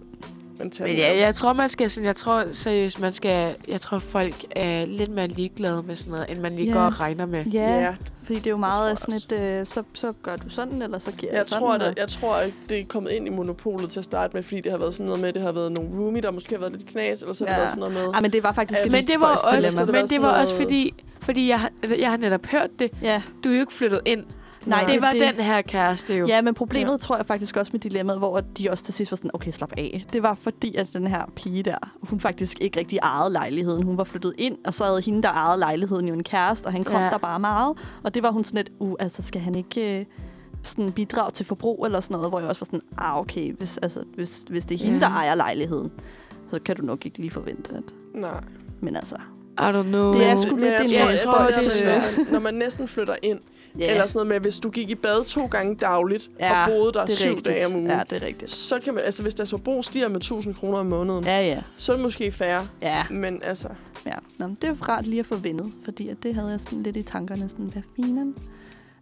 S1: men tag
S2: Men
S1: den
S2: ja,
S1: op.
S2: jeg tror, man skal sådan, jeg tror seriøst, man skal, jeg tror, folk er lidt mere ligeglade med sådan noget, end man lige
S3: Ja.
S2: går og regner med.
S3: Ja,
S1: Ja,
S3: fordi det er jo
S1: tror jeg
S3: meget sådan et, øh, så, så gør du sådan, eller så giver
S1: jeg
S3: sådan.
S1: tror,
S3: og-
S1: det, jeg tror, at det er kommet ind i monopolet til at starte med, fordi det har været sådan noget med, at det har været nogle roomie, der måske har været lidt knas, eller så har
S3: Ja.
S1: det været sådan noget med...
S3: Ej, men det var faktisk
S1: Ja,
S3: et
S2: Øhm, Men
S3: lidt
S2: det var
S3: spøjst
S2: også,
S3: dilemma.
S1: Det var
S2: men det
S1: sådan
S2: var også
S1: noget-
S2: fordi, fordi jeg, har- jeg har netop hørt det.
S3: Ja,
S2: Du er jo ikke flyttet ind.
S3: nej,
S2: det var den her kæreste jo.
S3: Ja, men problemet ja. tror jeg faktisk også med dilemmaet, hvor de også til sidst var sådan, okay, slap af. Det var fordi, at den her pige der, hun faktisk ikke rigtig ejede lejligheden. Hun var flyttet ind, og så havde hende, der ejede lejligheden, jo en kæreste, og han kom
S2: Ja.
S3: ja. der bare meget. Og det var hun sådan lidt, uh, altså skal han ikke... Øh, sådan bidrag til forbrug eller sådan noget, hvor jeg også var sådan, ah okay, hvis, altså, hvis, hvis det er hende,
S2: Ja.
S3: der ejer lejligheden, så kan du nok ikke lige forvente, at...
S1: Nej.
S3: Men altså,
S2: I don't know.
S3: Det er sgu-
S1: Men
S3: lidt
S1: jeg
S3: en
S1: tror,
S2: måde-
S1: jeg tror,
S2: Ja,
S1: det er
S2: det er
S1: svært, når man næsten flytter ind.
S3: øh. ja,
S1: Eller sådan noget med, at hvis du gik i bad to gange dagligt,
S3: Ja,
S1: og boede der
S3: det er
S1: syv
S3: rigtigt.
S1: dage om ugen,
S3: Ja, det er rigtigt.
S1: så kan man, altså hvis deres forbrug stiger med 1000 kroner om måneden, ja.
S3: Ja, ja.
S1: så er det måske færre.
S3: Ja,
S1: Men altså,
S3: Ja, Nå, men det er rart lige at få vendet, fordi at det havde jeg sådan lidt i tankerne, sådan, hvad finan?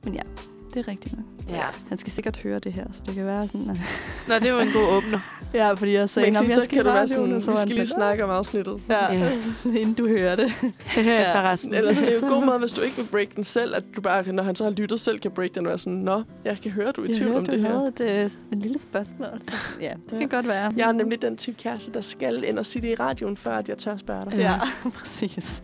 S3: Men ja, det er rigtigt nok.
S2: Ja.
S3: Han skal sikkert høre det her, så det kan være sådan... At...
S2: Nå, det var en god åbner.
S3: Ja, fordi jeg
S1: så, man kan sige,
S3: sagde, "Nå, men jeg
S1: så kan
S3: skal
S1: det
S3: bare
S1: være
S3: sådan,
S1: sådan,
S3: nu,
S1: vi
S3: så var han
S1: skal lige
S3: sådan,
S1: snakke om afsnittet.
S3: Ja,
S2: Ja.
S3: [laughs] inden du hører det.
S2: ja. Forresten.
S1: Ellers det er jo en
S3: [laughs]
S1: god måde, hvis du ikke vil break den selv, at du bare, når han så har lyttet selv, kan break den og være sådan, Nå, jeg kan høre, du er i
S3: Jeg
S1: tvivl
S3: hørte,
S1: om
S3: du
S1: det her.
S3: havde et, øh, en lille spørgsmål. Ja, det kan godt være.
S1: Jeg er nemlig den type kæreste, der skal ind og sige det i radioen, før at jeg tør
S3: [laughs]
S1: spørge dig.
S2: Ja.
S3: Ja, præcis.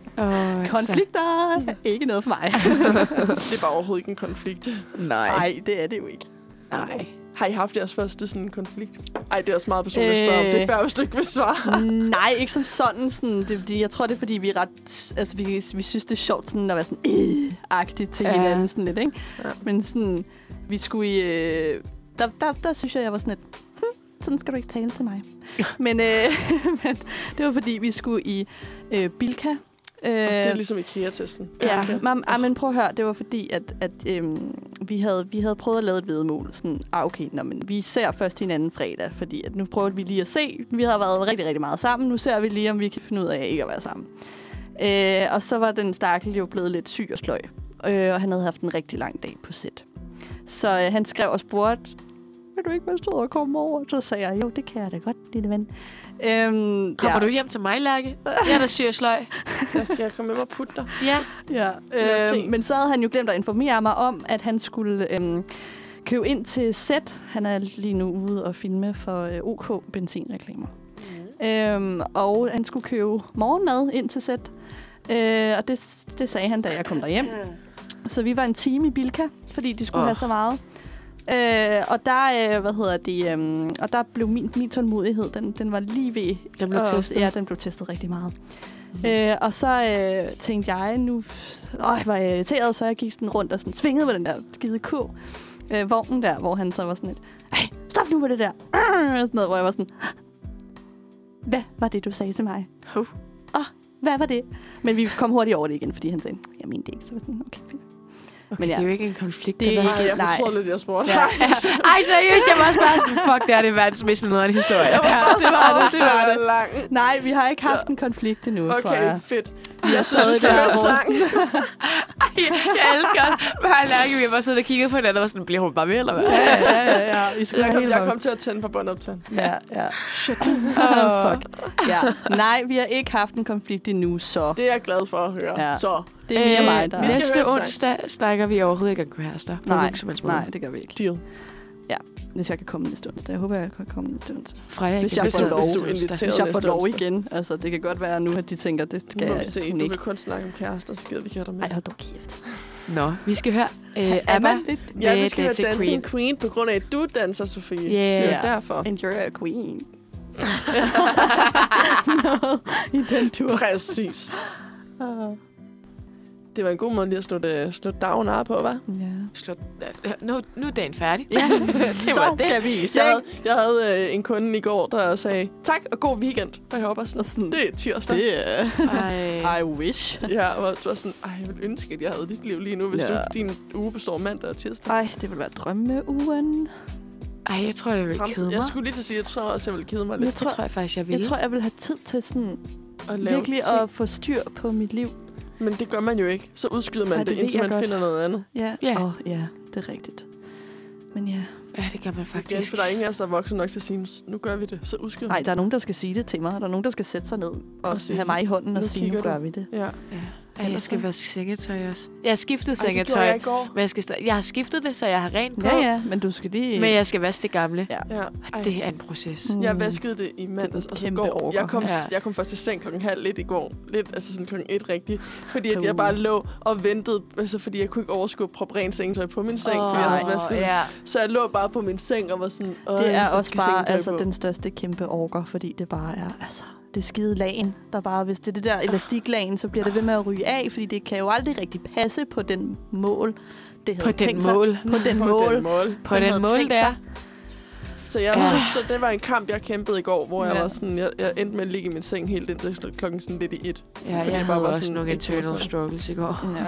S2: [laughs] Åh, altså.
S3: Konflikter er [laughs] ikke noget for mig.
S1: Det er bare overhovedet ikke en konflikt.
S2: Nej.
S3: [laughs] Nej, det er det jo ikke.
S2: Nej.
S1: Har I haft jeres første sådan konflikt? Ej, det er også meget personligt at spørge om. Det
S3: Øh,
S1: er færre, hvis du ikke vil svare.
S3: [laughs] Nej, ikke som sådan. sådan det, er fordi- jeg tror, det er, fordi vi, er ret, altså, vi, vi synes, det er sjovt sådan, at være sådan øh agtigt til
S2: Ja.
S3: ja. hinanden. Sådan lidt, ikke?
S1: Ja.
S3: Ja. Men sådan, vi skulle i... Øh, der, der, der synes jeg, jeg var sådan lidt... Hm, sådan skal du ikke tale til mig. men, øh, [laughs] men det var, fordi vi skulle i øh, Bilka. Øh,
S1: Det er ligesom IKEA-testen.
S3: Ja, mam, ah, men prøv at høre, det var fordi, at, at øhm, vi, havde, vi havde prøvet at lave et vedmål. Sådan, ah, okay, nå, men vi ser først hinanden fredag, fordi at nu prøver vi lige at se. Vi har været rigtig, rigtig meget sammen. Nu ser vi lige, om vi kan finde ud af ikke at være sammen. Øh, og så var den stakkel jo blevet lidt syg og sløj, øh, og han havde haft en rigtig lang dag på sæt. Så øh, han skrev og spurgte, vil du ikke være sød og komme over? Så sagde jeg, jo, det kan jeg da godt, lille ven. Øhm,
S2: Kommer
S3: ja,
S2: du hjem til mig, Lærke? Jeg er der syr sløj.
S1: Jeg skal jeg komme med mig og putte dig.
S2: Ja.
S3: [laughs] Ja,
S1: Flere ting.
S3: øh, men så havde han jo glemt at informere mig om, at han skulle øh, købe ind til Sæt. Han er lige nu ude og filme for øh, OK benzinreklamer. Øhm, og han skulle købe morgenmad ind til Sæt. Øh, og det, det sagde han, da jeg kom derhjem. Så vi var en time i Bilka, fordi de skulle
S2: Åh.
S3: oh. have så meget. Øh, og der, øh, hvad hedder det, øh, og der blev min, min tålmodighed, den, den var lige ved
S2: Den blev
S3: og,
S2: testet.
S3: Ja, den blev testet rigtig meget. Mm. Øh, og så øh, tænkte jeg, nu øh, var jeg irriteret, så jeg gik sådan rundt og sådan svingede med den der skide ko. Øh, vognen der, hvor han så var sådan lidt, Ej, stop nu med det der. [clears throat] Arr! Og sådan noget, hvor jeg var sådan, hvad var det, du sagde til mig?
S2: Hov.
S3: Åh, hvad var det? Men vi kom hurtigt over det igen, fordi han sagde, jeg mente det ikke. Så var jeg sådan, okay, fint.
S2: Okay, men
S3: Men ja.
S2: ja. det er jo ikke en konflikt.
S3: Det er
S2: altså.
S1: Nej, jeg
S3: nej.
S1: fortrød lidt, jeg spurgte.
S3: Ja.
S1: Ja.
S2: Ej, seriøst, jeg var også bare sådan, fuck, det er det verdens mest nederen historie.
S3: [laughs] Ja, det var det, det var det.
S1: Lang.
S3: [laughs] Nej, vi har ikke haft en konflikt endnu, tror
S1: Okay,
S3: jeg.
S1: fedt. Jeg synes, du
S3: stadig
S1: skal
S3: der
S1: høre
S3: vores-
S1: sangen.
S2: Ej, jeg elsker også. Hver lærke, vi har bare siddet og kigget på hinanden og var sådan, bliver hun bare med, eller hvad?
S3: Ja, ja, ja, ja. I skulle
S1: Jeg
S3: være
S1: kom,
S3: helt
S1: jeg
S3: op.
S1: kom til at tænde på båndoptageren.
S3: Ja, ja.
S2: Åh.
S3: Oh, [laughs] Fuck. Ja. Nej, vi har ikke haft en konflikt endnu, så
S1: Det er jeg glad for at høre.
S3: Ja.
S1: Så,
S3: det er mere
S2: Øh,
S3: mig, der...
S1: vi skal
S2: Næste
S1: høre en sang.
S2: onsdag snakker vi overhovedet ikke om kærester. på
S3: Nej,
S2: nogen som helst måde.
S3: nej, det gør vi ikke.
S1: deal.
S3: Hvis jeg kan komme næste onsdag. Jeg håber, jeg kan komme næste onsdag.
S2: Freja,
S3: Hvis
S2: igen,
S3: jeg
S2: hvis
S3: får
S2: du-
S3: lov.
S2: hvis du
S1: Hvis
S2: inviterer.
S1: Det er
S3: Hvis jeg får
S1: næste
S3: lov
S1: onsdag.
S3: igen. Altså, det kan godt være nu, at de tænker, det
S1: Det
S3: skal
S1: må vi se.
S3: hun
S1: Du
S3: ikke.
S1: kan kun snakke om kærester, så gider vi ikke høre dig med.
S3: Ej, hold dog kæft.
S2: Nå, vi skal høre øh, Abba
S3: lidt
S1: Ja,
S2: med
S1: vi skal
S2: Dancing
S1: være Dancing Queen.
S2: Queen.
S1: Queen, på grund af, at du danser, Sofie. Det er
S2: Yeah.
S1: jo derfor.
S3: And you're a queen. [laughs] Noget I den tur.
S1: Præcis.
S3: Åh.
S1: Det var en god måde lige at slutte, øh, slutte dagen af på, hva'?
S3: Ja.
S2: Slut. øh, Nu, nu er dagen færdig.
S3: ja.
S2: [laughs] det var
S3: så
S2: det.
S3: skal vi i
S1: Jeg havde,
S3: seng.
S1: jeg havde øh, en kunde i går, der sagde, tak og god weekend. Og jeg var bare sådan,
S3: Og sådan,
S1: det er tirsdag.
S3: Det er...
S2: Ej.
S3: I
S1: [laughs]
S3: wish.
S1: Ja, og jeg var sådan, ej, jeg ville ønske, at jeg havde dit liv lige nu, hvis
S3: Ja.
S1: ja. du, din uge består af mandag og tirsdag.
S3: Ej, det ville være drømmeugen.
S2: Ej, jeg tror, jeg vil
S1: Tramset.
S2: kede mig.
S1: Jeg skulle lige til at sige, at jeg tror også, jeg ville kede mig
S3: Jeg
S1: lidt
S2: Det tror jeg faktisk, jeg vil.
S3: Jeg tror, jeg vil have tid til sådan
S1: og lave
S3: virkelig
S1: ting.
S3: at få styr på mit liv.
S1: Men det gør man jo ikke. Så udskyder man
S3: Ej,
S1: Ej,
S3: det
S1: det, det
S3: ved
S1: indtil
S3: jeg
S1: man
S3: godt.
S1: godt. finder noget andet.
S3: Ja.
S2: Ja.
S3: Åh, ja, det er rigtigt. Men ja.
S2: Ja, det gør man
S1: Faktisk. Ja,
S2: faktisk.
S1: for der er ingen af os, der er voksen nok til at sige, "Nu s- nu gør vi det. Så udskyder
S3: Nej,
S1: man.
S3: der er nogen, der skal sige det til mig. Der er nogen, der skal sætte sig ned og,
S1: Og sige,
S3: have mig i hånden og
S1: "Nu
S3: sige, nu
S1: kigger du."
S3: gør vi det.
S1: Ja.
S2: Ja. Ej, jeg
S1: Ellers
S2: skal
S1: så-
S2: vaske sengetøj også. Jeg har skiftet
S1: Ej, det gjorde
S2: sengetøj.
S1: jeg i går.
S2: Men jeg, skal stadig- jeg har skiftet det, så jeg har rent på.
S3: Ja, ja, men du skal lige...
S2: Men jeg skal vaske det gamle.
S3: Ja.
S1: Ja. Ej,
S2: Og det er en proces.
S3: Mm.
S1: Jeg vaskede det i mandags,
S3: Det er en
S1: og så
S3: kæmpe
S1: går
S3: orker.
S1: jeg kom,
S2: Ja.
S1: ja. jeg kom først i seng klokken halv lidt i går. Lidt, altså sådan klokken et rigtigt. Fordi at
S3: Puh.
S1: jeg bare lå og ventede, altså fordi jeg kunne ikke overskue at proppe rent sengetøj på min seng. Oh,
S2: Åh,
S1: fordi jeg havde vasket. det.
S2: ja.
S1: Så jeg lå bare på min seng og var sådan, "Øj,
S3: Det er
S1: jeg
S3: også
S1: skal
S3: bare
S1: sengetøj
S3: altså,
S1: på."
S3: den største kæmpe orker, fordi det bare er altså, det skide lagen, der bare, hvis det er det der elastiklagen, så bliver det ved med at ryge af, fordi det kan jo aldrig rigtig passe på den mål, det
S2: På
S3: havde
S2: den
S3: tænkt
S2: mål.
S3: Sig. [laughs] På den
S1: på
S3: mål.
S1: den mål.
S2: På
S3: Den
S2: den,
S3: havde
S2: mål,
S3: tænkt
S2: der.
S3: sig.
S1: Så, jeg,
S2: Ja.
S1: ja. så, så det var en kamp, jeg kæmpede i går, hvor ja.
S3: Ja.
S1: jeg var sådan, jeg, jeg endte med at ligge i min seng helt indtil kl- klokken sådan lidt i et.
S2: Ja,
S1: Fordi
S2: jeg
S1: jeg
S2: havde
S1: bare var
S2: også
S1: sådan,
S2: nogle
S1: ikke
S2: internal
S1: modsat.
S2: struggles i går.
S3: [laughs] Ja.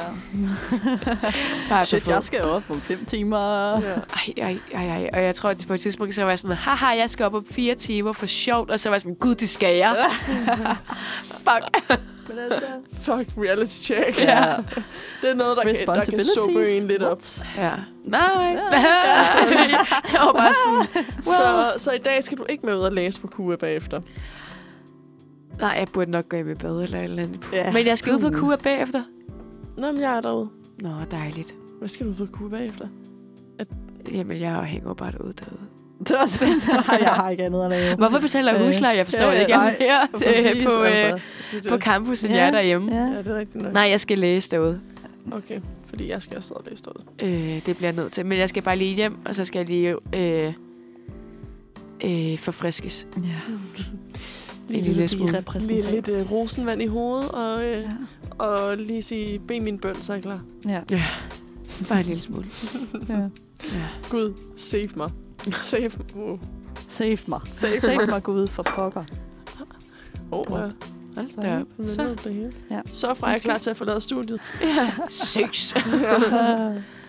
S2: Bare på
S3: Shit,
S2: fod.
S3: jeg skal op om fem timer.
S1: Ja.
S2: Ej, ej, ej, ej. Og jeg tror, at på et tidspunkt, så var jeg sådan, haha, jeg skal op om fire timer for sjovt. Og så var jeg sådan, gud, det skal
S3: [laughs]
S2: jeg. Fuck.
S3: Men altså,
S1: Fuck, reality check.
S3: Ja.
S1: [laughs] Det er noget, der kan, der kan sobe en lidt op.
S3: What?
S2: Ja. Nej. [laughs] jeg var bare
S3: [laughs]
S2: sådan,
S1: Så, så i dag skal du ikke med ud og læse på KUA bagefter.
S2: nej, jeg burde nok gå hjem i bad eller et eller andet.
S3: Ja. Mm.
S2: Men jeg skal ud på kur bagefter.
S1: Nå, men jeg er derude.
S2: Nå, dejligt.
S1: Hvad skal du på KUA bagefter?
S2: Jamen, jeg hænger jo bare ud derude.
S3: [laughs] Det var [laughs] spændende. Ej, jeg har ikke andet at lave.
S2: Hvorfor betaler jeg
S3: Øh,
S2: husleje? Jeg forstår
S3: [laughs] ja,
S2: det ikke. Jeg
S3: nej,
S2: er mere øh,
S3: Præcis,
S2: på, øh,
S3: altså.
S1: Det, er det.
S2: [laughs] på campus, end
S3: Ja, Øh.
S2: jeg er derhjemme.
S1: Ja, det er rigtigt nok.
S2: Nej, jeg skal læse derude.
S1: Okay, fordi jeg skal også sidde og læse derude.
S2: Øh, det bliver jeg nødt til. Men jeg skal bare lige hjem, og så skal jeg lige øh, øh, forfriskes.
S3: ja.
S2: En lille smule.
S3: blive
S1: Lige
S3: repræsentant.
S1: lidt øh, rosenvand i hovedet, og, øh,
S3: Ja.
S1: og lige sige, bed min bøn, så er jeg klar.
S3: Ja.
S2: Bare en lille smule.
S3: ja.
S2: Ja.
S1: Gud, save mig. [laughs] Save mig. Wow.
S3: Save mig.
S1: Save,
S3: [laughs] Save mig, Gud, for pokker.
S1: Oh, ja.
S2: Hold da op.
S1: Så.
S2: Så.
S1: Det hele.
S3: Ja.
S1: Ja. så er Freja klar til at forlade studiet.
S2: [laughs] Ja. Ses.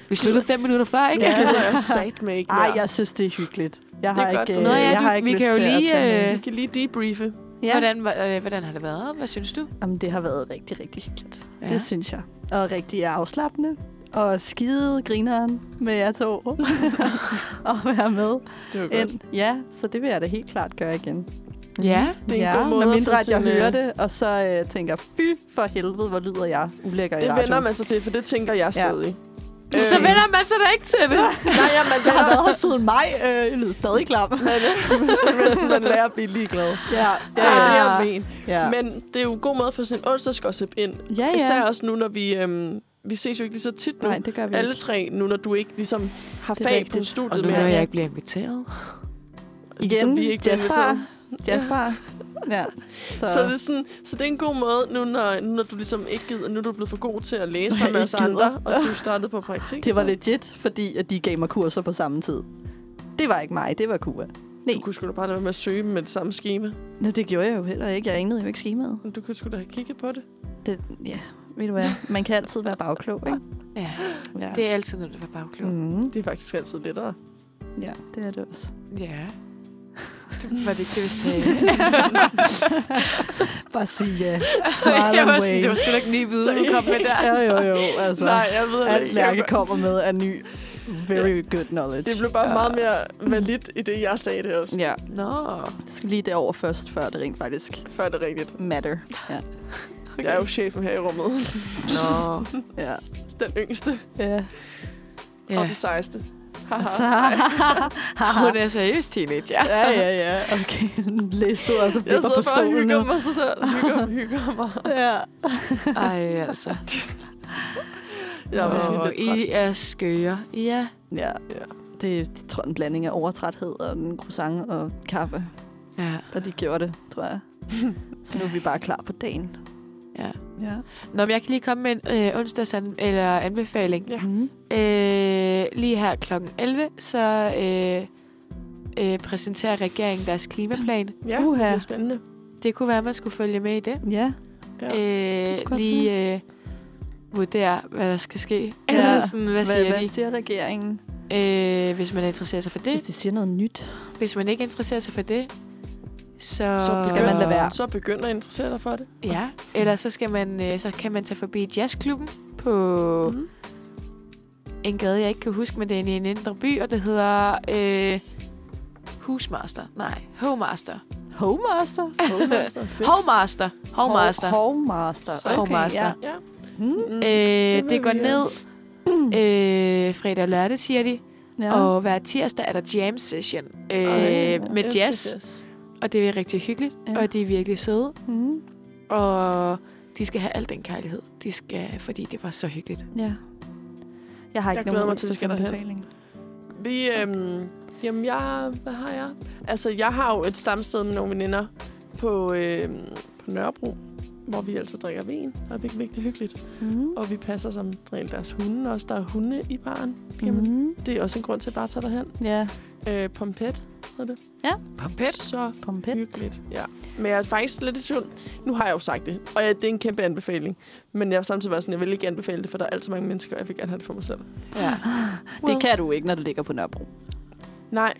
S2: Vi sluttede fem minutter før, ikke? Altså,
S1: Ja, det
S3: [laughs]
S1: er sat med ikke
S3: [laughs] Ej,
S1: mere.
S3: jeg synes, det er hyggeligt. Jeg
S1: Det
S3: har
S1: er godt.
S3: ikke, øh,
S1: Nå ja,
S3: jeg
S2: du-
S3: har ikke
S2: vi
S3: lyst
S2: kan jo
S3: til
S2: lige,
S3: at tage
S1: Vi kan lige øh, debriefe.
S3: Ja.
S2: Hvordan, var- øh, hvordan har det været? Hvad synes du?
S3: Jamen, det har været rigtig, rigtig hyggeligt. Ja.
S2: Ja.
S3: Det synes jeg. Og rigtig afslappende. Og skide grineren med jer
S1: [laughs]
S3: to. og være med.
S1: Det var godt.
S3: Ind. Ja, så det vil jeg da helt klart gøre igen.
S2: Ja.
S1: Det er en
S3: ja,
S1: god måde at få
S3: medmindre, at jeg
S1: sin, øh,
S3: hører det, og så øh, tænker, fy for helvede, hvor lyder jeg ulækker i
S1: Det
S3: radioen.
S1: vender man sig til, for det tænker jeg stadig. Øh, Ja.
S2: Så
S1: [laughs]
S2: vender man sig da ikke til det.
S1: Nej, ja, man
S3: [laughs] Jeg har
S1: vender
S3: været her siden maj. Øh, jeg lyder stadig klam.
S1: man, man, sådan, man lærer at blive ligeglad.
S3: Ja,
S1: Det
S3: ja,
S1: er
S3: ja.
S1: mere men.
S3: ja.
S1: Men det er jo en god måde at få sådan en onsdagsgossip ind.
S3: ja, ja.
S1: Især også nu, når vi... Øhm, vi ses jo ikke lige så tit nu.
S3: Nej, det gør vi
S1: Alle
S3: ikke.
S1: tre, nu når du ikke ligesom har
S3: Det er
S1: fag på
S3: rigtigt.
S2: Og
S1: studiet
S2: nu
S1: mere.
S2: når jeg ikke bliver inviteret.
S1: ligesom vi ikke bliver
S3: jazzbar.
S1: inviteret.
S3: Jazzbar. Ja. Så,
S1: Så det, er sådan, så det er en god måde, nu når, nu når du ligesom ikke gider, nu er du blevet for god til at læse
S3: Når jeg
S1: sammen med os
S3: ikke gider. Ah.
S1: andre, og du startede på praktik.
S3: det var
S1: så.
S3: legit, fordi at de gav mig kurser på samme tid. Det var ikke mig, det var Kua.
S1: Du kunne sgu da bare lade være med at søge dem med det samme schema.
S3: Nå, det gjorde jeg jo heller ikke. Jeg anede jo ikke skemaet.
S1: Men du kunne sgu da have kigget på det.
S3: Det, ja, ved du hvad? Man kan altid være bagklog, ikke?
S2: Ja,
S3: Ja.
S2: det er altid noget, der var bagklog. Mm.
S3: mm.
S1: Det er faktisk altid lettere.
S3: ja, det er det også.
S2: Ja. [laughs] Det var det [laughs] ikke det, vi sagde.
S3: [laughs] Bare sige ja.
S2: jeg var sådan, det var sgu da ikke ny viden, hun kom med [laughs] der.
S4: Ja, jo, jo. Altså,
S1: Nej, jeg ved det
S4: alt
S1: ikke. Jeg
S4: Lærke
S1: var-
S4: kommer med er ny. Very good knowledge.
S1: Det blev bare meget mere validt i det, jeg sagde det også.
S3: Ja,
S2: Nå.
S3: det skal lige derover først, før det rent faktisk
S1: Før det er rigtigt.
S3: matter. Ja.
S1: Okay. Jeg er jo chefen her i rummet.
S2: Nå.
S3: Ja.
S1: [laughs] Den yngste
S3: [laughs] ja.
S1: ja. og den sejeste.
S3: Så,
S1: Haha.
S2: Hun er seriøst teenager.
S3: Altså, ja, ja, ja. Okay, [laughs] læste og så
S1: Jeg sidder
S3: flipper på
S1: bare og
S3: stolen
S1: hygger
S3: nu.
S1: mig så selv.
S3: [laughs]
S1: Hygger, hygger mig.
S3: Ja.
S2: Ej, altså.
S1: Jeg er virkelig
S2: Åh,
S1: lidt træt.
S2: I er skøre. Ja.
S3: Ja.
S1: Ja.
S3: Det, det tror jeg, en blanding af overtræthed og en croissant og kaffe,
S2: Ja.
S3: der lige gjorde det, tror
S1: [laughs]
S3: jeg. Så nu er vi bare klar på dagen.
S2: Ja.
S3: Ja.
S2: Nå, men jeg kan lige komme med en øh, onsdags an- eller anbefaling.
S1: Ja.
S3: Mm.
S2: Øh, lige her kl. 11, så øh, øh, præsenterer regeringen deres klimaplan.
S1: Ja,
S3: Uha.
S1: det er spændende.
S2: Det kunne være, at man skulle følge med i det.
S3: Ja.
S1: Ja.
S2: Øh,
S3: godt
S2: lige øh, vurdere, hvad der skal ske.
S3: [laughs] Ja.
S2: Eller sådan, hvad
S3: Hvad,
S2: siger
S3: hvad siger regeringen?
S2: de? Øh, hvis man er interesseret sig for
S3: Hvis
S2: det.
S3: de siger noget nyt.
S2: Hvis man ikke er interesseret sig for det, så...
S1: Så
S3: skal man lade være.
S1: Så begynder at interessere dig for det.
S2: Ja, eller så, skal man, øh, så kan man tage forbi jazzklubben på
S1: Mm.
S2: en gade, jeg ikke kan huske, men det er inde i en indre by, og det hedder øh, Husmaster. Nej, Hovmaster.
S3: Hovmaster?
S2: Hovmaster. Hovmaster.
S3: Hovmaster. Okay,
S2: Hovmaster.
S3: Ja.
S1: Ja. Mhm.
S2: Øh,
S3: Mm.
S1: vil
S2: det går
S1: vi, øh,
S2: ned øh, fredag og lørdag, siger de.
S3: Mhm. Ja.
S2: Og hver tirsdag er der jam session øh,
S1: Ej,
S2: med
S1: elsker
S2: jazz. Og det er rigtig hyggeligt,
S3: Ja.
S2: ja. og de er virkelig søde.
S3: Mm.
S2: Og de skal have al den kærlighed, de skal, fordi det var så hyggeligt.
S3: ja. Jeg har ikke
S1: glæder
S3: nogen
S1: mig til, at vi skal derhen.
S3: onsdagsanbefaling.
S1: Vi, øhm, jamen, jeg, hvad har jeg? Altså, jeg har jo et stamsted med nogle veninder på, øhm, på Nørrebro, hvor vi altså drikker vin, og det er virkelig, virkelig hyggeligt.
S3: Mm.
S1: Og vi passer som regel deres hunde også. Der er hunde i baren.
S2: Mhm.
S1: Jamen, mm.
S3: Mm.
S1: det er også en grund til at bare tage derhen.
S3: Ja.
S1: Øh, Pompet hedder det.
S2: Pompet.
S1: Så
S3: Pompet.
S1: hyggeligt. Ja. Men jeg er faktisk lidt i tvivl. Nu har jeg jo sagt det, og ja, det er en kæmpe anbefaling. Men jeg har samtidig været sådan, jeg vil ikke anbefale det, for der er alt så mange mennesker, og jeg vil gerne have det for mig selv.
S2: Ja.
S3: Det kan du ikke, når du ligger på Nørrebro.
S1: Nej.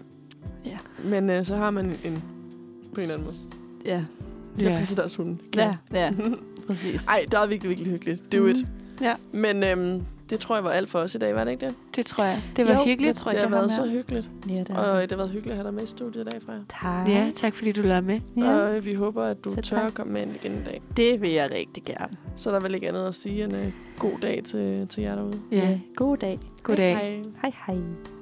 S3: Ja.
S1: Men øh, så har man en, en på en eller anden måde.
S3: Ja.
S1: Jeg
S2: Ja.
S1: passer deres hunde. [laughs]
S3: Ja, ja. Mhm. Mm-hmm. Præcis.
S1: Ej, der er virkelig, virkelig hyggeligt. Do it.
S3: Ja.
S1: Men øhm, det tror jeg var alt for os i dag, var det ikke det?
S2: Det tror jeg. Det var
S3: Jo,
S2: hyggeligt.
S3: Jeg tror,
S1: det
S3: ikke,
S1: har
S3: jeg
S1: været
S3: med.
S1: så hyggeligt.
S3: Ja, det
S1: Og øh,
S3: har.
S1: det har været hyggeligt at have dig med i studiet i dag, Freja.
S3: Tak.
S2: Ja, tak fordi du lader med.
S3: ja.
S1: Og øh, vi håber, at du
S3: Selv
S1: tør
S3: tak.
S1: at komme med ind igen i dag.
S3: Det vil jeg rigtig gerne.
S1: Så er der vel ikke andet at sige end øh, god dag til, til jer derude.
S2: Ja.
S3: God dag.
S2: Goddag.
S1: Hej.
S3: Hej hej.